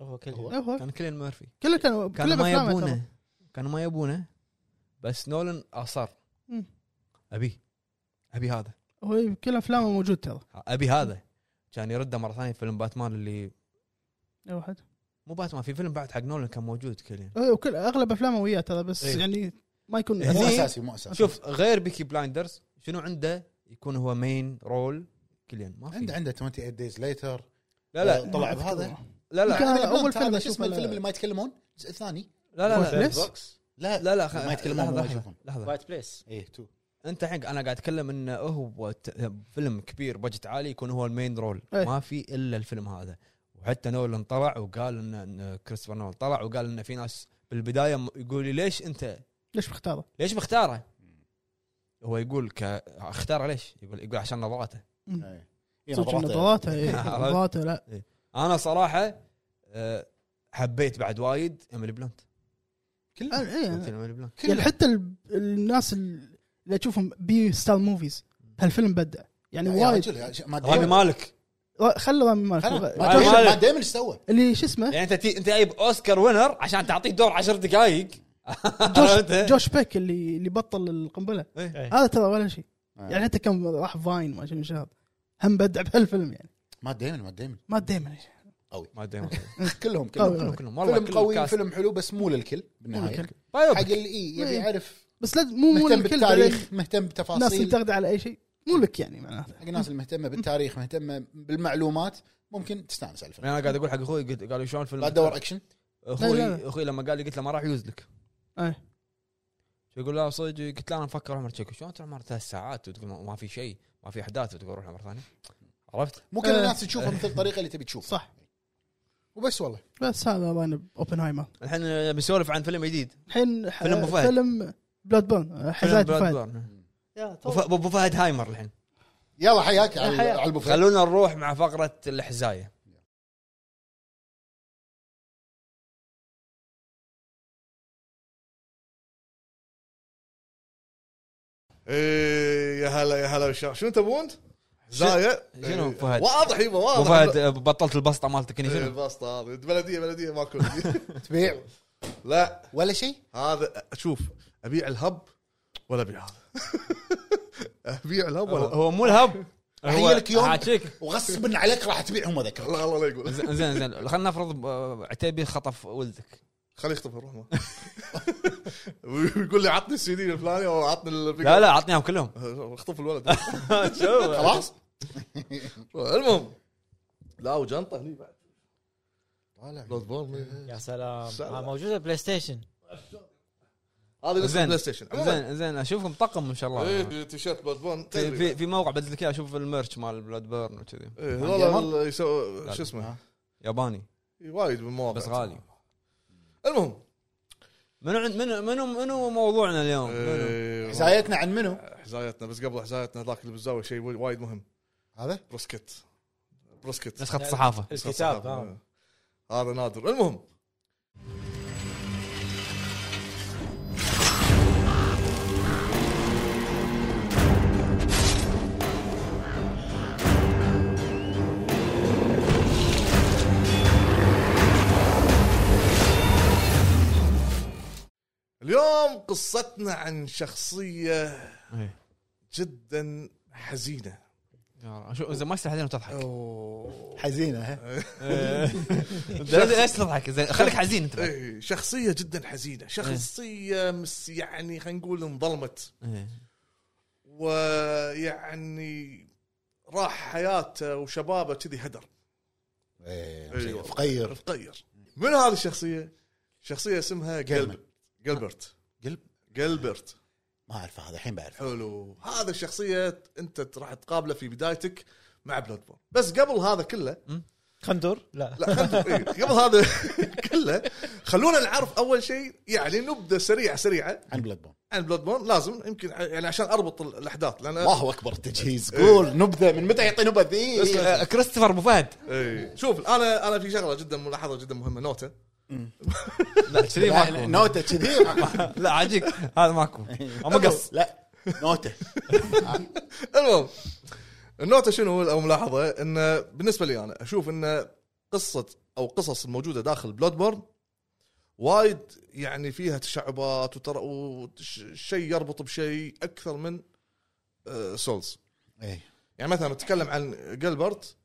S4: هو كل
S2: هو.
S5: هو
S1: كان كيليان مورفي
S5: كله أيوة، كان
S1: كانوا
S5: كله
S1: ما
S5: بأفلامه ترى.
S1: يبونه كانوا ما يبونه بس نولن اصر
S5: مم.
S1: ابي ابي هذا
S5: هو كل افلامه موجود ترى
S1: ابي هذا كان يرده مره ثانيه في فيلم باتمان اللي
S5: أي واحد
S1: مو باتمان في فيلم بعد حق نولن كان موجود كيليان
S5: هو كل اغلب افلامه وياه ترى بس
S1: إيه.
S5: يعني ما يكون
S1: إيه.
S2: مو
S1: هني-
S2: اساسي مو اساسي
S1: شوف غير بيكي بلايندرز شنو عنده يكون هو مين رول كيليان ما في
S2: عنده عنده 28 دايز ليتر
S1: لا لا
S2: طلع
S5: ما
S2: بهذا.
S5: أذكر.
S1: لا لا
S5: كان أول
S2: أول
S5: فيلم
S2: فيلم شو
S5: أشوفه
S2: اسمه
S5: له.
S2: الفيلم اللي ما يتكلمون الجزء الثاني
S1: لا لا لا
S5: بليس؟
S2: بوكس لا
S1: لا لا خ-
S2: ما يتكلمون،
S1: لحظة،
S2: ما
S1: لحظة،
S2: يشوفون.
S1: لحظه
S4: وايت بليس
S2: اي تو
S1: انت حق انا قاعد اتكلم انه هو ت- فيلم كبير بجت عالي يكون هو المين رول
S5: إيه.
S1: ما في الا الفيلم هذا وحتى نولن طلع وقال ان- ان كريستوفر نولن طلع وقال ان في ناس بالبدايه م- يقول لي ليش انت
S5: ليش مختاره؟
S1: ليش مختاره؟ هو يقول ك... اختاره ليش؟ يقول يقول عشان نظراته
S5: صدق نظراته إيه،
S1: [LAUGHS] عرفت؟
S5: نظراته لا
S1: انا صراحه أه، حبيت بعد وايد ايميلي بلانت
S5: آه، إيه.
S1: قلت ايميلي بلانت
S5: يعني حتى ال- الناس ال- اللي اشوفهم بي ستايل موفيز هالفيلم بدع يعني وايد
S2: وايد
S1: رامي مالك
S5: خلوا رامي مالك
S2: خلنا
S1: ما- ما-
S2: ما دايما ايش سوى؟
S5: اللي شو اسمه
S1: يعني انت تي... انت جايب اوسكار وينر عشان تعطيه دور عشر دقائق
S5: جوش
S1: أنت؟
S5: جوش بيك اللي اللي بطل القنبله
S4: إيه.
S5: هذا ترى ولا شيء
S2: آه.
S5: يعني حتى كم راح فاين ما ادري شنو هم بدع بهالفيلم يعني
S2: ما دايما ما دايما
S5: ما دايما
S1: ما أدري.
S5: [LAUGHS]
S2: كلهم
S5: أوه.
S1: كلهم
S2: كلهم
S1: طيب. مره
S2: طيب، فيلم
S1: كل
S2: قوي
S1: الكاست.
S2: فيلم حلو بس مو للكل
S5: مو
S2: بالنهايه
S5: للكل.
S2: حق
S1: بايوبيك.
S2: اللي إيه، يبي يعرف
S5: بس لا مو مو
S2: مهتم
S5: للكل، بعدين
S2: بالتاريخ مهتم
S5: الناس
S2: بتفاصيل
S5: تنتقد على اي شيء مو لك يعني معناته
S2: حق الناس المهتمه بالتاريخ مهتمه بالمعلومات ممكن تستانس على الفيلم
S1: انا يعني قاعد اقول حق اخوي قلت- قالوا شلون فيلم
S2: لا تدور اكشن
S5: لا، لا،
S1: اخوي اخوي لما قال لي قلت له ما راح يوزلك
S5: إيه.
S1: يقول لا صدق قلت له انا مفكر اروح مرة شلون تروح مره ثلاث ساعات وتقول ما- ما في شيء ما في احداث وتقول روح مره ثانيه عرفت؟
S2: مو كل
S5: آه.
S2: الناس تشوفه مثل الطريقه اللي تبي تشوفها
S5: صح
S2: وبس والله
S5: بس هذا راينا باوبنهايمر
S1: الحين آه، بنسولف عن فيلم جديد
S5: الحين ح-
S1: فيلم أبو فهد.
S5: فيلم بلاد بون
S1: فيلم
S5: حزايد
S1: بلاد
S5: فهد
S1: بورن ابو فهد هايمر الحين
S2: يلا حياك
S5: يا
S2: على
S5: حياك.
S2: على البوفيه
S1: خلونا نروح مع فقره الحزايه
S3: ايه يا هلا يا هلا شو شنو تبون؟ زايد
S1: شنو أبو فهد؟
S3: واضح يبا
S1: ابو
S3: واضح
S1: فهد آه، بطلت البسطه مالتك هني
S3: إيه،
S1: شنو؟
S3: البسطة هذه بلديه بلديه ماكو
S2: تبيع
S3: [LAUGHS] لا
S2: ولا شيء
S3: هذا اشوف ابيع الهب ولا ابيع هذا ابيع الهب ولا
S1: أه، هو مو الهب هو
S2: هي لك يوم.
S1: حاجيك
S2: وغصبا عليك راح تبيعهم وذاك
S3: الله الله لا يقول
S1: زين زين زين خلينا نفرض آه، عتيبي خطف ولدك
S3: خليه يخطف الروح [LAUGHS] معه. ويقول لي عطني السي دي الفلاني او عطني البيك
S1: لا لا عطنيهم [LAUGHS] كلهم
S3: اب. اخطف الولد [LAUGHS]
S2: خلاص
S3: المهم لا وجنطه هني بعد
S2: طالع.
S3: بلود بورن
S4: يا سلام
S3: سلام.
S4: آه، موجوده بلاي ستيشن
S3: هذا نسخه
S1: زين.
S3: بلاي ستيشن عموماً.
S1: زين زين اشوفهم طقم ان شاء الله
S3: ايه تيشيرت بلاد بورن
S1: في في- في موقع بدل لك اياه اشوف الميرش مال بلاد بيرن وكذي
S3: إيه،
S2: عندي
S3: هذول
S2: أمر؟
S3: اللي يسوي شو اسمه
S1: ياباني
S3: إيه، وايد من المواقع
S1: بس غالي
S3: المهم
S1: منو عند منو منو منو موضوعنا اليوم؟ منو؟
S3: إيه،
S2: حزايتنا عن منو؟
S3: حزايتنا بس قبل حزايتنا ذاك اللي بالزاويه شيء وايد مهم
S2: هذا
S3: بروسكت بروسكت
S1: نسخة الصحافة
S4: الكتاب آه.
S3: هذا نادر المهم اليوم قصتنا عن شخصية
S1: إيه.
S3: جدا حزينة
S1: يا رب. شو اذا ما يصير حزين وتضحك
S2: حزينه ها؟
S1: [LAUGHS] ليش تضحك؟ زين خليك حزين انت بعد.
S3: إيه، شخصية جدا حزينة شخصية مس يعني خلينا نقول انظلمت
S1: إيه.
S3: ويعني راح حياته وشبابه كذي هدر
S2: إيه،
S3: أيوة.
S2: فقير
S3: تغير من هذه الشخصية؟ شخصية اسمها
S2: جيلمن.
S3: جلبرت جلبرت
S2: قلب
S3: جلبرت
S2: ما اعرفه هذا الحين بعرف
S3: حلو هذا الشخصية انت راح تقابله في بدايتك مع بلاد بورن بس قبل هذا كله
S4: خندور لا
S3: لا خلنا إيه، قبل هذا [LAUGHS] كله خلونا نعرف اول شيء يعني نبدا سريعه سريعه
S2: عن بلاد بون
S3: عن بلاد بورن لازم يمكن يعني عشان اربط ال- الاحداث لان
S2: الله اكبر التجهيز قول نبذه من متى يعطي إيه. نبذ
S1: بس،
S2: ذي
S1: آه، كريستوفر ابو فهد
S3: إيه. شوف انا انا في شغله جدا ملاحظه جدا مهمه نوته
S1: لا [LAUGHS] كذي ماكو
S2: نوته
S3: [LAUGHS]
S2: كذي
S1: لا عاجيك [LAUGHS] هذا ماكو امقص
S2: لا نوته
S3: المهم النوته شنو او ملاحظه انه بالنسبه لي انا اشوف ان قصه او قصص الموجوده داخل بلود بورن وايد يعني فيها تشعبات وتر... وشيء يربط بشيء اكثر من سولز
S2: إيه.
S3: يعني مثلا نتكلم عن جلبرت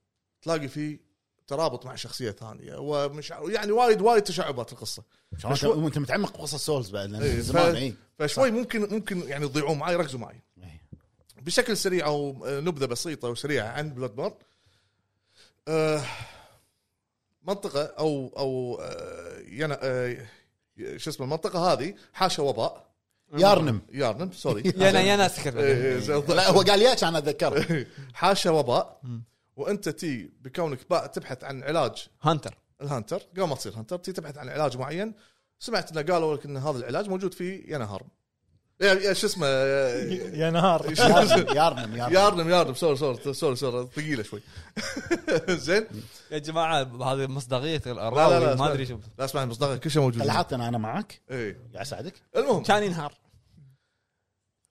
S3: تلاقي فيه ترابط مع شخصيه ثانيه ومش يعني وايد وايد تشعبات القصه
S2: شلون أنت- وانت متعمق بقصص سولز بعد لأن
S3: إيه،
S2: زمان
S3: ف-
S2: اي
S3: فشوي ممكن ممكن يعني تضيعون معي ركزوا معي بشكل سريع او نبذه بسيطه وسريعه عن بلاد بورن آه، منطقه او او آه، ينا آه، شو اسمه المنطقه هذه حاشا وباء
S2: يارنم
S3: يارنم
S1: [LAUGHS]
S3: سوري
S1: يا انا يا انا سكت بعدين.
S3: إيه، زين.
S2: لا هو قال ياك انا اتذكر
S3: حاشا وباء
S1: مم.
S3: وانت تي بكونك باء تبحث عن علاج
S1: هانتر
S3: الهانتر قبل ما تصير هانتر تي تبحث عن علاج معين سمعت انه قالوا لك ان هذا العلاج موجود في ينهارم يا- يا- شو اسمه آه،
S4: [LAUGHS]
S3: يا-
S4: يا نهار
S2: يارنم يارنم يارنم
S3: يارنم يارنم سوري سوري سوري سوري ثقيله شوي [LAUGHS] زين
S1: يا جماعه هذه مصداقيه
S3: لا، لا،
S1: الراوي ما
S3: اسمع.
S1: ادري شو
S3: لا اسمع مصداقك كل شيء موجود
S2: لاحظت انا انا معك
S3: ايه
S2: قاعد اساعدك
S3: المهم
S1: كان ينهار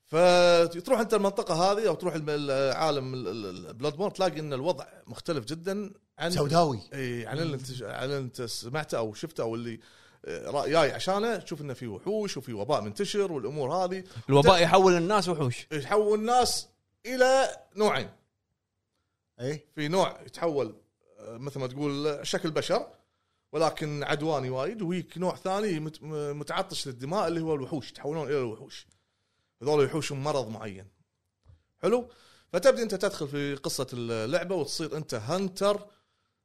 S3: فتروح انت المنطقه هذه او تروح الم- العالم البلاد بورن تلاقي ان الوضع مختلف جدا عن
S2: سوداوي
S3: اي عن اللي انت عن اللي انت سمعته او شفته او اللي آه، رأي- جاي عشانه تشوف انه في وحوش وفي وباء منتشر والامور هذه
S1: الوباء يحول الناس وحوش
S3: يتحول الناس الى نوعين
S2: اي
S3: في نوع يتحول آه، مثل ما تقول آه، شكل بشر ولكن عدواني وايد ويك نوع ثاني مت- م- متعطش للدماء اللي هو الوحوش يتحولون الى الوحوش هذول يحوشهم مرض معين حلو فتبدا انت تدخل في قصه اللعبه وتصير انت هنتر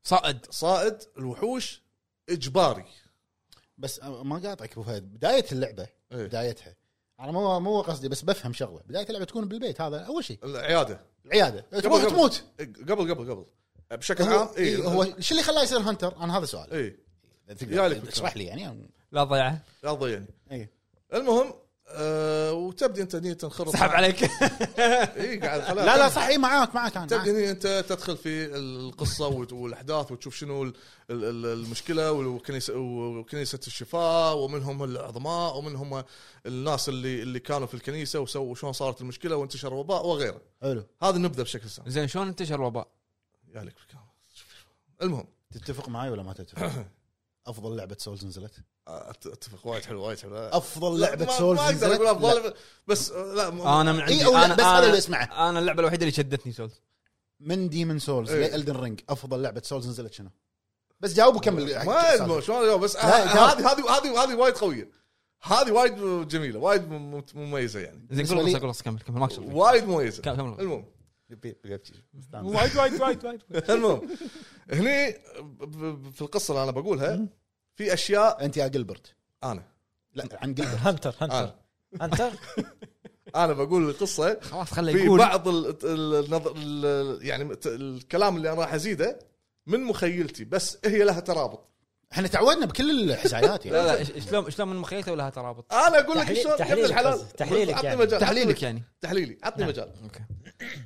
S1: صائد
S3: صائد الوحوش اجباري
S2: بس أه، ما قاطعك ابو فهد بدايه اللعبه
S3: إيه.
S2: بدايتها انا مو مو قصدي بس بفهم شغله بدايه اللعبه تكون بالبيت هذا اول شيء
S3: العياده
S2: العياده تموت
S3: قبل.
S2: تموت
S3: إيه، قبل قبل قبل بشكل عام إيه،
S2: هو,
S3: اي
S2: إيه هو شو اللي خلاه يصير هانتر انا هذا سؤال
S3: اي يا لك
S2: تقدر اشرح لي يعني
S1: لا ضيعه
S3: لا تضيعني
S2: إيه.
S3: يعني. المهم آه وتبدي انت هني تنخرط
S1: سحب عليك [LAUGHS]
S3: اي قاعد خلاص.
S2: لا لا صح اي معاك معاك انا
S3: تبدي
S2: معاك.
S3: هني انت تدخل في القصه وت- والاحداث وتشوف شنو ال- ال- ال- المشكله وكنيسه وكنيسه الشفاء ومن هم العظماء ومن هم الناس اللي اللي كانوا في الكنيسه وسووا شلون صارت المشكله وانتشر وباء وغيره
S2: حلو
S3: هذا النبذه بشكل سام
S1: زين شلون انتشر الوباء؟
S3: يا لك بالكلام. المهم
S2: تتفق معي ولا ما
S3: [COUGHS]
S2: تتفق؟ افضل لعبه سولز نزلت
S3: آه، أت- اتفق وايد حلو وايد حلو
S2: افضل
S3: لا،
S2: لعبه
S3: ما-
S2: سولز
S3: ما اقدر
S2: نزلت
S3: اقول
S2: لا.
S3: افضل بس آه، لا م-
S1: انا من عندي
S2: اي او لا
S1: أنا-
S2: بس هذا اللي
S1: انا
S2: اسمعه
S1: انا اللعبه الوحيده اللي شدتني سولز
S2: من ديمن سولز
S3: إيه.
S2: لالدن رينج افضل لعبه سولز نزلت شنو؟ بس جاوب وكمل
S3: ما ادري شلون أجاوب، بس آه،
S2: لا، جاوب.
S3: هذه هذه هذه هذه وايد قويه هذه وايد جميله وايد م- م- مميزه يعني
S1: زين
S2: بالنسبة
S1: قول
S2: لي-
S1: قصة، قول قصة، كمل كمل ما اقصر فيك.
S3: وايد مميزه
S1: كمل- كمل
S3: المهم
S1: وايد وايد وايد وايد
S3: المهم هني ب- ب- في القصه اللي انا بقولها في اشياء
S2: انت يا جلبرت
S3: انا
S2: لا عن جلبرت
S4: هنتر هنتر
S3: انا
S4: هنتر
S3: انا بقول القصه
S1: خلاص خله
S3: في
S1: يقول
S3: بعض ال- ال- النظر ال- يعني الت- الكلام اللي انا راح ازيده من مخيلتي بس هي لها ترابط
S2: احنا تعودنا بكل الحزايات يعني
S1: لا لا إيش- شلون شلون من مخيلته ولها ترابط
S3: انا اقول لك
S4: تحليل-
S3: شلون يا ابن
S4: تحليلك
S3: الحلال
S4: قصدي، تحليلك
S3: عطني
S4: يعني.
S3: مجال
S1: تحليلك يعني
S3: تحليلي عطني
S4: نعم.
S3: مجال
S1: اوكي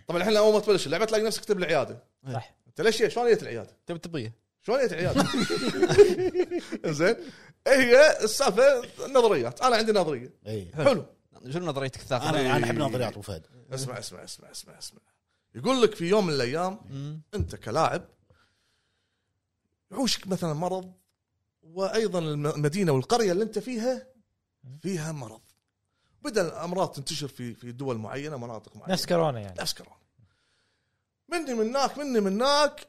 S3: طبعا احنا اول ما تبلش اللعبه تلاقي نفسك تكتب العياده
S4: صح
S3: انت ليش شلون جت العياده؟
S1: تبي تبيه
S3: شلون جت
S4: [LAUGHS]
S3: العياده؟ زين هي السالفه نظريات انا عندي نظريه
S2: إيه.
S3: حلو
S1: شنو نظريتك الثالثه؟
S2: انا انا احب نظريات ابو فهد
S3: اسمع اسمع اسمع اسمع اسمع يقول لك في يوم من الايام
S1: مم.
S3: انت كلاعب يعوشك مثلا مرض وايضا الم- المدينه والقريه اللي انت فيها فيها مرض بدا الامراض تنتشر في في دول معينه مناطق معينه
S4: نفس كورونا يعني
S3: نفس كورونا مني من هناك مني من هناك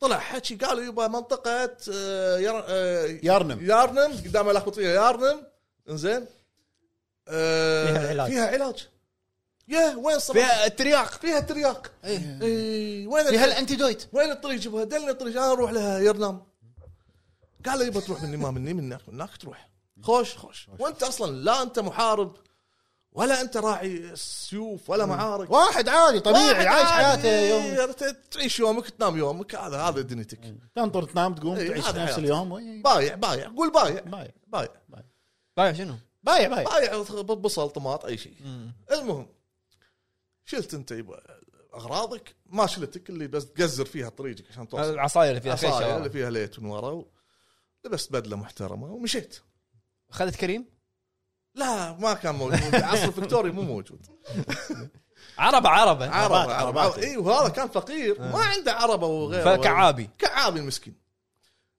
S3: طلع حكي قالوا يبا منطقه آه، ير- آه،
S2: يارنم
S3: يارنم قدام الخبط فيها يارنم انزين آه،
S4: فيها علاج.
S3: فيها علاج يا وين صار
S1: فيها ترياق
S3: فيها ترياق اي وين
S2: إيه. فيها الانتيدوت
S3: وين الطريق يبغى دلني الطريق انا اروح لها يرنم قال له يبا تروح مني ما مني من هناك من هناك تروح خوش خوش وانت اصلا لا انت محارب ولا انت راعي سيوف ولا معارك
S2: واحد عادي طبيعي
S3: واحد
S2: عايش
S3: عادي،
S2: حياته يوم
S3: ت- تعيش يومك تنام يومك هذا هذا دنيتك
S2: تنطر تنام تقوم
S3: إيه،
S2: تعيش
S3: هذا
S2: نفس
S3: حياته.
S2: اليوم وي-
S3: بايع بايع قول بايع
S2: بايع
S3: بايع
S1: بايع شنو؟
S2: بايع بايع
S3: بايع بصل طماط اي شيء المهم شلت انت يبا اغراضك ما شلتك اللي بس تقزر فيها طريقك عشان توصل
S1: العصايه اللي فيها
S3: عصايه اللي
S1: خيشه
S3: فيها ليت من ورا و- لبست بدله محترمه ومشيت
S1: اخذت كريم
S3: لا ما كان موجود عصر الفكتوري مو موجود
S1: عربه عربه
S3: عرب عرب
S2: [LAUGHS] عربات. آه.
S3: اي إيه، وهذا كان فقير ما عنده عربه وغيره
S1: فكعابي
S3: كعابي المسكين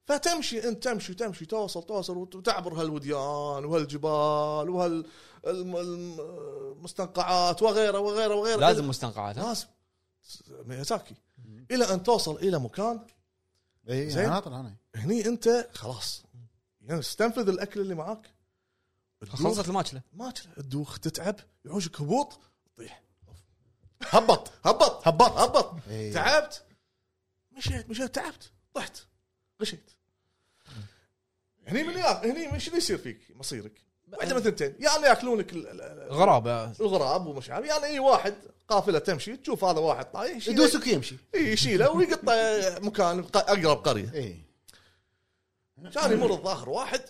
S3: فتمشي انت تمشي تمشي توصل توصل وت- وتعبر هالوديان وهالجبال وهالمستنقعات وغيره وغيره وغيره
S1: لازم مستنقعات ها؟
S3: لازم ميازاكي الى ان توصل الى مكان
S2: إيه،
S3: زين.
S2: انا ناطر انا
S3: هني انت خلاص يعني استنفذ الاكل اللي معاك
S1: خلصت الماكله
S3: ما تل- تدوخ تتعب يعوجك هبوط تطيح
S2: هبط
S3: هبط
S2: هبط.
S3: هبط
S2: إيه.
S3: تعبت مشيت مشيت تعبت طحت غشيت هني من يا هني مش اللي يصير فيك مصيرك واحده من ثنتين يا انا ياكلونك ال- ال- ال-
S1: غرابه
S3: الغراب ومش عارف يعني اي واحد قافله تمشي تشوف هذا واحد طايح يشيله-
S2: يدوسك يمشي
S3: إي، يشيله ويقطع مكان ق- اقرب قريه
S2: اي
S3: كان يمر الظاهر واحد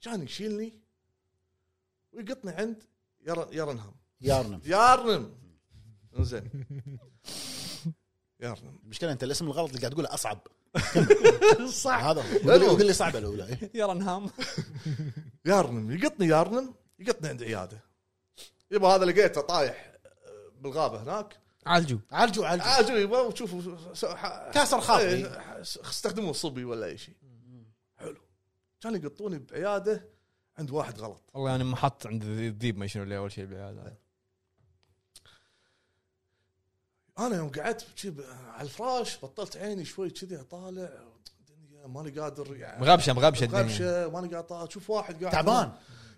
S3: كان يشيلني ويقطني عند ير- يرنهم
S2: يارنم
S3: يارنم انزين يارنم
S2: المشكله انت الاسم الغلط اللي قاعد تقوله اصعب
S3: [LAUGHS] صح
S2: هذا هو قول لي صعبه الاولى
S1: يا رنهام
S3: يارنم يقطني يارنم يقطني عند عياده يبا هذا لقيته طايح بالغابه هناك
S1: عالجو
S2: عالجوا عالجوا
S3: عاجل يبا وشوفوا س- ح-
S2: كاسر خاطري.
S3: إيه، ح- استخدموا صبي ولا اي شيء حلو كان يقطوني بعياده عند واحد غلط
S1: والله انا محط عند الذيب ما شنو اللي اول شيء بالعياده
S3: انا يوم قعدت شي ب- على الفراش بطلت عيني شوي كذي اطالع الدنيا ماني قادر يعني
S1: مغبشه مغبشه الدنيا
S3: غبشه ماني قاعد أطالع. اشوف واحد قاعد
S2: تعبان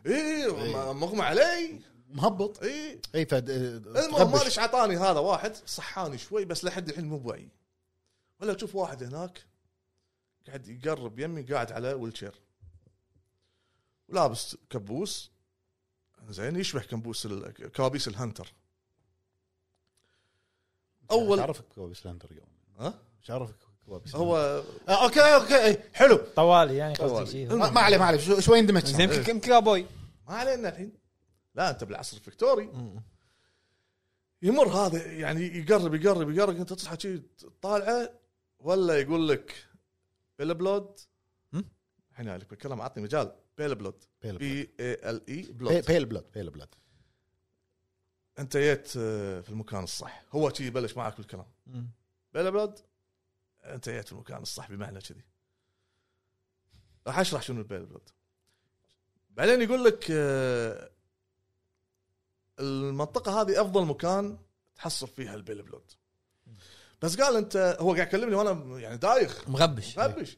S3: اي مغمى علي
S2: مهبط
S3: اي
S2: اي ف آه،
S3: المهم ما ليش عطاني هذا واحد صحاني شوي بس لحد الحين مو بوعي ولا اشوف واحد هناك قاعد يقرب يمي قاعد على ويلشير ولابس كبوس زين يشبه كبوس ال- كوابيس الهنتر أول-
S2: شعرفك كوابيس لانتر يوم
S3: ها
S2: شعرفك كوابيس لانتر.
S3: هو
S2: آه، اوكي اوكي إيه، حلو
S4: طوالي يعني
S3: طوالي.
S4: قصدي شيء
S2: ما ما عليه ما عليه شو- شوي اندمج
S1: زين يمكن يمكن كابوي
S3: ما علينا الحين لا انت بالعصر الفكتوري يمر هذا يعني يقرب يقرب يقرب انت تصحى شي طالعه ولا يقول لك بيل بلود
S1: هم؟
S3: الحين أنا لك بتكلم عطني مجال بيل بلود
S2: بيل
S3: بي اي ال اي بلود
S2: بلاد بيل بلاد
S3: انت جيت آه، في المكان الصح هو شي يبلش معك بالكلام بيل بلود انت جيت في المكان الصح بمعنى كذي راح اشرح شنو البيل بلود بعدين يقول لك آه، المنطقه هذه افضل مكان تحصل فيها البيل بلود بس قال انت هو قاعد يكلمني وانا يعني دايخ
S1: مغبش
S3: مغبش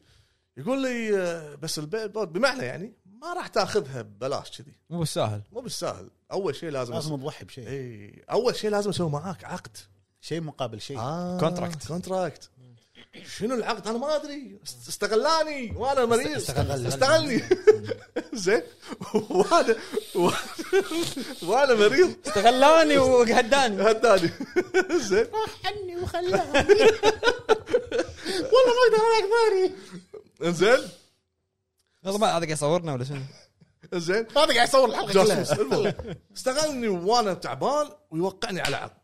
S3: يقول لي آه، بس البيل بلود بمعنى يعني ما راح تاخذها ببلاش كذي
S1: مو بالساهل
S3: مو بالساهل اول شيء لازم
S2: لازم تضحي بشيء
S3: اي اول شيء لازم اسوي معاك عقد
S2: شيء مقابل شيء
S3: آه
S1: Contract.
S3: كونتراكت شنو العقد انا ما ادري است- استغلاني وانا مريض
S2: استغل-
S3: استغلني [LAUGHS] زين [LAUGHS] وانا و- وانا مريض
S1: استغلاني وهداني
S3: هداني [LAUGHS] زين
S2: راح عني وخلاها والله ما اقدر على اقداري
S3: زين
S1: والله ما هذا قاعد يصورنا ولا شنو
S3: زين
S2: هذا قاعد يصور الحلقه كلها
S3: جاسوس المهم استغلني وانا تعبان ويوقعني على عقد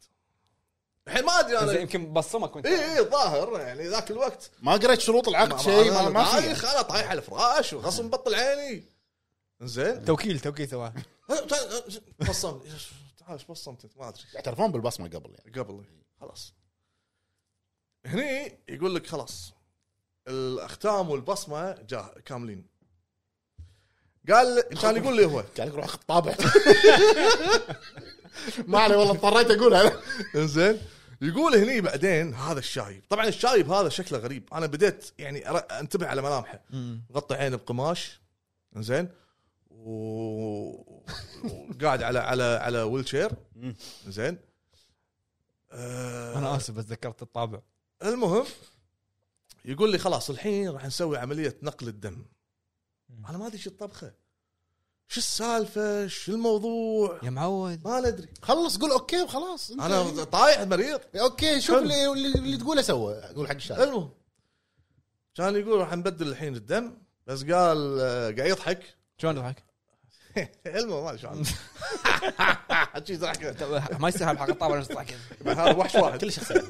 S3: الحين ما ادري
S1: زين،
S3: انا
S1: يمكن بصمك وانت
S3: اي اي الظاهر يعني ذاك الوقت
S2: ما قريت شروط العقد شيء ما- ما
S3: طايح
S2: في
S3: انا طايح على الفراش وغصب مبطل عيني زين
S1: توكيل توكيل سواه
S3: إيه، طيب، بصمت تعال ايش بصمت ما ادري
S2: يعترفون بالبصمه قبل يعني
S3: قبل خلاص هني يقول لك خلاص الاختام والبصمه جاه كاملين قال كان يقول لي هو
S2: قال لك روح خط [LAUGHS] طابع ما علي والله اضطريت اقولها
S3: انزين يقول هني بعدين هذا الشايب طبعا الشايب هذا شكله غريب انا بديت يعني أر- انتبه على ملامحه غطى عينه بقماش انزين و- وقاعد على على على ويل شير زين
S1: انا اسف بس ذكرت الطابع
S3: المهم يقول لي خلاص الحين راح نسوي عمليه نقل الدم انا ما ادري شو الطبخه شو السالفه شو الموضوع
S1: يا معود
S3: ما ادري
S2: خلص قول اوكي وخلاص انت-
S3: انا طايح مريض
S2: اوكي شوف
S3: حلو.
S2: اللي, اللي اللي تقوله سوى قول حق [LAUGHS] الشارع
S3: المهم كان يقول راح نبدل الحين الدم بس قال آه، قاعد يضحك [LAUGHS]
S1: شلون يضحك؟
S3: المهم ما ادري شلون [LAUGHS] شي ضحك
S1: [LAUGHS] ما يستاهل حق الطابع نفس الضحك.
S3: [LAUGHS] هذا وحش واحد
S2: كل شخصيه
S3: [LAUGHS]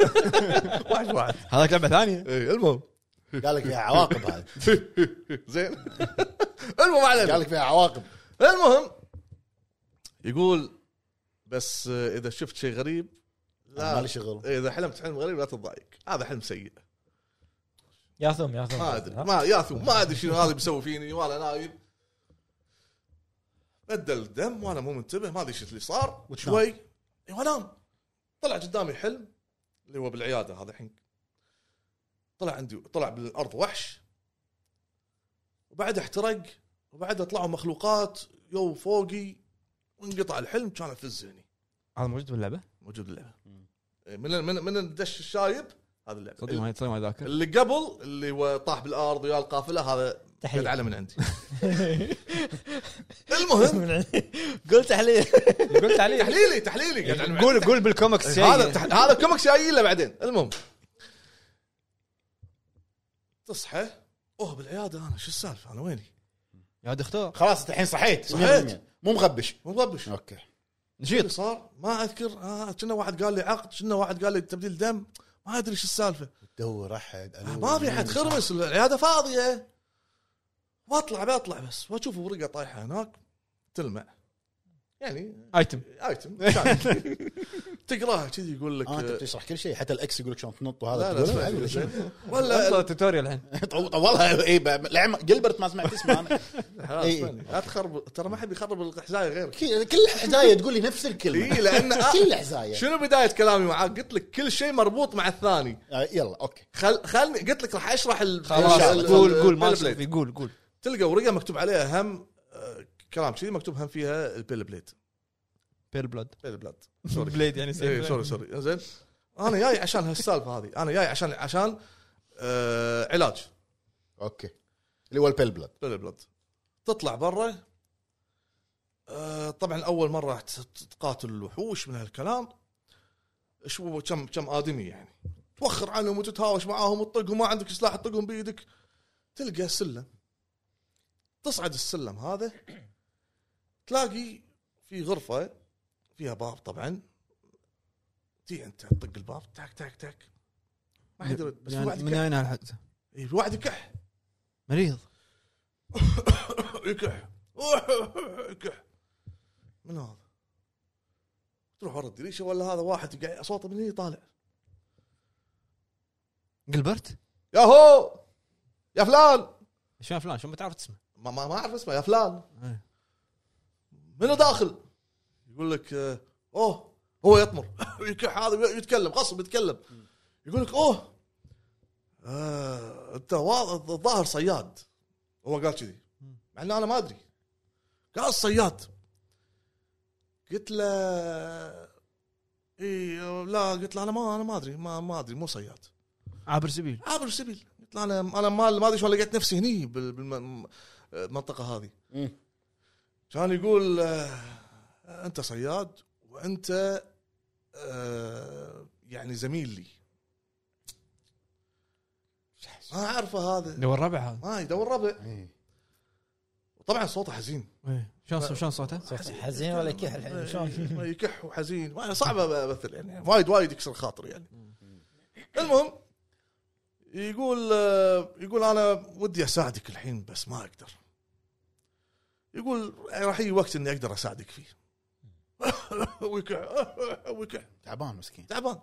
S3: وحش واحد
S1: هذاك لعبه ثانيه
S3: إيه، المهم [LAUGHS]
S2: قال لك فيها عواقب [LAUGHS] هذا
S3: زين [LAUGHS] المهم علينا
S2: قال لك فيها عواقب
S3: المهم يقول بس آه، اذا شفت شيء غريب
S2: لا ما لي شغل
S3: اذا حلمت حلم غريب لا تتضايق هذا حلم سيء
S4: يا ثوم يا ثوم
S3: ما ادري ما ياثم ما ادري شنو هذا بيسوي فيني ولا نايم بدل الدم وانا مو منتبه ما ادري شو اللي صار شوي إي، وانام طلع قدامي حلم اللي هو بالعياده هذا الحين طلع عندي طلع بالارض وحش وبعد احترق وبعد طلعوا مخلوقات يو فوقي وانقطع الحلم كان افز هني
S1: هذا موجود باللعبه؟
S3: موجود اللعبه إي، من من من الدش الشايب هذا
S1: صدق
S3: اللعبه
S1: ما صدق ما ذاكر
S3: اللي قبل اللي هو طاح بالارض ويا القافله هذا
S4: تحيه
S3: قد على من
S1: [LAUGHS]
S3: عندي
S4: [LAUGHS]
S3: المهم
S4: من عندي. قول تحليل
S1: قلت عليه
S3: تحليلي تحليلي قد على من
S1: يعني قول قول بالكوميكس
S3: عندي.
S1: شيء
S3: هذا تح- هذا كوميكس جاي له بعدين المهم تصحى اوه بالعياده انا شو السالفه انا ويني؟
S1: يا دكتور
S2: خلاص انت الحين صحيت
S3: صحيت.
S2: 100%. مو مغبش
S3: مضبش
S2: اوكي
S3: اللي صار ما اذكر آه كنا واحد قال لي عقد كنا واحد قال لي تبديل دم ما ادري شو السالفه
S2: دور احد ألو.
S3: ما في حد خرمس العياده فاضيه واطلع بطلع بس واشوف ورقه طايحه هناك تلمع يعني
S1: ايتم [LAUGHS]
S3: ايتم شايف. تقراها كذي يقول لك
S2: آه، انت
S3: آه،
S2: بتشرح كل شيء حتى الاكس يقول لك شلون تنط
S3: لا
S2: وهذا أيوة.
S3: لا
S2: تقول
S3: اسمع
S2: له،
S3: زين.
S1: والله
S3: ولا
S1: توتوريال الحين
S2: طو- طولها اي ب- لعم- جلبرت ما سمعت [LAUGHS] اسمه انا
S3: خلاص،
S2: إيه.
S3: لا تخرب ترى ما حد يخرب الحزايه غيرك
S2: كي- كل حزايه تقول لي نفس
S3: اي
S2: الكلمه
S3: لان
S2: [LAUGHS] كل حزايه
S3: شنو بدايه كلامي معاك قلت لك كل شيء مربوط مع الثاني
S2: آه، يلا اوكي
S3: خل خلني قلت لك راح اشرح ال-
S1: خلاص
S3: ال-
S1: قول
S3: ال-
S1: قول ما
S3: البيل
S1: شوف
S3: بليد.
S1: قول قول
S3: تلقى ورقه مكتوب عليها هم آه، كلام كذي مكتوب هم فيها البيل بليد
S1: بير بلاد
S3: بيل بلاد سوري
S1: بليد يعني
S3: اي إيه، سوري سوري زين انا جاي عشان هالسالفه هذه انا جاي عشان عشان آه علاج
S2: اوكي اللي هو البيل بلد
S3: بيل بلاد تطلع برا آه طبعا اول مره راح تت- تقاتل الوحوش من هالكلام شو كم كم ادمي يعني توخر عنهم وتتهاوش معاهم وتطقهم ما عندك سلاح تطقهم بايدك تلقى سلم تصعد السلم هذا تلاقي في غرفه فيها باب طبعا تي انت تطق الباب تاك تاك تاك ما حد يرد بس في واحد
S1: يعني من
S3: يكح
S1: وين هالحق
S3: إي، في واحد يكح
S1: مريض
S3: يكح يكح من هذا تروح ورا الدريشه ولا هذا واحد قاعد صوته من هنا طالع
S1: قلبرت
S3: يا هو يا فلان
S1: شلون فلان شلون بتعرف اسمه
S3: ما ما ما اعرف اسمه يا فلان
S1: إيه.
S3: منو داخل؟ يقول لك آه، اوه هو يطمر [LAUGHS] يكح هذا يتكلم غصب يتكلم يقول لك اوه آه انت واضح الظاهر صياد هو قال كذي مع ان انا ما ادري قال صياد قلت له اي لا قلت له انا ما انا ما ادري ما ما ادري مو صياد
S1: عابر سبيل
S3: عابر السبيل قلت له انا انا ما ما ادري شلون لقيت نفسي هني بال- بالم- بالمنطقه هذه
S2: مم.
S3: كان يقول آه، انت صياد وانت آه، يعني زميل لي ما اعرفه هذا
S1: دور ربع هذا
S3: ما يدور ربع
S2: إيه.
S3: طبعا صوته حزين
S1: إيه. شلون شلون صوته؟
S4: حزين ولا كيح الحين شلون
S3: إيه، ما يكح وحزين ما- صعب امثل يعني وايد وايد يكسر خاطري يعني المهم يقول آه، يقول انا ودي اساعدك الحين بس ما اقدر يقول يعني راح يجي وقت اني اقدر اساعدك فيه [LAUGHS] ويكح [LAUGHS] ويكح
S2: تعبان مسكين
S3: تعبان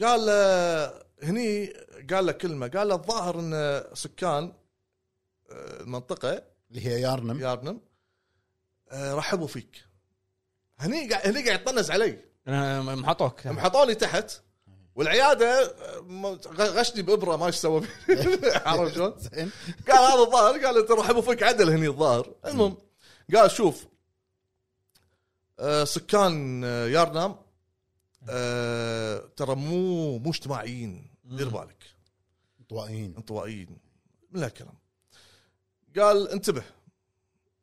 S3: قال له- هني قال له كلمه قال له الظاهر ان سكان آه، المنطقه
S2: اللي هي يارنم
S3: يارنم آه، رحبوا فيك هني قاعد هني قاعد يطنز علي
S1: أنا محطوك
S3: هم حطوني تحت والعياده آه، م- غشني بابره ما ايش سوى فيني. [LAUGHS] عرفت شلون؟
S2: زين
S3: قال هذا الظاهر قال انت رحبوا فيك عدل هني الظاهر المهم قال شوف آه، سكان آه، يارنام آه، ترى مو مو اجتماعيين دير بالك
S2: انطوائيين
S3: انطوائيين من هالكلام قال انتبه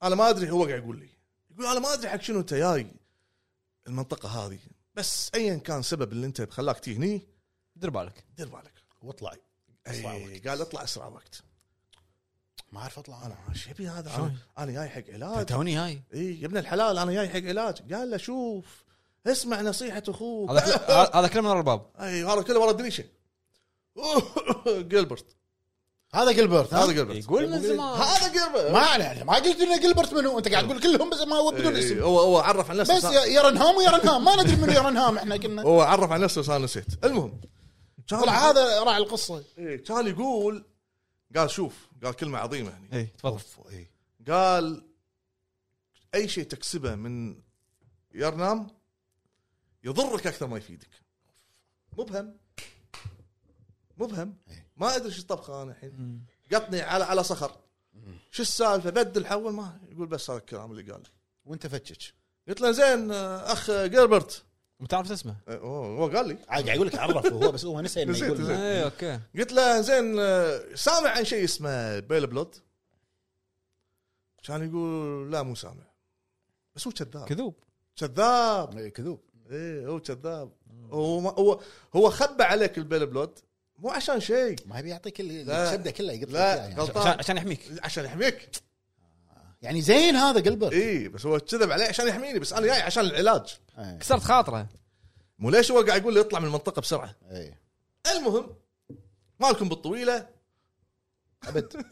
S3: انا ما ادري هو قاعد يقول لي يقول انا ما ادري حق شنو انت جاي المنطقه هذه بس ايا كان سبب اللي انت خلاك تي هني
S1: دير بالك
S3: دير بالك
S2: واطلع أسرع
S3: أي، قال اطلع اسرع وقت
S2: ما اعرف اطلع
S3: انا
S2: انا
S3: ايش يبي هذا
S1: شلون؟
S3: انا انا جاي حق علاج
S1: توني هاي
S3: اي يا ابن الحلال انا جاي حق علاج قال له شوف اسمع نصيحه اخوك
S1: هذا [LAUGHS] كل-
S3: [LAUGHS]
S1: هذا كله من ورا الباب
S3: اي هذا كله ورا [LAUGHS] الدريشه جيلبرت
S2: هذا جلبرت
S3: هذا
S2: هذا
S3: جيلبرت
S1: يقول من زمان
S3: هذا جيلبرت
S2: ما عليه ما قلت انه جلبرت منو انت قاعد تقول كلهم بس ما هو بدون
S3: إيه،
S2: اسم
S3: هو هو عرف عن نفسه
S2: إيه. بس
S3: بس
S2: يا- يرنهام ويرنهام ما ندري من يرنهام احنا [LAUGHS] كنا
S3: هو عرف عن نفسه بس انا نسيت المهم كان
S2: طلع هذا راعي القصه
S3: إيه، كان يقول قال شوف قال كلمه عظيمه هني
S1: اي تفضل
S2: أوف، إيه.
S3: قال اي شيء تكسبه من يرنام يضرك اكثر ما يفيدك مبهم مبهم
S2: إيه.
S3: ما ادري شو الطبخه انا الحين قطني على على صخر شو السالفه بدل حول ما يقول بس هذا الكلام اللي قال
S2: وانت فتشك
S3: قلت له زين آه، اخ جيربرت
S1: بتعرف اسمه
S3: آه، هو هو قال لي
S2: عاد قاعد يقول لك عرف هو بس هو نسى انه
S3: نسيت،
S2: يقول
S3: نسيت.
S2: لك.
S1: اي اوكي
S3: قلت له زين آه، سامع عن شيء اسمه بيل بلود كان يقول لا مو سامع بس هو كذاب
S1: كذوب
S3: كذاب
S2: إيه، كذوب
S3: ايه هو كذاب هو ما- هو هو خبى عليك البيل بلود مو عشان شيء
S2: ما يبي يعطيك ال-
S3: لا.
S2: الشبده كلها يقط لك
S3: لا،
S2: إياها يعني.
S3: غلط.
S1: عشان طيب. عشان يحميك
S3: عشان يحميك
S2: يعني زين هذا جلبرت
S3: ايه بس هو كذب عليه عشان يحميني بس انا جاي عشان العلاج
S2: إيه،
S1: كسرت خاطره
S3: مو ليش هو قاعد يقول لي اطلع من المنطقه بسرعه
S2: إيه.
S3: المهم مالكم بالطويله [LAUGHS]
S2: ابد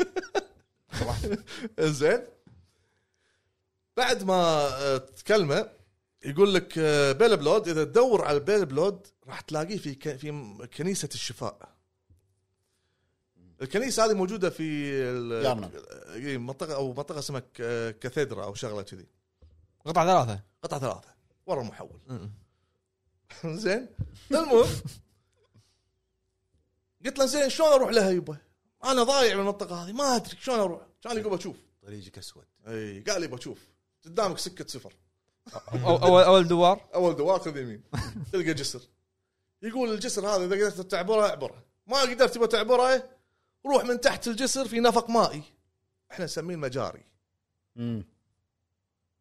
S3: زين بعد ما آه، تكلمه يقول لك آه، بيل بلود اذا تدور على بيل بلود راح تلاقيه في ك- في م- كنيسه الشفاء الكنيسه هذه موجوده في ال- إيه،
S2: يارنا.
S3: إي، منطقه او منطقه اسمها ك- كاثيدرا او شغله كذي
S1: قطعه ثلاثه
S3: قطعه ثلاثه ورا المحول
S1: أمم.
S3: زين المهم قلت له زين شلون اروح لها يبا؟ انا ضايع بالمنطقه هذه ما ادري شلون اروح؟ كان يقول بشوف
S2: طريقك اسود
S3: اي قال لي بشوف قدامك سكه صفر
S1: أو- اول اول دوار
S3: اول دوار خذ يمين تلقى جسر يقول الجسر هذا اذا قدرت تعبره اعبره ما قدرت تبغى تعبره روح من تحت الجسر في نفق مائي احنا نسميه المجاري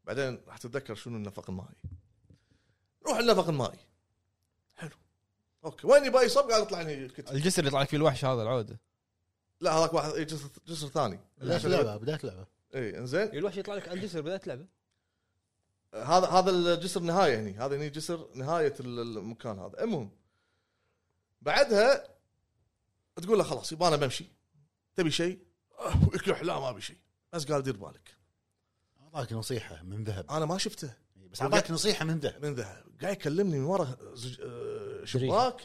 S3: بعدين راح تتذكر شنو النفق المائي روح النفق المائي حلو اوكي وين يبغى يصب قال اطلع لي الكتف
S1: الجسر اللي يطلع لك فيه الوحش هذا العود
S3: لا هذاك واحد إي، جسر, جسر ثاني إيه،
S2: بدايه لعبه بدايه لعبه
S3: اي انزين
S1: الوحش يطلع لك على الجسر بدات لعبه
S3: هذا هذا الجسر نهايه هني هذا هني جسر نهايه ال- المكان هذا المهم بعدها تقول له خلاص يبا انا بمشي تبي شيء أه، يكح لا ما ابي شيء بس قال دير بالك
S2: اعطاك نصيحه من ذهب
S3: انا ما شفته
S2: إيه، بس اعطاك نصيحه من ذهب
S3: من ذهب قاعد يكلمني من ورا زج... آه، شباك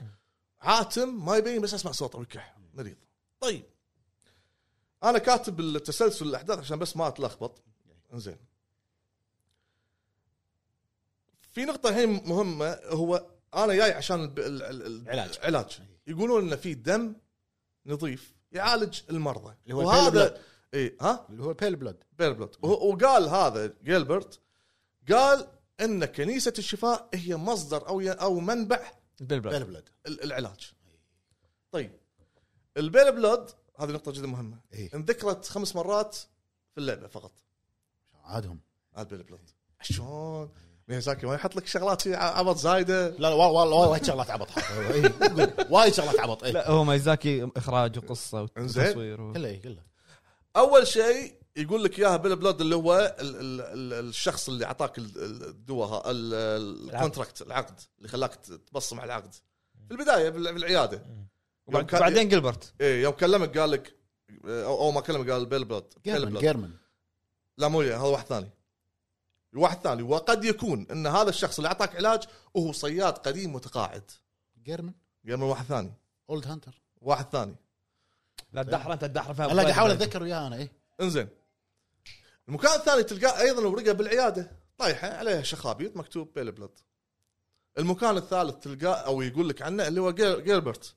S3: عاتم ما يبين بس اسمع صوته ويكح مريض طيب انا كاتب التسلسل الاحداث عشان بس ما اتلخبط انزين في نقطة الحين مهمة هو انا جاي عشان الب- ال- ال- ال-
S2: علاج.
S3: علاج يقولون ان في دم نظيف يعالج المرضى
S2: اللي هو
S3: وهذا اي ها
S2: اللي هو بيل بلود
S3: بير بلوت وه- وقال هذا جيلبرت قال ان كنيسه الشفاء هي مصدر او او منبع
S1: البلبل
S2: بيل بلود
S3: ال- العلاج. طيب البيل بلود هذه نقطه جدا مهمه
S2: إيه.
S3: انذكرت خمس مرات في اللعبه فقط
S2: عادهم
S3: هذا البيل بلود شلون ميازاكي ما يحط لك شغلات شي ع- عبط زايده
S2: لا لا والله والله وايد شغلات [LAUGHS] عبط حاطة. إيه، قول. وايد شغلات عبط إيه. اي
S1: لا هو مايزاكي اخراج وقصه
S3: إنزين.
S1: وتصوير و-
S2: كله إيه، كله
S3: اول شيء يقول لك اياها بيل بلود اللي هو ال ال ال الشخص اللي اعطاك ال- ال- الدواء ال- ال-
S4: العقد.
S3: الكونتراكت العقد اللي خلاك تبصم على العقد في البدايه بال- في العياده يوم
S1: وبعد-
S3: كان-
S1: بعدين جلبرت
S3: ايه يوم كلمك قال لك او أو ما كلمك قال بيل بلود بيل
S2: جيرمن
S3: بلود
S2: جيرمن
S3: لا مو هذا واحد ثاني واحد ثاني وقد يكون ان هذا الشخص اللي اعطاك علاج وهو صياد قديم متقاعد
S2: جيرمن
S3: قبل واحد ثاني
S2: اولد هانتر
S3: واحد ثاني
S1: لا تدحر انت تدحر فيها
S2: لا قاعد احاول اتذكر وياه إيه. انا اي
S3: انزين المكان الثاني تلقاه ايضا ورقه بالعياده طايحه عليها شخابيط مكتوب بيل بلود المكان الثالث تلقاه او يقول لك عنه اللي هو جيل- جيلبرت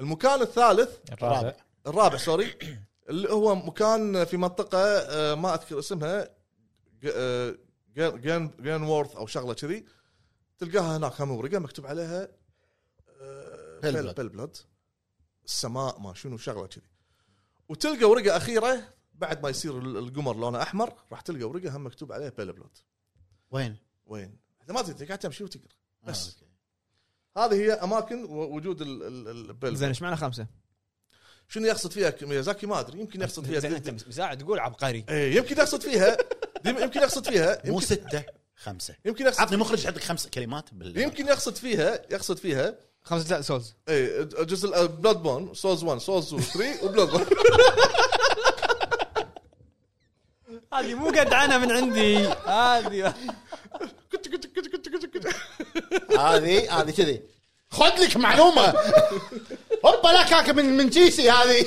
S3: المكان الثالث
S4: الرابع
S3: الرابع سوري اللي هو مكان في منطقه آه، ما اذكر اسمها ج- آه، جين- جين جينورث او شغله كذي تلقاها هناك هم ورقه مكتوب عليها آه،
S2: بيل
S3: بيل
S2: بلاد.
S3: بيل بلاد السماء ما شنو شغله كذي وتلقى ورقه اخيره بعد ما يصير ال- القمر لونه احمر راح تلقى ورقه هم مكتوب عليها بيل بلاد
S2: وين؟
S3: وين؟ إذا ما تدري قاعد تمشي وتقرا بس.
S2: آه، أوكي.
S3: هذه هي اماكن و- وجود ال- ال- البيل
S1: زين
S3: بلاد.
S1: ايش معنى خمسه؟
S3: شنو يقصد فيها ميازاكي ما ادري يمكن يقصد فيها
S1: [LAUGHS] زين انت مساعد تقول عبقري
S3: ايه يمكن يقصد فيها ديم- يمكن يقصد فيها
S2: مو
S3: يمكن,
S2: سته خمسه
S3: يمكن يقصد
S2: عطني مخرج يحط لك خمس كلمات بال
S3: يمكن يقصد فيها يقصد فيها
S1: خمسه اجزاء سولز
S3: ايه جزء بلاد بون سولز 1 سولز 2 3 وبلاد بون
S1: هذه مو قد انا من عندي هذه
S3: كت- كت- كت- كت- كت- كت.
S2: هذه هذه كذي خذ لك معلومه [LAUGHS] هوبا لا كاك من من جيسي هذه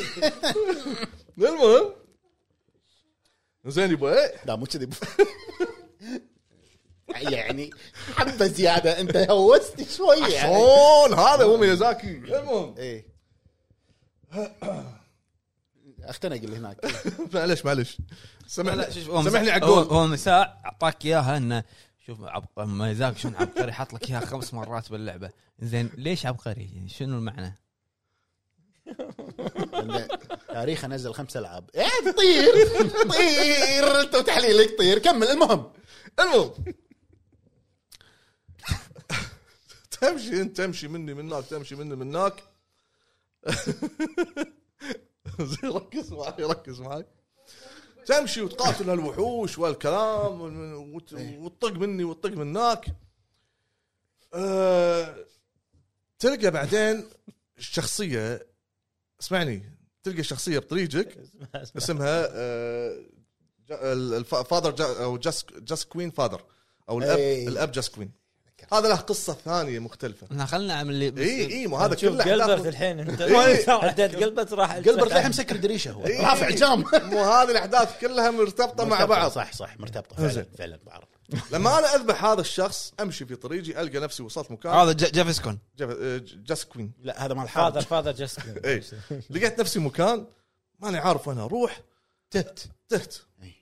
S3: [LAUGHS] المهم زين يبا إيه،
S2: لا مو كذي [LAUGHS] يعني حبه زياده انت هوستي شويه يعني
S3: شلون هذا هو ميازاكي
S2: [COUGHS]
S3: المهم
S2: ايه اختنق اللي هناك
S3: معلش معلش سامحني
S1: لا شوف هو
S3: سامحني
S1: مساع-
S3: عقول.
S1: هو- هو مساع اعطاك اياها انه شوف عبق... ميزاك شلون عبقري حط لك اياها خمس مرات باللعبه زين ليش عبقري؟ يعني شنو المعنى؟
S2: لأن تاريخه نزل خمس العاب إيه، طير [LAUGHS] طير انت وتحليلك طير كمل المهم
S3: المهم تمشي انت تمشي مني من هناك تمشي مني من هناك زين ركز معي ركز معي تمشي وتقاتل هالوحوش والكلام وال- وت- وتطق مني وتطق من هناك أه، تلقى بعدين الشخصيه اسمعني تلقى شخصيه بطريقك اسمها أه، الفاذر او جاست جاست كوين فاذر او الاب
S2: أي.
S3: الاب جاست كوين هذا له قصه ثانيه مختلفه
S6: احنا خلنا عن اللي
S3: اي اي مو هذا
S4: شوف
S3: كله
S4: قلبرت
S3: احداث
S4: الحين انت
S3: إيه.
S4: حدد قلبرت راح
S2: قلبرت للحين مسكر دريشه هو
S3: إيه.
S2: رافع [LAUGHS] جام
S3: مو هذه الاحداث كلها مرتبطه مع بعض
S2: صح صح مرتبطه فعلا فعلا بعرف
S3: لما انا اذبح هذا الشخص امشي في طريقي القى نفسي وصلت مكان
S6: هذا جا- جافيسكون
S3: جاست كوين
S2: لا هذا مال
S4: فاذر
S2: حاضر
S4: فاذر جاستن
S3: اي لقيت نفسي مكان ماني عارف وين اروح تهت تهت
S2: إي.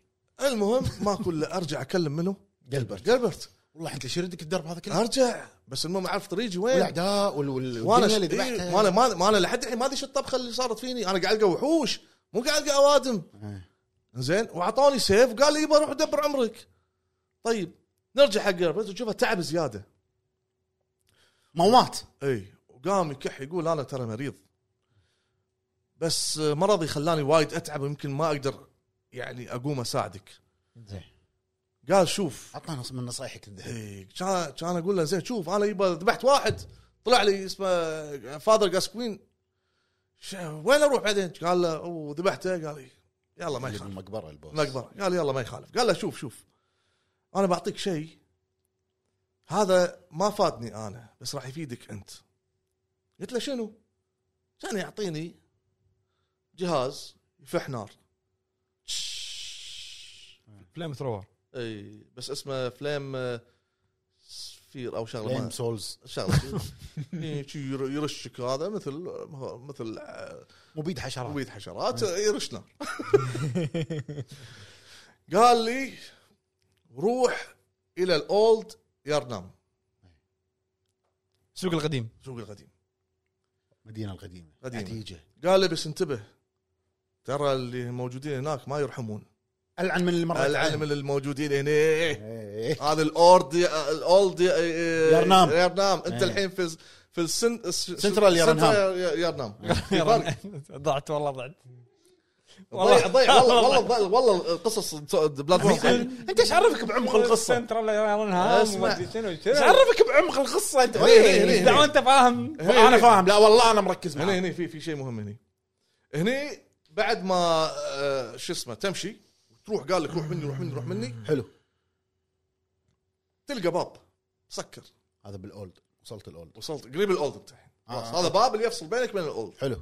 S3: المهم ما الا ارجع اكلم منه
S2: قلبرت
S3: جلبرت
S2: والله انت شردك الدرب هذا كله
S3: ارجع بس المهم اعرف طريقي وين
S2: والاعداء وال- وال-
S3: وانا
S2: والدنيا اللي
S3: إي،
S2: ذبحتها
S3: وانا إيه، ما ما انا لحد الحين ما ادري شو الطبخه اللي صارت فيني انا قاعد القى وحوش مو قاعد القى اوادم
S2: إيه.
S3: زين واعطوني سيف قال لي يبا روح دبر عمرك طيب نرجع حق جلبرت وشوفه تعب زياده
S2: موات
S3: اي إيه. وقام يكح يقول انا ترى مريض بس مرضي خلاني وايد اتعب ويمكن ما اقدر يعني اقوم اساعدك
S2: زين.
S3: قال شوف
S2: عطنا نص من نصايحك الذهب
S3: إي، إيه، كان كان اقول له زين شوف انا يبا ذبحت واحد طلع لي اسمه فاذر جاسكوين ش- وين اروح بعدين؟ قال له "أوه، ذبحته قال لي يلا ما
S2: اللي
S3: يخالف
S2: بالمقبره البوس
S3: مقبره قال يلا ما يخالف قال له شوف شوف انا بعطيك شيء هذا ما فادني انا بس راح يفيدك انت قلت له شنو؟ كان يعطيني جهاز يفح نار
S1: فليم ثرور
S3: اي بس اسمه فليم آه، سفير او شغله ما
S2: لين سولز
S3: شغله إي، إيه، شي ير- يرشك هذا مثل مثل آه،
S2: مبيد حشرات آه.
S3: ويد حشرات يرش
S2: [LAUGHS]
S3: نار قال لي روح الى الاولد يرنام
S6: السوق القديم
S3: سوق القديم
S2: المدينه القديمه
S3: قديمة.
S2: عتيجه
S3: قال لي بس انتبه ترى اللي موجودين هناك ما يرحمون
S2: العن من المره
S3: العلم اللي الموجودين هنا
S2: إيه.
S3: هذا الاورد الاولد
S2: يرنام.
S3: يرنام إيه،
S2: إيه.
S3: انت الحين في في السن
S2: سنترال يرنام.
S3: سنترال
S2: [LAUGHS]
S3: يرنام
S1: [LAUGHS]
S3: في فرق.
S1: [LAUGHS] ضعت والله ضعت
S3: ضيع ضيع [LAUGHS] والله والله ضيع- والله القصص بلاتفورم
S2: انت ايش عرفك
S3: [LAUGHS]
S2: بعمق القصه؟
S1: سنترال يرنها
S3: اسمع.
S1: وما أدري شنو
S2: ايش
S1: شنو
S2: عرفك بعمق القصه انت؟
S3: إيه، إيه، إيه.
S1: دعوة انت فاهم
S2: انا فاهم لا والله انا مركز
S3: هنا
S2: معك
S3: هنا في في شيء مهم هنا هنا بعد ما آه، شو اسمه تمشي تروح قال لك روح مني روح مني روح مني
S2: حلو
S3: تلقى باب مسكر
S2: هذا بالاولد وصلت الاولد
S3: وصلت قريب الاولد انت الحين خلاص
S2: آه.
S3: هذا باب اللي يفصل بينك وبين الاولد
S2: حلو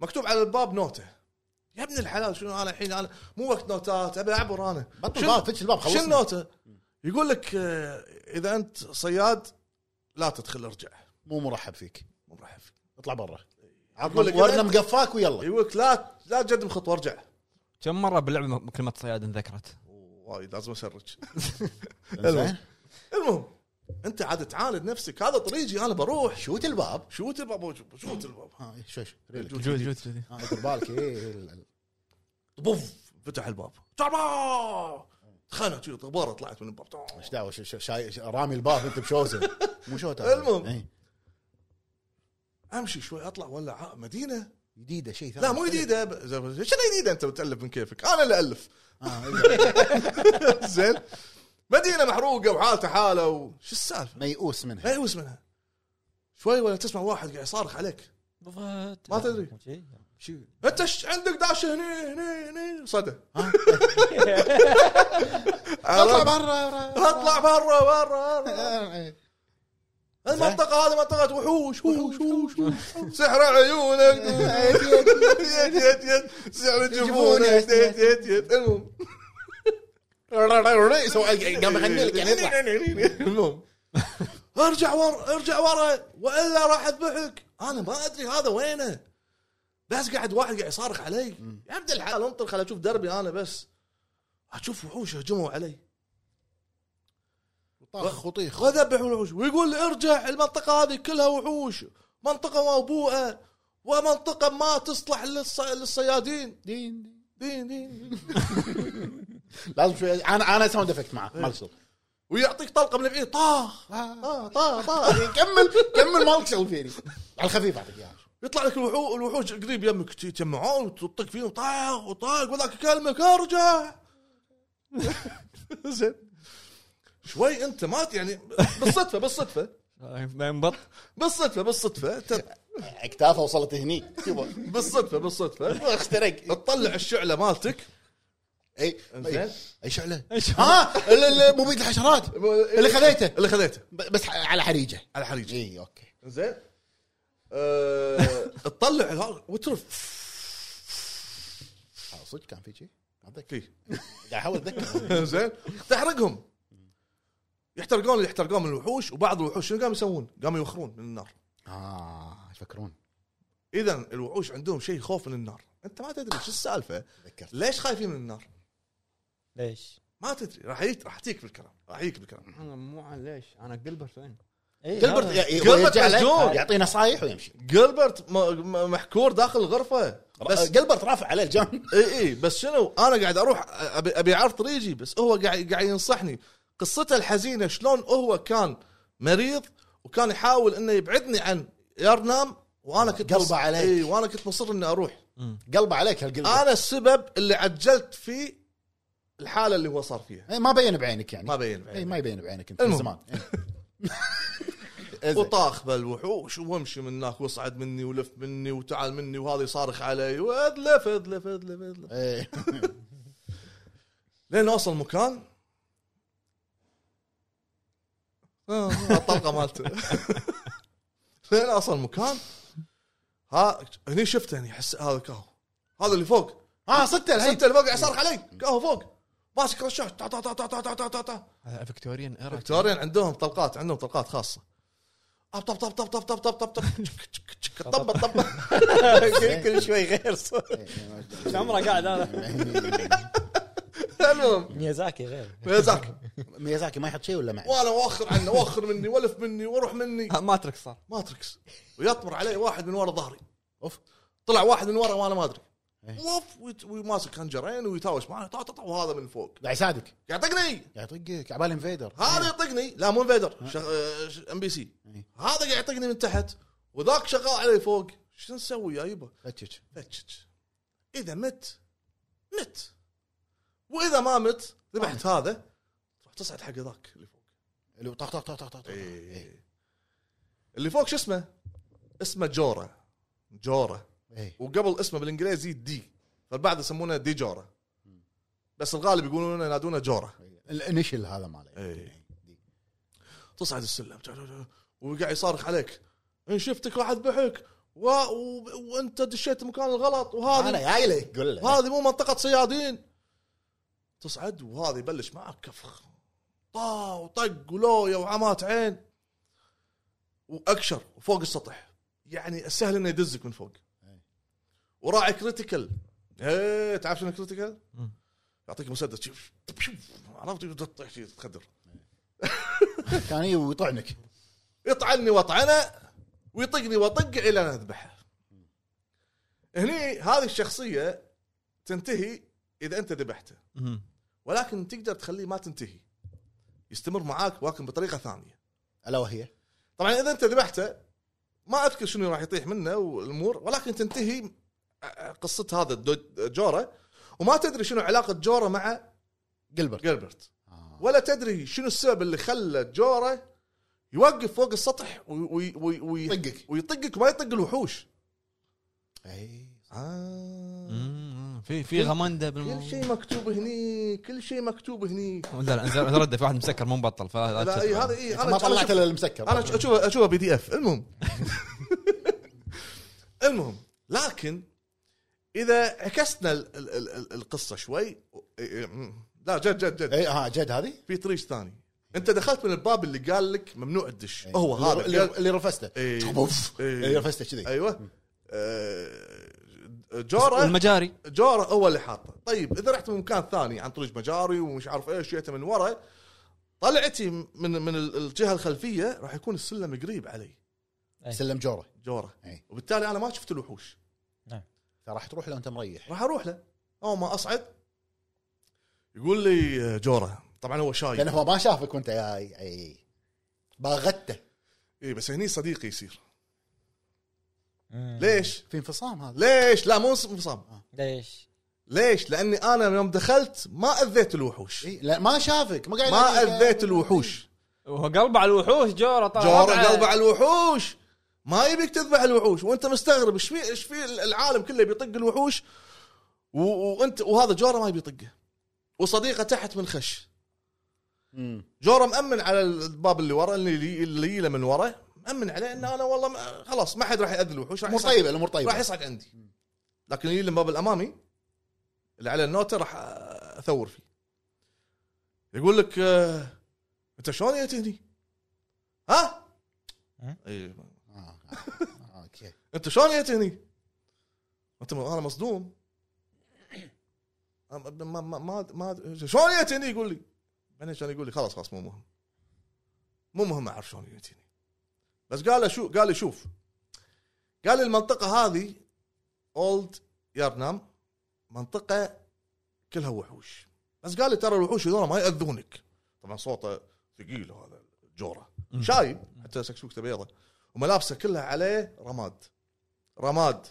S3: مكتوب على الباب نوته يا ابن الحلال شنو انا الحين انا مو وقت نوتات ابي اعبر انا
S2: بطل
S3: شنو-
S2: باب فتش الباب
S3: شنو
S2: خلصنا
S3: النوته؟ يقول لك آه، اذا انت صياد لا تدخل ارجع
S2: مو مرحب فيك
S3: مو مرحب فيك
S2: اطلع برا
S3: يقول لك
S2: عطنا ورنا
S3: أنت-
S2: مقفاك ويلا
S3: يقول لك لا لا تقدم خطوه ارجع
S6: كم مره باللعبه كلمه صياد انذكرت
S3: وايد لازم اسرج
S2: زين.
S3: [LAUGHS] المهم انت عاد تعاند نفسك هذا طريقي انا بروح
S2: شوت الباب
S3: شوت الباب وجب- شوت الباب
S2: ها إيه، شو شو ريلك.
S3: جوت
S6: جود
S3: جديد.
S6: جود
S2: ها، يدور بالك إيه، ال- ال-
S3: بوف فتح الباب تعبا خانه شي طباره طلعت من الباب
S2: ايش دعوه شو- شو- شاي شو- رامي الباب انت بشوزه مو شوته
S3: المهم.
S2: إيه.
S3: امشي شوي اطلع ولا ع- مدينه
S2: جديده شيء ثاني
S3: لا مو جديده ب- زين، شنو جديده انت بتالف من كيفك انا اللي الف
S2: آه، إيه.
S3: [LAUGHS] زين مدينه محروقه وحالته حاله وش السالفه؟
S2: ميؤوس
S3: [LAUGHS]
S2: منها
S3: ايوس منها شوي ولا تسمع واحد قاعد يصارخ عليك ما تدري انت ايش عندك داش هني هني هني صدى [LAUGHS]
S2: اطلع
S3: اطلع
S2: برا
S3: اطلع برا برا برا المنطقة هذه منطقة وحوش إيه؟ وحوش وحوش وحوش. سحر [LAUGHS] عيونك يد يد يد سحر جفونك يد يد يد يد المهم
S2: قام يغني لك يعني اطلع
S3: المهم ارجع ورا ارجع ورا والا راح اذبحك انا ما ادري هذا وينه بس قاعد واحد قاعد يصارخ علي يا عبد الحلال انطر خل اشوف دربي انا بس اشوف وحوش هجموا علي
S2: طخ وطيخ
S3: وذبح الوحوش ويقول لي ارجع المنطقه هذه كلها وحوش منطقه موبوءه ومنطقه ما تصلح للص... للصيادين
S2: دين دين.
S3: دين دين
S2: لازم شوي انا انا ساوند افكت معه مال شغل
S3: ويعطيك طلقه من بعيد طاخ
S2: طا طا طا [LAUGHS] كمل كمل مالك شغل فيني على الخفيف اعطيك اياها
S3: يطلع لك الوحو... الوحوش قريب يمك يتجمعون وتطق فيهم طاخ وطاق وذاك يكلمك ارجع [LAUGHS] زين شوي انت مات يعني بالصدفه بالصدفه
S1: ينبط
S3: بالصدفه بالصدفه ت-
S2: اكتافه وصلت هني
S3: بالصدفه
S2: [LAUGHS]
S3: بالصدفه
S2: اخترق
S3: تطلع الشعله مالتك
S2: اي
S3: زين
S2: اي شعله ها آه، ال- ال- مبيد الحشرات اللي خذيته
S3: اللي خذيته
S2: ب- بس على إيه، حريجه
S3: على حريج
S2: اي اوكي
S3: زين أه، [LAUGHS] تطلع الهار وترف
S2: آه، صدق كان في شيء ما اتذكر
S3: فيه
S2: قاعد احاول [LAUGHS] اتذكر
S3: إيه. [LAUGHS] زين تحرقهم يحترقون اللي يحترقون من الوحوش وبعض الوحوش شنو قاموا يسوون؟ قاموا يوخرون من النار
S2: اه يفكرون
S3: اذا الوحوش عندهم شيء خوف من النار انت ما تدري شو السالفه
S2: تذكرت
S3: ليش خايفين من النار؟
S4: ليش؟
S3: ما تدري راح يجيك راح تجيك بالكلام راح يجيك بالكلام
S6: انا مو عن ليش انا جلبرت وين؟
S4: إيه،
S2: جلبرت
S4: هذا.
S2: ي-
S3: جلبرت
S2: يرجع له،
S3: مسجون.
S2: يعطيه نصايح ويمشي
S3: جلبرت م- م- محكور داخل الغرفه
S2: بس
S3: بس
S2: جلبرت آه، رافع عليه الجان
S3: اي اي بس شنو انا قاعد اروح ابي ابي اعرف طريقي بس هو قاعد قاعد ينصحني قصته الحزينه شلون هو كان مريض وكان يحاول انه يبعدني عن يرنام وانا كنت
S2: قلبه عليك.
S3: اي وانا كنت مصر اني اروح
S2: قلبه عليك هالقلبه
S3: انا السبب اللي عجلت فيه الحاله اللي هو صار فيها
S2: إي، ما بين بعينك يعني
S3: ما بين
S2: اي ما يبين بعينك انت من
S3: المهم.
S2: زمان إي. زين.
S3: وطاخ بالوحوش وامشي من هناك واصعد مني ولف مني وتعال مني وهذا يصارخ علي وادلف ادلف ادلف
S2: [LAUGHS]
S3: ادلف
S2: إي.
S3: لين اوصل مكان آه، الطلقه مالته [LAUGHS] لين اوصل مكان ها هني شفته هني حس هذا كاهو هذا اللي فوق
S2: اه صدته الحين
S3: انت اللي فوق قاعد يصارخ علي كاهو إيه. فوق ماسك رشاش تا تا تا تا تا تا تا تا, تا.
S6: هذا آه، فيكتوريان ايرا
S3: فيكتوريان عندهم طلقات عندهم طلقات خاصه طب طب طب طب طب طب طب طب طب طب طب طب كل شوي غير
S4: [LAUGHS]
S3: صوت
S1: ايش عمره قاعد انا
S3: [LAUGHS] المهم
S4: ميازاكي غير
S3: فيزاك
S2: ميازاكي ما يحط شيء ولا معي
S3: وانا واخر عنه واخر مني والف مني واروح مني
S6: ماتريك صار
S3: آه، ماتريكس ويطمر علي واحد من ورا ظهري اوف طلع واحد من ورا وانا ما ادري اوف ويت- وماسك خنجرين ويتاوش معي طا طا طا وهذا من فوق
S2: قاعد يساعدك
S3: يعطيني
S2: قاعد يطقك عبالي انفيدر
S3: هذا يطقني لا مو آه، انفيدر ام بي سي
S2: إيه.
S3: هذا قاعد يطقني من تحت وذاك شغال علي فوق شو نسوي يا يبا
S2: فتشك
S3: فتشك اذا مت مت واذا ما مت ذبحت هذا راح تصعد حق ذاك اللي فوق
S2: اللي هو طق طق طق طق طق
S3: إيه.
S2: اي
S3: اللي فوق شو اسمه؟ اسمه جورا جورا
S2: إيه.
S3: وقبل اسمه بالانجليزي دي فالبعض يسمونه دي جورا بس الغالب يقولون ينادونه جورا
S2: الانيشل إيه. هذا ماله
S3: إي. تصعد السلم وقاعد يصارخ عليك ان شفتك راح اذبحك و... و... وانت دشيت المكان الغلط وهذه
S2: انا جاي لك قول له
S3: هذه مو منطقة صيادين تصعد وهذا يبلش معك كفخ طا وطق ولويا وعمات عين واكشر وفوق السطح يعني السهل انه يدزك من فوق وراعي كريتيكال ايه تعرف شنو كريتيكال؟
S6: مم.
S3: يعطيك مسدس شوف شوف، عرفت تطيح شي، تخدر
S2: كان يجي ويطعنك
S3: يطعني واطعنه ويطقني واطقه الى ان اذبحه. هني هذه الشخصيه تنتهي اذا انت ذبحته ولكن تقدر تخليه ما تنتهي يستمر معاك ولكن بطريقه ثانيه.
S2: الا وهي
S3: طبعا اذا انت ذبحته ما اذكر شنو راح يطيح منه والامور ولكن تنتهي قصه هذا الدو- جوره وما تدري شنو علاقه جوره مع
S2: قلبر
S3: جلبرت.
S2: آه.
S3: ولا تدري شنو السبب اللي خلى جوره يوقف فوق السطح وي- وي- وي- وي-
S2: طقك.
S3: ويطقك ما يطق الوحوش آه.
S2: اي
S6: في في غمنده
S3: كل
S6: بالموضوع
S3: شيء مكتوب هني كل شيء مكتوب هني
S6: لا انزين رده في واحد مسكر مو مبطل فلا
S3: لا اي هذا
S6: لا
S3: اي
S2: ما
S3: انا أنا
S2: طلعت
S3: أشوف-
S2: الا المسكر
S3: انا اشوف اشوفها بي دي اف المهم [LAUGHS] المهم لكن اذا عكسنا ال- ال- ال- ال- القصه شوي إيه، لا جد جد جد
S2: اي ها إيه، آه، جد هذه
S3: في طريق ثاني انت دخلت من الباب اللي قال لك ممنوع تدش هو هذا
S2: إيه.
S3: إيه.
S2: اللي,
S3: قال-
S2: اللي إيه، رفسته
S3: إي.
S2: اوف
S3: إي.
S2: اللي رفسته كذي
S3: ايوه آه، جوره
S6: المجاري
S3: جوره هو اللي حاطه طيب اذا رحت من مكان ثاني عن طريق مجاري ومش عارف ايش جيت من ورا طلعتي من من ال- الجهه الخلفيه راح يكون السلم قريب علي
S2: سلم جوره
S3: جوره
S2: إي.
S3: وبالتالي انا ما شفت الوحوش
S2: فراح تروح لو انت مريح
S3: راح اروح له اول ما اصعد يقول لي آه، جوره طبعا هو شايب
S2: لانه هو ما شافك وانت جاي اي باغته
S3: اي بس هني صديقي يصير
S4: مم.
S3: ليش؟
S2: في انفصام هذا
S3: ليش؟ لا مو انفصام
S4: آه. ليش؟
S3: ليش؟ لاني انا يوم دخلت ما اذيت الوحوش
S2: اي إيه، لا ما شافك ما قاعد
S3: ما اذيت الوحوش
S1: وهو قلبه على الوحوش جوره طلع
S3: جاره قلبه على الوحوش ما يبيك تذبح الوحوش وانت مستغرب ايش في ايش في العالم كله بيطق الوحوش و... وانت وهذا جاره ما يبي يطقه وصديقه تحت منخش
S2: مم.
S3: جورا مأمن على الباب اللي ورا اللي اللي, اللي يله من ورا مأمن عليه ان انا والله ما خلاص ما حد راح ياذي الوحوش راح
S2: امور
S3: يصعد,
S2: طيبه الامور
S3: راح
S2: طيبه
S3: يصعد عندي لكن اللي يله من الباب الامامي اللي على النوته راح اثور فيه يقول لك آه، انت شلون جيت هني؟ ها؟
S4: ها؟
S3: إيه،
S2: آه، آه، [LAUGHS] اوكي
S3: انت شلون جيت هني؟ انت م- انا مصدوم أم- ما ما ما, ما شلون جيت هني يقول لي بعدين كان يقول لي خلاص خلاص مو مهم مو مهم اعرف شلون جيت هني بس قال له شو قال لي شوف قال لي المنطقه هذه اولد يارنام منطقه كلها وحوش بس قال لي ترى الوحوش هذول ما ياذونك طبعا صوته ثقيل هذا جوره شايب حتى سكسوكته بيضه وملابسه كلها عليه رماد رماد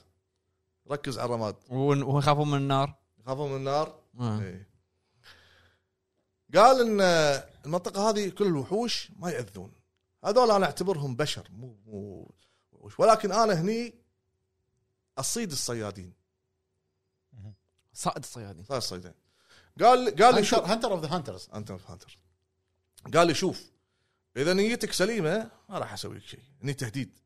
S3: ركز على الرماد
S6: ون- ويخافون من النار
S3: يخافون من النار
S6: آه.
S3: إيه. قال ان المنطقه هذه كل الوحوش ما ياذون هذول انا اعتبرهم بشر مو مو وحوش ولكن انا هني اصيد الصيادين
S6: صائد الصيادين
S3: صار الصيدين قال قال لي شوف
S2: هانتر هانتر اوف ذا هانترز
S3: انت هانتر قال لي شوف اذا نيتك سليمه ما راح اسوي لك شيء اني تهديد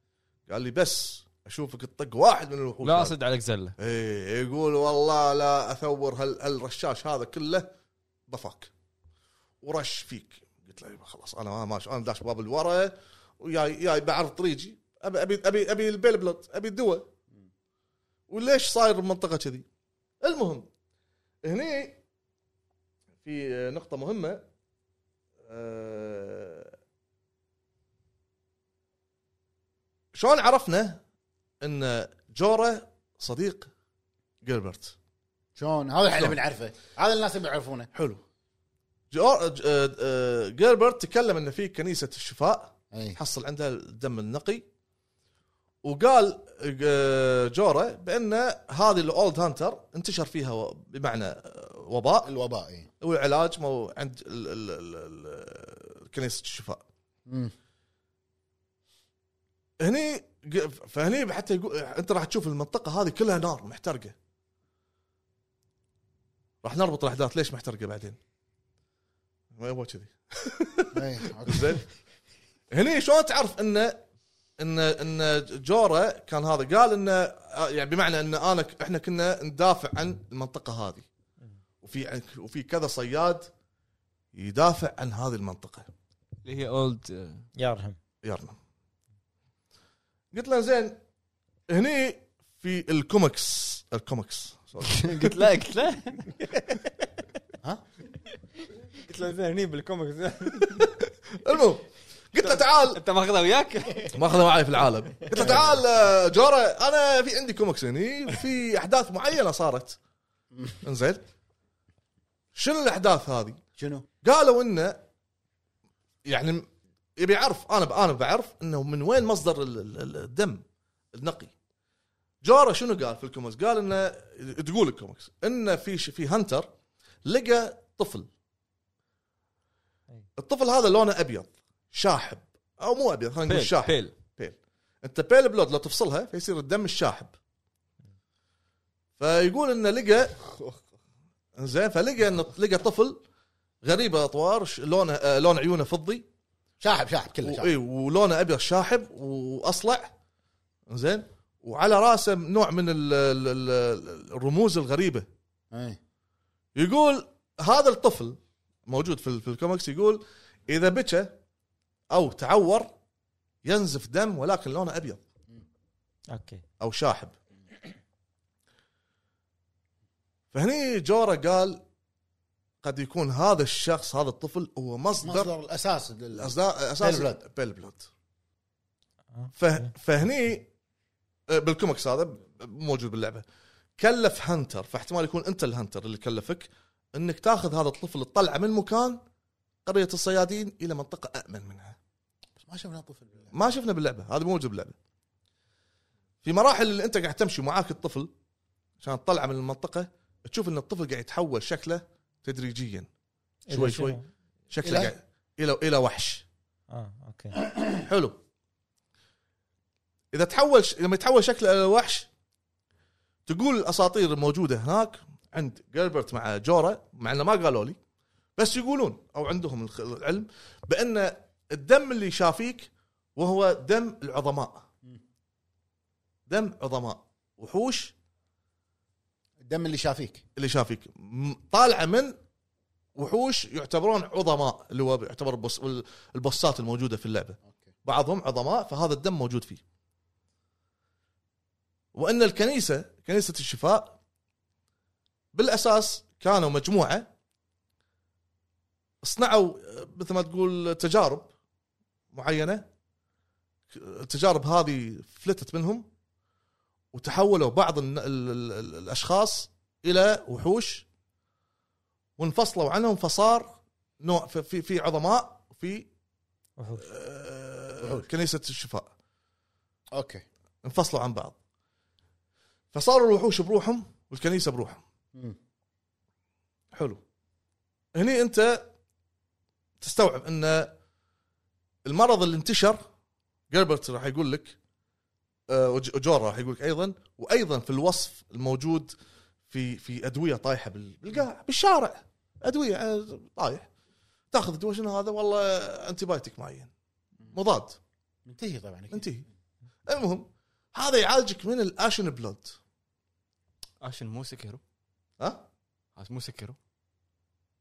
S3: قال لي بس اشوفك تطق واحد من الوحوش
S6: لا
S3: هذه.
S6: اصد عليك زله
S3: ايه يقول والله لا اثور هال هالرشاش هذا كله ضفاك ورش فيك قلت له يبا خلاص انا ما ماشي انا داش باب الورا وياي جاي بعرض طريقي ابي ابي ابي ابي البيل بلد ابي الدواء وليش صاير المنطقه كذي؟ المهم هني في نقطه مهمه أه شلون عرفنا ان جوره صديق جيلبرت
S2: شلون هذا احنا
S3: شلون؟
S2: بنعرفه هذا الناس اللي بيعرفونه
S3: حلو جو- ج- آه، آه، جيلبرت تكلم ان في كنيسه الشفاء
S2: اي
S3: حصل عندها الدم النقي وقال آه، جوره بان هذه الاولد هانتر انتشر فيها و- بمعنى آه، وباء
S2: الوباء إيه. اي
S3: والعلاج مو عند ال- ال- ال- ال- كنيسه الشفاء
S2: [LAUGHS] مم.
S3: هني فهني حتى يقول انت راح تشوف المنطقه هذه كلها نار محترقه راح نربط الاحداث ليش محترقه بعدين ما يبغى كذي
S2: إي، إيه، أوكي.
S3: زين هني شلون تعرف ان ان ان جوره كان هذا قال انه آه، يعني بمعنى ان انا ك- احنا كنا ندافع عن المنطقه هذه وفي وفي كذا صياد يدافع عن هذه المنطقه
S6: اللي هي اولد
S4: آه. يرحم
S3: يرنا قلت له زين هني في الكوميكس الكوميكس سوري.
S6: قلت لا قلت لا [LAUGHS]
S1: قلت له زين هني بالكوميكس
S3: المهم قلت له تعال
S1: انت ماخذها وياك
S3: ماخذه معي في العالم [LAUGHS] قلت له تعال آه، جوره انا في عندي كوميكس هني في احداث معينه صارت انزين شنو الاحداث هذه؟
S2: شنو؟
S3: قالوا انه يعني يبي يعرف انا انا بعرف انه من وين مصدر ال- ال- ال- الدم النقي جاره شنو قال في الكوميكس؟ قال انه تقول الكوميكس انه في ش- في هنتر لقى طفل الطفل هذا لونه ابيض شاحب او مو ابيض خلينا نقول شاحب
S1: بيل
S3: انت بيل بلود لو تفصلها فيصير الدم الشاحب فيقول انه لقى زين فلقى انه لقى طفل غريب الاطوار ش- لونه آه، لون عيونه فضي
S2: شاحب شاحب كله
S3: و- اي
S2: شاحب
S3: ولونه ابيض شاحب واصلع زين وعلى راسه نوع من ال- ال- ال- الرموز الغريبه
S2: اي
S3: يقول هذا الطفل موجود في ال- في الكوميكس يقول اذا بكى او تعور ينزف دم ولكن لونه ابيض
S4: اوكي
S3: او شاحب فهني جورا قال قد يكون هذا الشخص هذا الطفل هو مصدر
S2: مصدر الاساس لل-
S3: أصدار- اساس
S2: بيل بلود.
S3: بيل بلود
S4: آه.
S3: فه- فهني آه، بالكوميكس هذا موجود باللعبه كلف هنتر فاحتمال يكون انت الهنتر اللي كلفك انك تاخذ هذا الطفل تطلعه من مكان قريه الصيادين الى منطقه امن منها
S2: بس ما شفنا طفل بالله.
S3: ما شفنا باللعبه هذا موجود باللعبه في مراحل اللي انت قاعد تمشي معاك الطفل عشان تطلعه من المنطقه تشوف ان الطفل قاعد يتحول شكله تدريجيا [LAUGHS] شوي
S4: إذا شنو؟
S3: شوي شكله
S2: إلى؟
S3: قاعد الى الى وحش
S4: اه اوكي
S3: حلو اذا تحول ش... لما يتحول شكله الى وحش تقول الاساطير الموجوده هناك عند جيلبرت مع جورا مع انه ما قالوا لي بس يقولون او عندهم الخ- العلم بان الدم اللي شافيك وهو دم العظماء دم عظماء وحوش
S2: الدم اللي شافيك
S3: اللي شافيك م- طالعه من وحوش يعتبرون عظماء اللي هو يعتبر البص- البصات الموجوده في اللعبه
S2: أوكي.
S3: بعضهم عظماء فهذا الدم موجود فيه وان الكنيسه كنيسه الشفاء بالاساس كانوا مجموعه صنعوا آه، مثل ما تقول تجارب معينه التجارب هذه فلتت منهم وتحولوا بعض الن- ال- ال- ال- الاشخاص الى وحوش وانفصلوا عنهم فصار نوع ف- في في عظماء وفي
S4: وحوش.
S3: آه، كنيسه الشفاء
S2: اوكي
S3: انفصلوا عن بعض فصاروا الوحوش بروحهم والكنيسه بروحهم
S2: مم.
S3: حلو هني انت تستوعب ان المرض اللي انتشر جيربرت راح يقول لك آه، وج- وجورا راح يقول لك ايضا وايضا في الوصف الموجود في في ادويه طايحه بال- بالقاع بالشارع ادويه آه، طايح تاخذ دواء شنو هذا والله انتي بايتك معين مضاد
S2: منتهي طبعا أكيد.
S3: انتهي المهم هذا يعالجك من الاشن بلود
S6: اشن مو سكرو
S3: ها
S6: هذا مو سكرو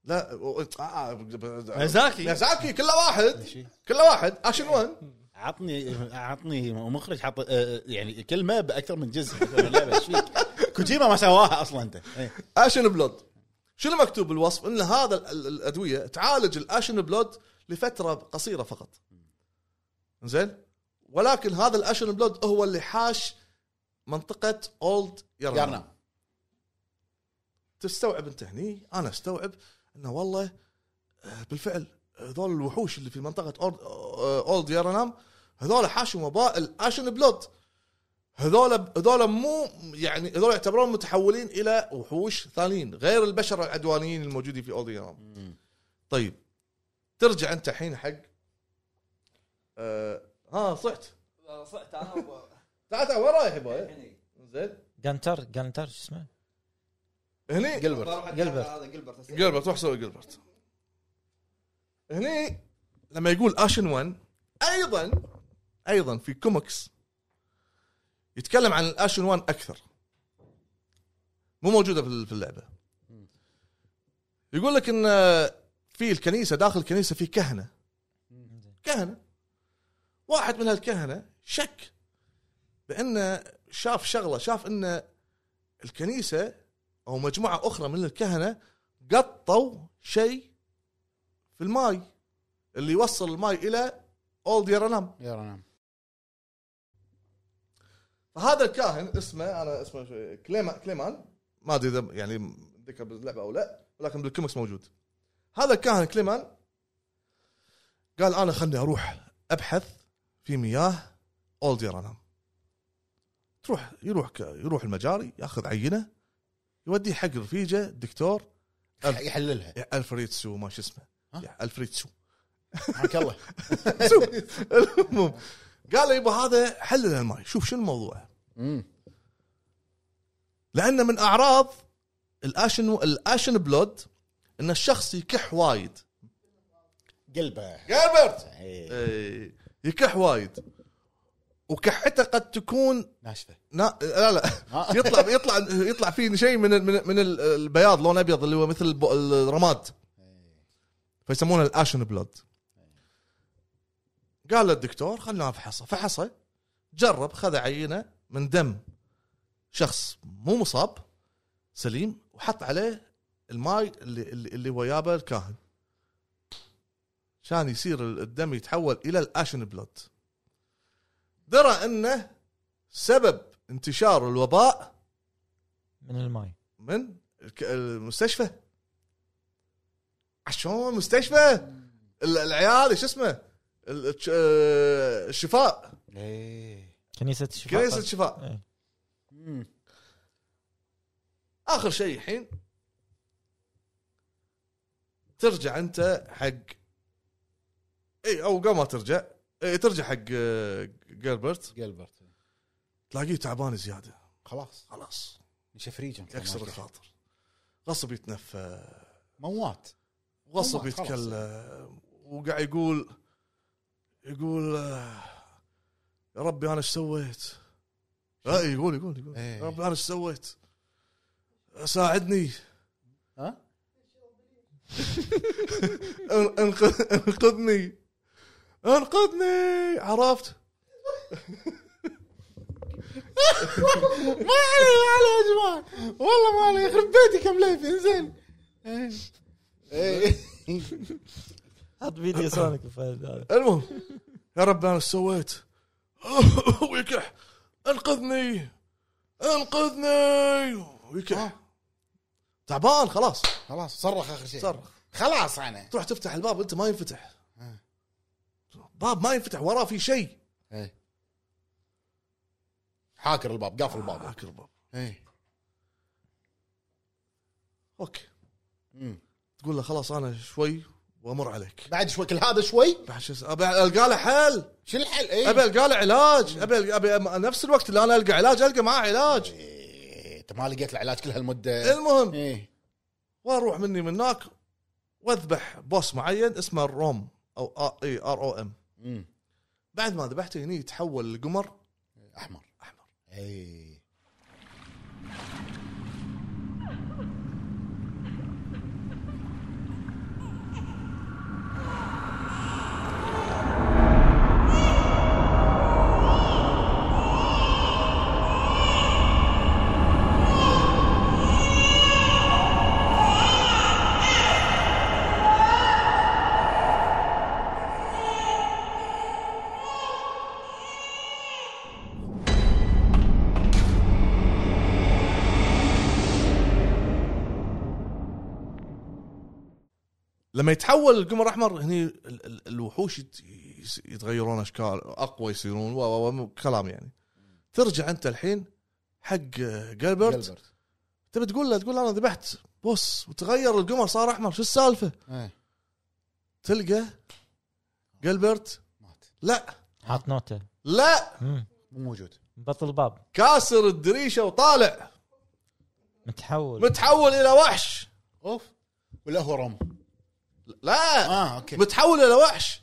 S3: لا و- آه، ب- ب-
S1: ميازاكي
S3: ميازاكي كله واحد كله واحد اشن 1
S2: عطني عطني مخرج حط آه، يعني كلمه باكثر من جزء [LAUGHS] من اللعبة. إيش فيك؟ كوجيما ما سواها اصلا انت إيه.
S3: اشن بلود شنو مكتوب بالوصف ان هذا ال- ال- الادويه تعالج الاشن بلود لفتره قصيره فقط زين ولكن هذا الاشن بلود هو اللي حاش منطقه اولد يرنا
S2: يارنا
S3: تستوعب انت هني انا استوعب انه والله آه، بالفعل هذول الوحوش اللي في منطقه أورد- آه، اولد يارنام هذول حاشوا وباء الاشن بلود هذول هذول مو يعني هذول يعتبرون متحولين الى وحوش ثانيين غير البشر العدوانيين الموجودين في اولد يارنام طيب ترجع انت الحين حق آه ها صحت
S1: صحت انا
S3: تعال تعال وين رايح يبا زين
S4: جنتر جنتر شو اسمه؟
S3: هني
S2: قلبر
S4: قلبرت.
S1: هذا قلبرت
S3: جلبرت روح سوي جلبرت هني لما يقول اشن 1 ايضا ايضا في كوميكس يتكلم عن الاشن 1 اكثر مو موجوده في في اللعبه يقول لك ان في الكنيسه داخل الكنيسه في كهنه كهنه واحد من هالكهنه شك بانه شاف شغله شاف ان الكنيسه او مجموعه اخرى من الكهنه قطوا شيء في الماي اللي يوصل الماي الى اولد يرنام
S2: يارنا
S3: فهذا الكاهن اسمه انا اسمه شو- كليما كليمان ما ادري اذا يعني ذكر باللعبه او لا ولكن بالكوميكس موجود هذا الكاهن كليمان قال انا خلني اروح ابحث في مياه اولد يرانام تروح يروح ك- يروح المجاري ياخذ عينه يوديه حق رفيجه الدكتور ألف-
S2: يحللها
S3: الفريد سو ما شو اسمه
S2: ها؟
S3: الفريد سو
S2: معك الله
S3: سو [LAUGHS] المهم قال له يبا هذا حلل الماي شوف شنو الموضوع
S2: مم.
S3: لان من اعراض الاشن الاشن بلود ان الشخص يكح وايد
S2: قلبه
S3: جالبرت
S2: إيه.
S3: يكح وايد وكحته قد تكون
S2: ناشفه
S3: نا... لا لا
S2: ها؟
S3: يطلع يطلع يطلع فيه شيء من ال- من ال- من ال- البياض لون ابيض اللي هو مثل الب- الرماد فيسمونه الاشن بلود قال له الدكتور خلنا افحصه فحصه جرب خذ عينه من دم شخص مو مصاب سليم وحط عليه الماي اللي اللي اللي هو يابه الكاهن عشان يصير الدم يتحول الى الاشن بلود درى انه سبب انتشار الوباء
S4: من الماي
S3: من الك- المستشفى عشان مستشفى ال- العيال شو اسمه ال- الش- آه، الشفاء
S2: إيه.
S4: كنيسه الشفاء
S3: كنيسه الشفاء
S4: إيه.
S2: مم.
S3: اخر شيء الحين ترجع انت حق اي او قبل ما ترجع اي ترجع حق آه، جيربرت
S2: قلبرت
S3: تلاقيه تعبان زياده
S2: خلاص
S3: خلاص
S2: نشف ريجن
S3: يكسر الخاطر غصب يتنفس
S2: موات
S3: غصب
S2: خلاص.
S3: يتكلم آه، وقاعد يقول يقول آه، يا ربي انا ايش سويت؟ لا يقول يقول يقول
S2: إيه.
S3: يا ربي انا ايش سويت؟ ساعدني
S2: ها
S3: ان- انق- انقذني انقذني عرفت؟
S2: ما علي علي يا جماعه والله ما علي يخرب بيتي كم ليف انزين إيه. إيه.
S4: حط
S3: [LAUGHS]
S4: فيديو سونيك الفهد هذا
S3: المهم يا رب انا ايش سويت؟ [LAUGHS] ويكح انقذني انقذني
S2: آه.
S3: ويكح تعبان خلاص
S2: خلاص صرخ اخر شيء
S3: صرخ
S2: خلاص انا
S3: تروح تفتح الباب انت ما ينفتح
S2: آه.
S3: باب ما ينفتح وراه في شيء
S2: إيه. حاكر الباب قافل الباب
S3: هاك الباب
S2: إيه.
S3: اوكي
S2: مم.
S3: تقول له خلاص انا شوي وامر عليك
S2: بعد شوي كل هذا شوي
S3: بعد شو اسمه- ابي القى له حل
S2: شو الحل إيه. اي
S3: ابي القى له علاج ابي ابي نفس الوقت اللي انا القى علاج القى معاه علاج
S2: إيه، انت ما لقيت العلاج كل هالمده
S3: إيه، المهم
S2: ايه
S3: واروح مني من هناك واذبح بوس معين اسمه الروم او آ- إيه، اي ار او ام
S2: مم.
S3: بعد ما ذبحته هني يتحول لقمر
S2: احمر
S3: احمر
S2: اي
S3: لما يتحول القمر احمر هني ال- ال- الوحوش يت- يس- يتغيرون اشكال اقوى يصيرون و- و و- كلام يعني ترجع انت الحين حق جلبرت
S2: جلبرت.
S3: تبي تقول له تقول له انا ذبحت بوس وتغير القمر صار احمر شو السالفه؟
S2: إيه.
S3: تلقى جلبرت
S2: مات
S3: لا
S4: حاط نوته
S3: لا
S4: مم.
S2: مو موجود
S4: بطل باب
S3: كاسر الدريشه وطالع
S4: متحول
S3: متحول الى وحش
S2: اوف ولا هو رم
S3: لا
S2: اه اوكي
S3: متحول الى وحش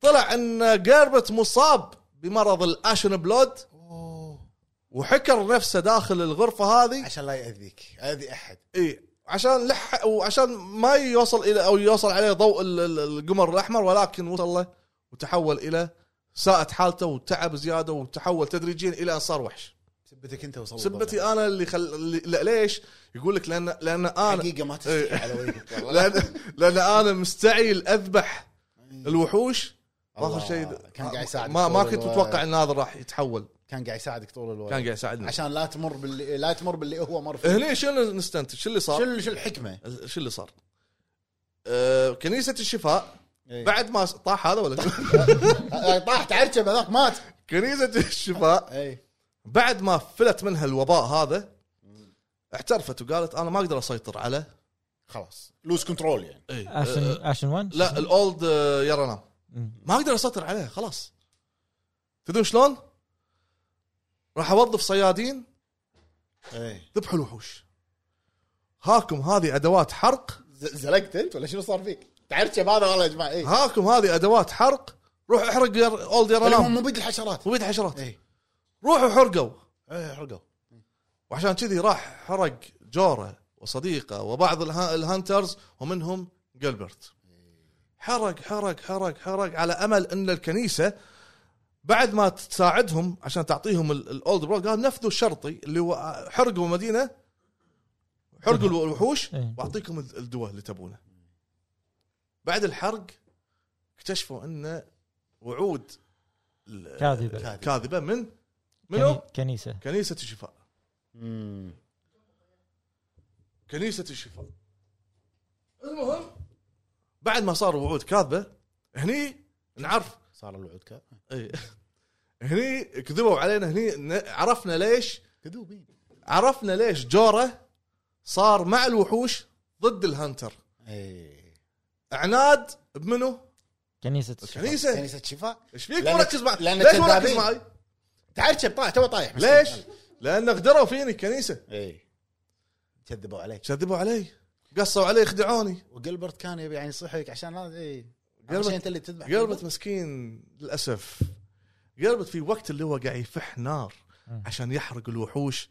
S3: طلع ان جربت مصاب بمرض الاشن بلود
S2: أوه.
S3: وحكر نفسه داخل الغرفه هذه
S2: عشان لا ياذيك اذي احد
S3: اي عشان لح وعشان ما يوصل الى او يوصل عليه ضوء ال- ال- القمر الاحمر ولكن وصل له وتحول الى ساءت حالته وتعب زياده وتحول تدريجيا الى ان صار وحش
S2: سبتك انت وصلت
S3: سبتي انا اللي خل... اللي- لا، ليش يقول لك لان لان انا
S2: حقيقه ما تستحي
S3: إيه.
S2: على
S3: [LAUGHS]
S2: وجهك والله.
S3: لان لان انا مستعجل اذبح الوحوش
S2: إيه. الله.
S3: واخر شيء
S2: كان قاعد يساعدك
S3: ما ما
S2: طول
S3: كنت
S2: الوقت.
S3: متوقع ان هذا راح يتحول
S2: كان قاعد يساعدك طول الوقت
S3: كان إيه، قاعد يساعدني
S2: عشان لا تمر باللي لا تمر باللي هو مر فيه
S3: هني شنو نستنتج شو اللي
S2: شو
S3: صار
S2: ال- شو الحكمه
S3: شو اللي صار أه كنيسه الشفاء
S2: إيه.
S3: بعد ما س- طاح هذا ولا شو؟ [LAUGHS]
S2: آه، طاح تعرجب هذاك مات إيه.
S3: كنيسه الشفاء
S2: اي
S3: بعد ما فلت منها الوباء هذا اعترفت وقالت انا ما اقدر اسيطر على آه،
S2: خلاص لوز كنترول يعني
S4: إيه. اشن اشن 1
S3: لا الاولد آه، يرنام ما اقدر اسيطر عليه خلاص تدرون شلون؟ راح اوظف صيادين
S2: اي
S3: ذبحوا الوحوش هاكم هذه ادوات حرق
S2: ز- زلقت انت ولا شنو صار فيك؟ تعرجب هذا والله يا إيه. جماعه اي
S3: هاكم هذه ادوات حرق روح احرق ير... اولد
S2: اللي هم
S3: يرنام
S2: مبيد الحشرات إيه.
S3: وبيت حشرات
S2: اي
S3: روحوا حرقوا
S2: اي حرقوا
S3: وعشان كذي راح حرق جوره وصديقه وبعض اله... الهانترز ومنهم جلبرت حرق حرق حرق حرق على امل ان الكنيسه بعد ما تساعدهم عشان تعطيهم ال- الاولد برو قال نفذوا الشرطي اللي هو حرقوا المدينه حرقوا الو- الوحوش
S4: إيه.
S3: واعطيكم ال- الدواء اللي تبونه بعد الحرق اكتشفوا ان وعود ال-
S4: كاذبه
S3: كاذبه من منو؟
S4: كني- كنيسه
S3: كنيسه الشفاء
S2: مم.
S3: كنيسة الشفاء المهم بعد ما صار وعود كاذبة هني نعرف
S2: صار الوعود كذا
S3: إيه. هني كذبوا علينا هني ن- عرفنا ليش
S2: كذوبين
S3: عرفنا ليش جوره صار مع الوحوش ضد الهانتر
S2: اي
S3: عناد بمنو؟
S4: كنيسه الشفاء.
S3: الكنيسة
S2: كنيسه شفاء
S3: ايش فيك
S2: لأن-
S3: مركز معي؟
S2: لأن
S3: ليش مركز
S2: كذابين.
S3: معي؟
S2: تعرجب طايح تو طايح مسكين.
S3: ليش؟ لان غدروا فيني الكنيسه
S2: اي كذبوا عليه
S3: كذبوا علي قصوا علي خدعوني
S2: وقلبرت كان يبي يعني يصيحك عشان هذا اي
S3: قلبرت-
S2: عشان انت اللي تذبح
S3: قلبت مسكين للاسف قلبت في وقت اللي هو قاعد يفح نار عشان يحرق الوحوش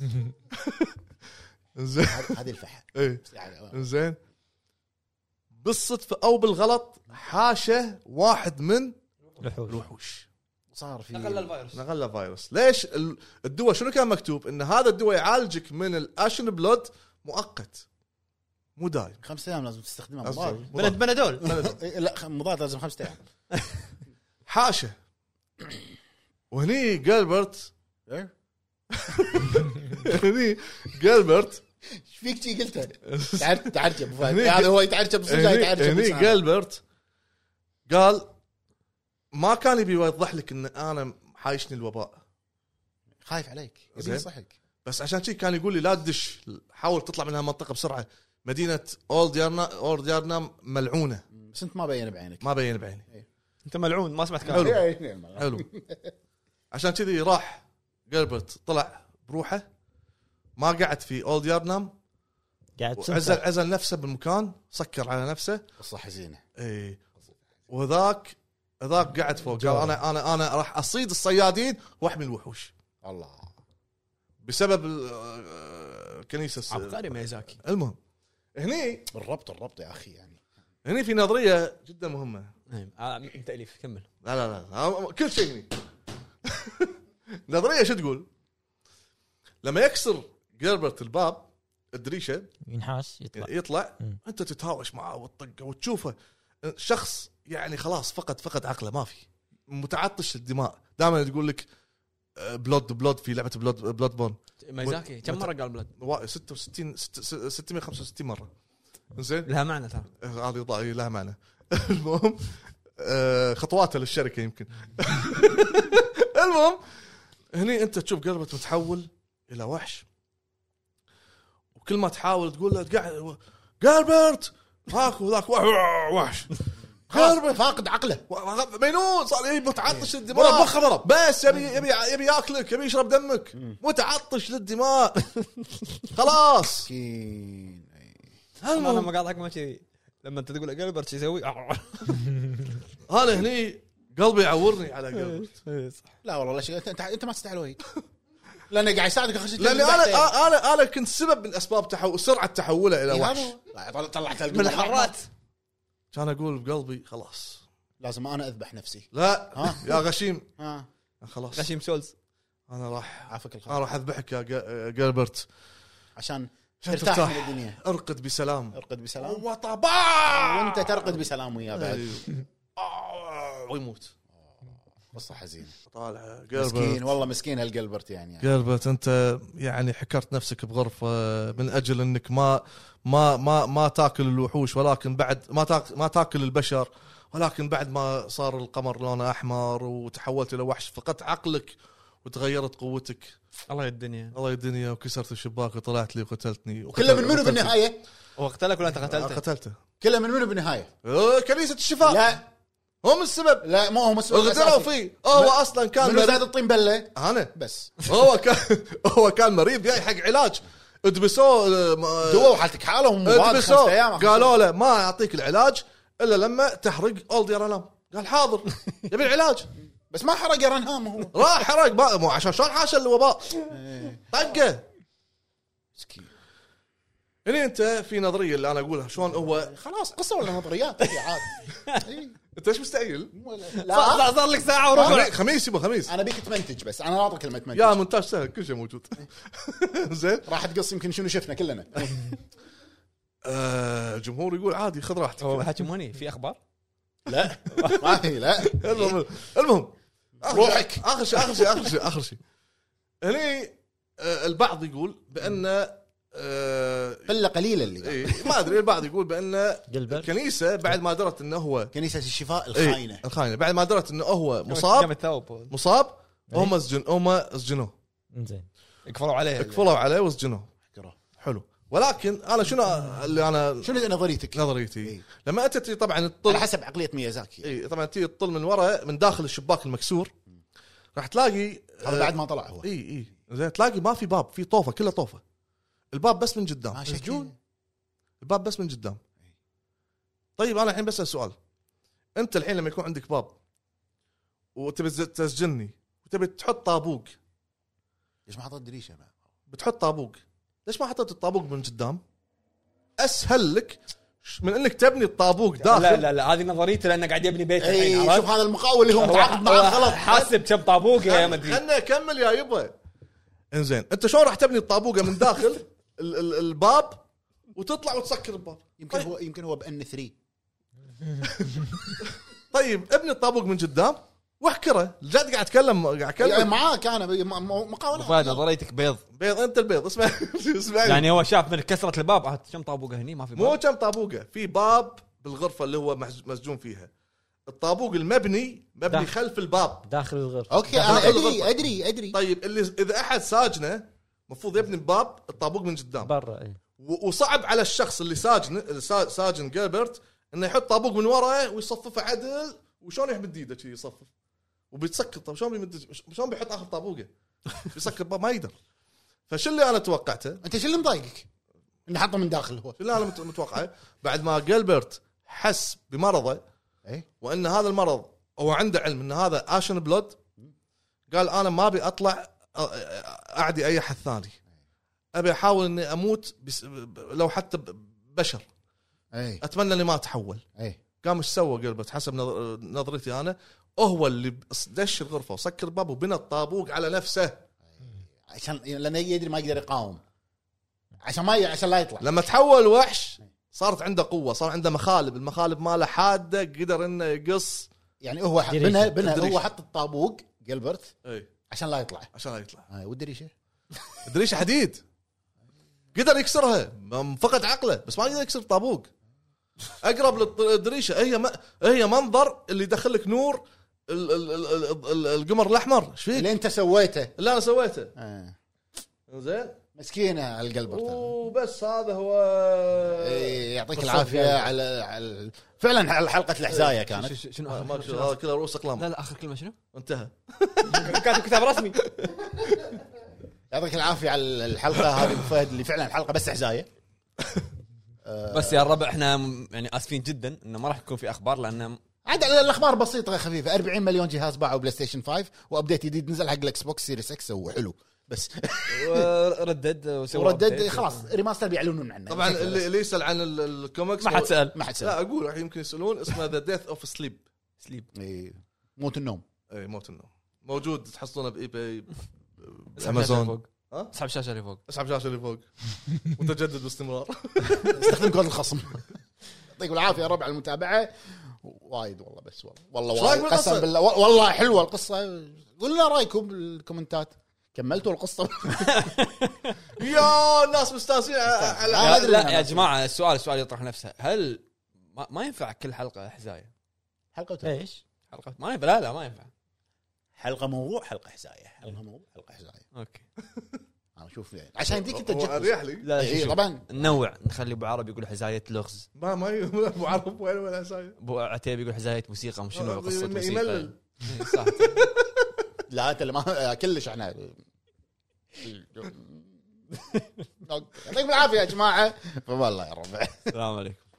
S3: زين
S2: [LAUGHS] هذه- هذه الفحة
S3: ايه
S2: يعني
S3: زين بالصدفه او بالغلط حاشه واحد من
S4: الوحوش
S3: الوحوش
S2: صار في
S1: نقل الفيروس
S3: نغلى فيروس ليش ال- الدواء شنو كان مكتوب ان هذا الدواء يعالجك من الاشن بلود مؤقت مو دايم
S2: خمس ايام لازم تستخدمها
S3: أصلاً.
S2: مضاد
S1: بلد بنادول
S2: إيه، لا خ- مضاد لازم خمس ايام
S3: حاشه وهني جالبرت
S2: إيه؟
S3: هني جالبرت
S2: ايش فيك شي قلته؟ تعال- تعرجب أبو فهد
S3: هني-
S2: هذا هو يتعرجب بصدق
S3: هني
S2: يتعرجب
S3: هني
S2: بصراحة.
S3: جالبرت قال ما كان يبي يوضح لك ان انا حايشني الوباء
S2: خايف عليك يبي
S3: زين.
S2: يصحك
S3: بس عشان شي كان يقول لي لا تدش حاول تطلع من هالمنطقه بسرعه مدينه اولد يارنا اولد يارنا ملعونه
S2: بس انت ما بين بعينك
S3: ما بين بعيني
S6: انت ملعون ما سمعت
S3: حلو.
S6: كلام
S2: إيه، اثنين مرة.
S3: حلو عشان كذي راح جلبرت طلع بروحه ما قعد في اولد يارنام
S4: قاعد
S3: عزل
S4: تسمع
S3: عزل نفسه بالمكان سكر على نفسه
S2: قصة حزينة
S3: اي إيه. وذاك ذاك قعد فوق قال انا انا انا راح اصيد الصيادين واحمي الوحوش
S2: الله
S3: بسبب ال- آه، الكنيسه الس-
S6: عبقري ميزاكي
S3: المهم هني
S2: الربط الربط يا اخي يعني
S3: هني في نظريه جدا مهمه
S6: انت اليف نعم. آه، كمل
S3: لا لا لا أم- كل شيء هني [LAUGHS] نظريه شو تقول؟ لما يكسر جيربرت الباب الدريشه
S4: ينحاش يطلع
S3: يطلع
S4: مم.
S3: انت تتهاوش معاه وتطقه وتشوفه شخص يعني خلاص فقد فقد عقله ما في متعطش الدماء دائما تقول لك آه، بلود بلود في لعبه بلود بلود بون
S6: ميزاكي كم مره قال بلاد
S3: وا- 66 ست- ست- 665 مره زين
S6: لها معنى ترى
S3: هذه يطلع لها معنى [LAUGHS] المهم آه، خطواته للشركه يمكن [LAUGHS] المهم هني انت تشوف قلبك متحول الى وحش وكل ما تحاول تقول له قاعد قلبرت هاك وذاك وح- وحش [LAUGHS]
S2: خلاص، فاقد عقله
S3: و- مجنون صار يبي متعطش
S2: ضرب
S3: للدماء
S2: مخه ضرب
S3: بس يبي يبي يبي ياكلك يبي يشرب دمك متعطش للدماء [LAUGHS] خلاص
S2: مسكين
S1: انا لما قاعد احكم كذي لما انت تقول جلبرت
S6: [LAUGHS]
S1: شو يسوي؟
S3: انا هني قلبي يعورني على قلبي
S2: لا والله لا شيء انت انت- انت ما تستاهل وايد [LAUGHS] لانه قاعد يساعدك اخر شيء
S3: لاني انا انا انا كنت سبب من اسباب تحول سرعه تحوله
S2: إيه،
S3: الى وحش
S2: طلعت
S1: من الحرات
S3: كان اقول بقلبي خلاص
S2: لازم انا اذبح نفسي
S3: لا
S2: ها؟
S3: يا غشيم
S2: ها
S3: خلاص
S1: غشيم سولز
S3: انا راح
S2: عافك
S3: انا
S2: الخير
S3: راح اذبحك يا جا- جلبرت
S2: عشان
S3: عشان
S2: ترتاح
S3: ترتاح.
S2: من الدنيا
S3: ارقد بسلام
S2: ارقد بسلام
S3: وطبع
S2: وانت ترقد بسلام وياه بعد
S3: أيوه. آه، ويموت
S2: قصه حزينه
S3: طالع
S2: مسكين
S3: جلبرت
S2: والله مسكين هالجلبرت يعني, يعني.
S3: جلبرت انت يعني حكرت نفسك بغرفه من اجل انك ما ما ما ما تاكل الوحوش ولكن بعد ما تاكل ما تاكل البشر ولكن بعد ما صار القمر لونه احمر وتحولت الى وحش فقدت عقلك وتغيرت قوتك
S6: الله الدنيا
S3: الله الدنيا وكسرت الشباك وطلعت لي وقتلتني
S2: كله من منو
S3: وقتلت- آه،
S2: بالنهايه؟
S1: وقتلك ولا انت قتلته؟
S3: قتلته
S2: كله من منو بالنهايه؟
S3: آه، كنيسه الشفاء
S2: لا
S3: هم السبب
S2: لا مو هو مسؤول
S3: غدروا
S2: الأساسي.
S3: فيه هو
S2: من-
S3: اصلا كان
S2: منو
S3: مريض.
S2: زاد الطين بله؟
S3: انا
S2: بس
S3: هو كان هو كان مريض جاي حق علاج ادبسوه آه، ما-
S2: دوا وحالتك حالهم ومبارك خمس ايام
S3: ادبسوه قالوا له ما اعطيك العلاج الا لما تحرق اولد يرنام قال
S2: [LAUGHS]
S3: حاضر يبي العلاج
S2: بس ما حرق رنهام هو
S3: راح حرق ما مو عشان شلون حاشه الوباء
S2: إيه.
S3: طقه
S2: مسكين
S3: هني انت في نظريه اللي انا اقولها شلون هو
S2: خلاص قصه ولا نظريات إيه. هي
S3: [LAUGHS]
S2: عادي إي.
S3: انت ايش مستعجل؟
S2: ولا-
S1: صار
S2: لا
S1: صار- صار لك ساعه وربع
S3: خميس- خميس يبا خميس
S2: انا بيك تمنتج بس انا ناطر كلمه تمنتج
S3: يا مونتاج سهل كل شيء موجود [LAUGHS] زين
S2: راح تقص يمكن شنو شفنا كلنا [LAUGHS]
S3: آه، الجمهور يقول عادي خذ
S1: هو
S3: راحتك
S1: حكي هني في اخبار؟
S2: لا ما في لا
S3: المهم المهم آخر شيء-
S2: روحك.
S3: اخر شيء اخر شيء اخر شيء اخر شيء هني آه، البعض يقول بان آه،
S2: قله قليله اللي
S3: إيه، ما ادري البعض يقول بان
S4: جلبر
S3: الكنيسه بعد ما درت انه هو
S2: كنيسه الشفاء
S3: إيه
S2: الخاينه
S3: الخاينه بعد ما درت انه هو
S1: قام
S3: مصاب
S1: الثوب
S3: مصاب هم سجن هم سجنوه
S4: زين
S1: قفلوا عليه
S3: قفلوا عليه وسجنوه حلو ولكن انا شنو اللي انا
S2: شنو نظريتك؟
S3: نظريتي
S2: إيه.
S3: لما انت تجي طبعا
S2: على
S3: تطل
S2: حسب عقليه ميازاكي
S3: اي طبعا تجي تطل من ورا من داخل الشباك المكسور راح تلاقي إيه.
S2: هذا بعد ما طلع هو
S3: اي اي زين تلاقي ما في باب في طوفه كلها طوفه الباب بس من قدام
S1: آه،
S2: ما
S3: مسجون
S2: شكل
S3: الباب بس من قدام طيب انا الحين بسال سؤال انت الحين لما يكون عندك باب وتبي تز- تسجني وتبي تحط طابوق
S2: ليش ما حطيت دريشه بعد؟
S3: بتحط طابوق ليش ما حطيت الطابوق من قدام؟ اسهل لك ش- من انك تبني الطابوق داخل
S1: لا لا لا هذه نظريته لانه قاعد يبني
S3: إيه،
S1: بيت الحين
S2: اي إيه، شوف
S1: عرفت؟
S2: هذا المقاول اللي هو
S1: هو-
S2: متعاقد معاه
S1: هو
S2: غلط
S1: حاسب كم طابوق يا ما ادري
S3: خلنا اكمل يا يبا انزين انت شلون راح تبني الطابوقه من داخل ال- ال- الباب وتطلع وتسكر الباب
S2: يمكن هو يمكن هو بان 3
S3: طيب ابني الطابوق من قدام واحكره جد قاعد اتكلم قاعد
S2: يعني
S3: اتكلم
S2: معاك انا بي- م- م- مقاولات
S1: فهد نظريتك بيض
S3: بيض انت البيض اسمع [LAUGHS] اسمعني يعني
S6: يعني هو شاف من كسره الباب آه، كم طابوقه هني ما في
S3: مو
S6: باب
S3: كم طابوقه في باب بالغرفه اللي هو محز- مسجون فيها الطابوق المبني مبني
S4: داخل.
S3: خلف الباب
S4: داخل الغرفه
S2: اوكي انا
S3: داخل
S2: ادري
S3: الغرفة.
S2: ادري ادري
S3: طيب اللي اذا احد ساجنه المفروض يبني باب الطابوق من قدام
S4: برا إيه. اي
S3: و- وصعب على الشخص اللي ساجن اللي سا- ساجن جيلبرت انه يحط طابوق من ورا ويصففه عدل وشلون يمد ايده كذي يصفف وبيتسكر طب شلون بيمد شلون بيحط اخر طابوقه بيسكر باب ما يقدر فش اللي انا توقعته
S2: انت شو اللي مضايقك؟ انه حطه من داخل هو
S3: شو اللي انا مت- متوقعه بعد ما جيلبرت حس بمرضه
S2: إيه.
S3: وان هذا المرض هو عنده علم ان هذا اشن بلود قال انا ما ابي اطلع أ- أ- اعدي اي احد ثاني ابي احاول اني اموت بس ب- لو حتى ب- بشر
S2: اي
S3: اتمنى اني ما اتحول
S2: اي
S3: قام ايش سوى قلبت حسب نظر- نظرتي انا هو اللي دش الغرفه وسكر الباب وبنى الطابوق على نفسه
S2: عشان لانه يدري ما يقدر يقاوم عشان ما ي... عشان لا يطلع
S3: لما تحول وحش صارت عنده قوه صار عنده مخالب المخالب ماله حاده قدر انه يقص
S2: يعني هو ح-
S4: دريشة.
S2: بنها بنها
S3: دريشة.
S2: هو حط الطابوق جلبرت
S3: اي
S2: عشان لا يطلع
S3: عشان لا يطلع
S2: هاي والدريشه
S3: دريشه حديد قدر يكسرها م- فقد عقله بس ما يقدر يكسر طابوق اقرب للدريشه هي ما هي منظر اللي يدخل لك نور ال- ال- ال- ال- ال- القمر الاحمر ايش فيك؟
S2: اللي انت سويته
S3: اللي انا سويته
S2: آه.
S3: زين
S2: مسكينه على الجلبرت
S3: وبس هذا هو
S2: إيه، يعطيك
S3: قصة
S2: العافيه
S3: يعني.
S2: على, على فعلا على حلقه العزايه كانت
S6: شو- شو- شنو
S3: آه، ما
S6: آخر-
S3: شاء
S6: شنو
S3: الله، هذا
S6: آخر-
S3: كله رؤوس
S6: لا
S3: اقلام
S6: لا اخر كلمه شنو؟
S3: انتهى
S1: كاتب كتاب رسمي
S2: يعطيك العافيه على الحلقه هذه أبو فهد اللي فعلا حلقه بس عزايه
S6: بس يا الربع احنا م- يعني اسفين جدا انه ما راح يكون في اخبار لان
S2: عاد الاخبار بسيطه خفيفه 40 مليون جهاز باعوا بلاي ستيشن 5 وابديت جديد نزل حق الاكس بوكس سيريس اكس هو حلو بس
S6: ردد وسوى
S2: وردد
S6: update.
S2: إيه، خلاص ريماستر بيعلنون عنه
S3: طبعا اللي اللي يسال عن ال- الكوميكس
S6: ما حد سال
S2: ما حد سأل.
S3: لا اقول راح يمكن يسالون اسمه ذا ديث اوف سليب
S6: سليب
S2: إيه، موت النوم
S3: اي إيه، موت النوم موجود تحصلونه باي باي
S6: اسحب الشاشة اللي فوق.
S3: ها؟
S6: اسحب الشاشه اللي فوق
S3: اسحب شاشه اللي فوق متجدد باستمرار
S6: [LAUGHS]
S2: استخدم كود الخصم [LAUGHS] يعطيكم العافيه يا ربع على المتابعه وايد والله بس والله والله
S3: إيش
S2: وايد
S3: رأيك بالقصة؟
S2: قسم بالله وال- والله حلوه القصه قول لنا رايكم بالكومنتات كملتوا القصه [LAUGHS]
S3: يا الناس مستانسين على- على-
S2: لا،
S3: على
S2: أدري
S6: لا
S2: منها
S6: يا
S2: بس.
S6: جماعه السؤال السؤال يطرح نفسه هل ما, ما ينفع كل حلقه حزايه
S2: حلقه وتلاتة.
S4: ايش؟
S6: حلقه ما ينفع لا لا ما ينفع
S2: حلقه موضوع حلقه حزايه حلقه موضوع حلقه حزايه
S6: اوكي
S2: انا اشوف إيه. يعني عشان يديك انت
S3: هو
S2: تجهز
S3: اريح لي
S6: لا
S2: إيه، طبعا
S6: ننوع نخلي ابو عرب يقول حزايه لغز
S3: ما ما ي- [LAUGHS] ابو عرب وين ولا سايد
S6: ابو عتيب يقول حزايه موسيقى مش
S2: آه،
S6: شنو قصه
S3: يملل.
S6: موسيقى إيه، صح.
S2: لا انت اللي ما كلش [LAUGHS] احنا يعطيكم العافيه يا جماعه فوالله يا ربع [LAUGHS]
S6: السلام عليكم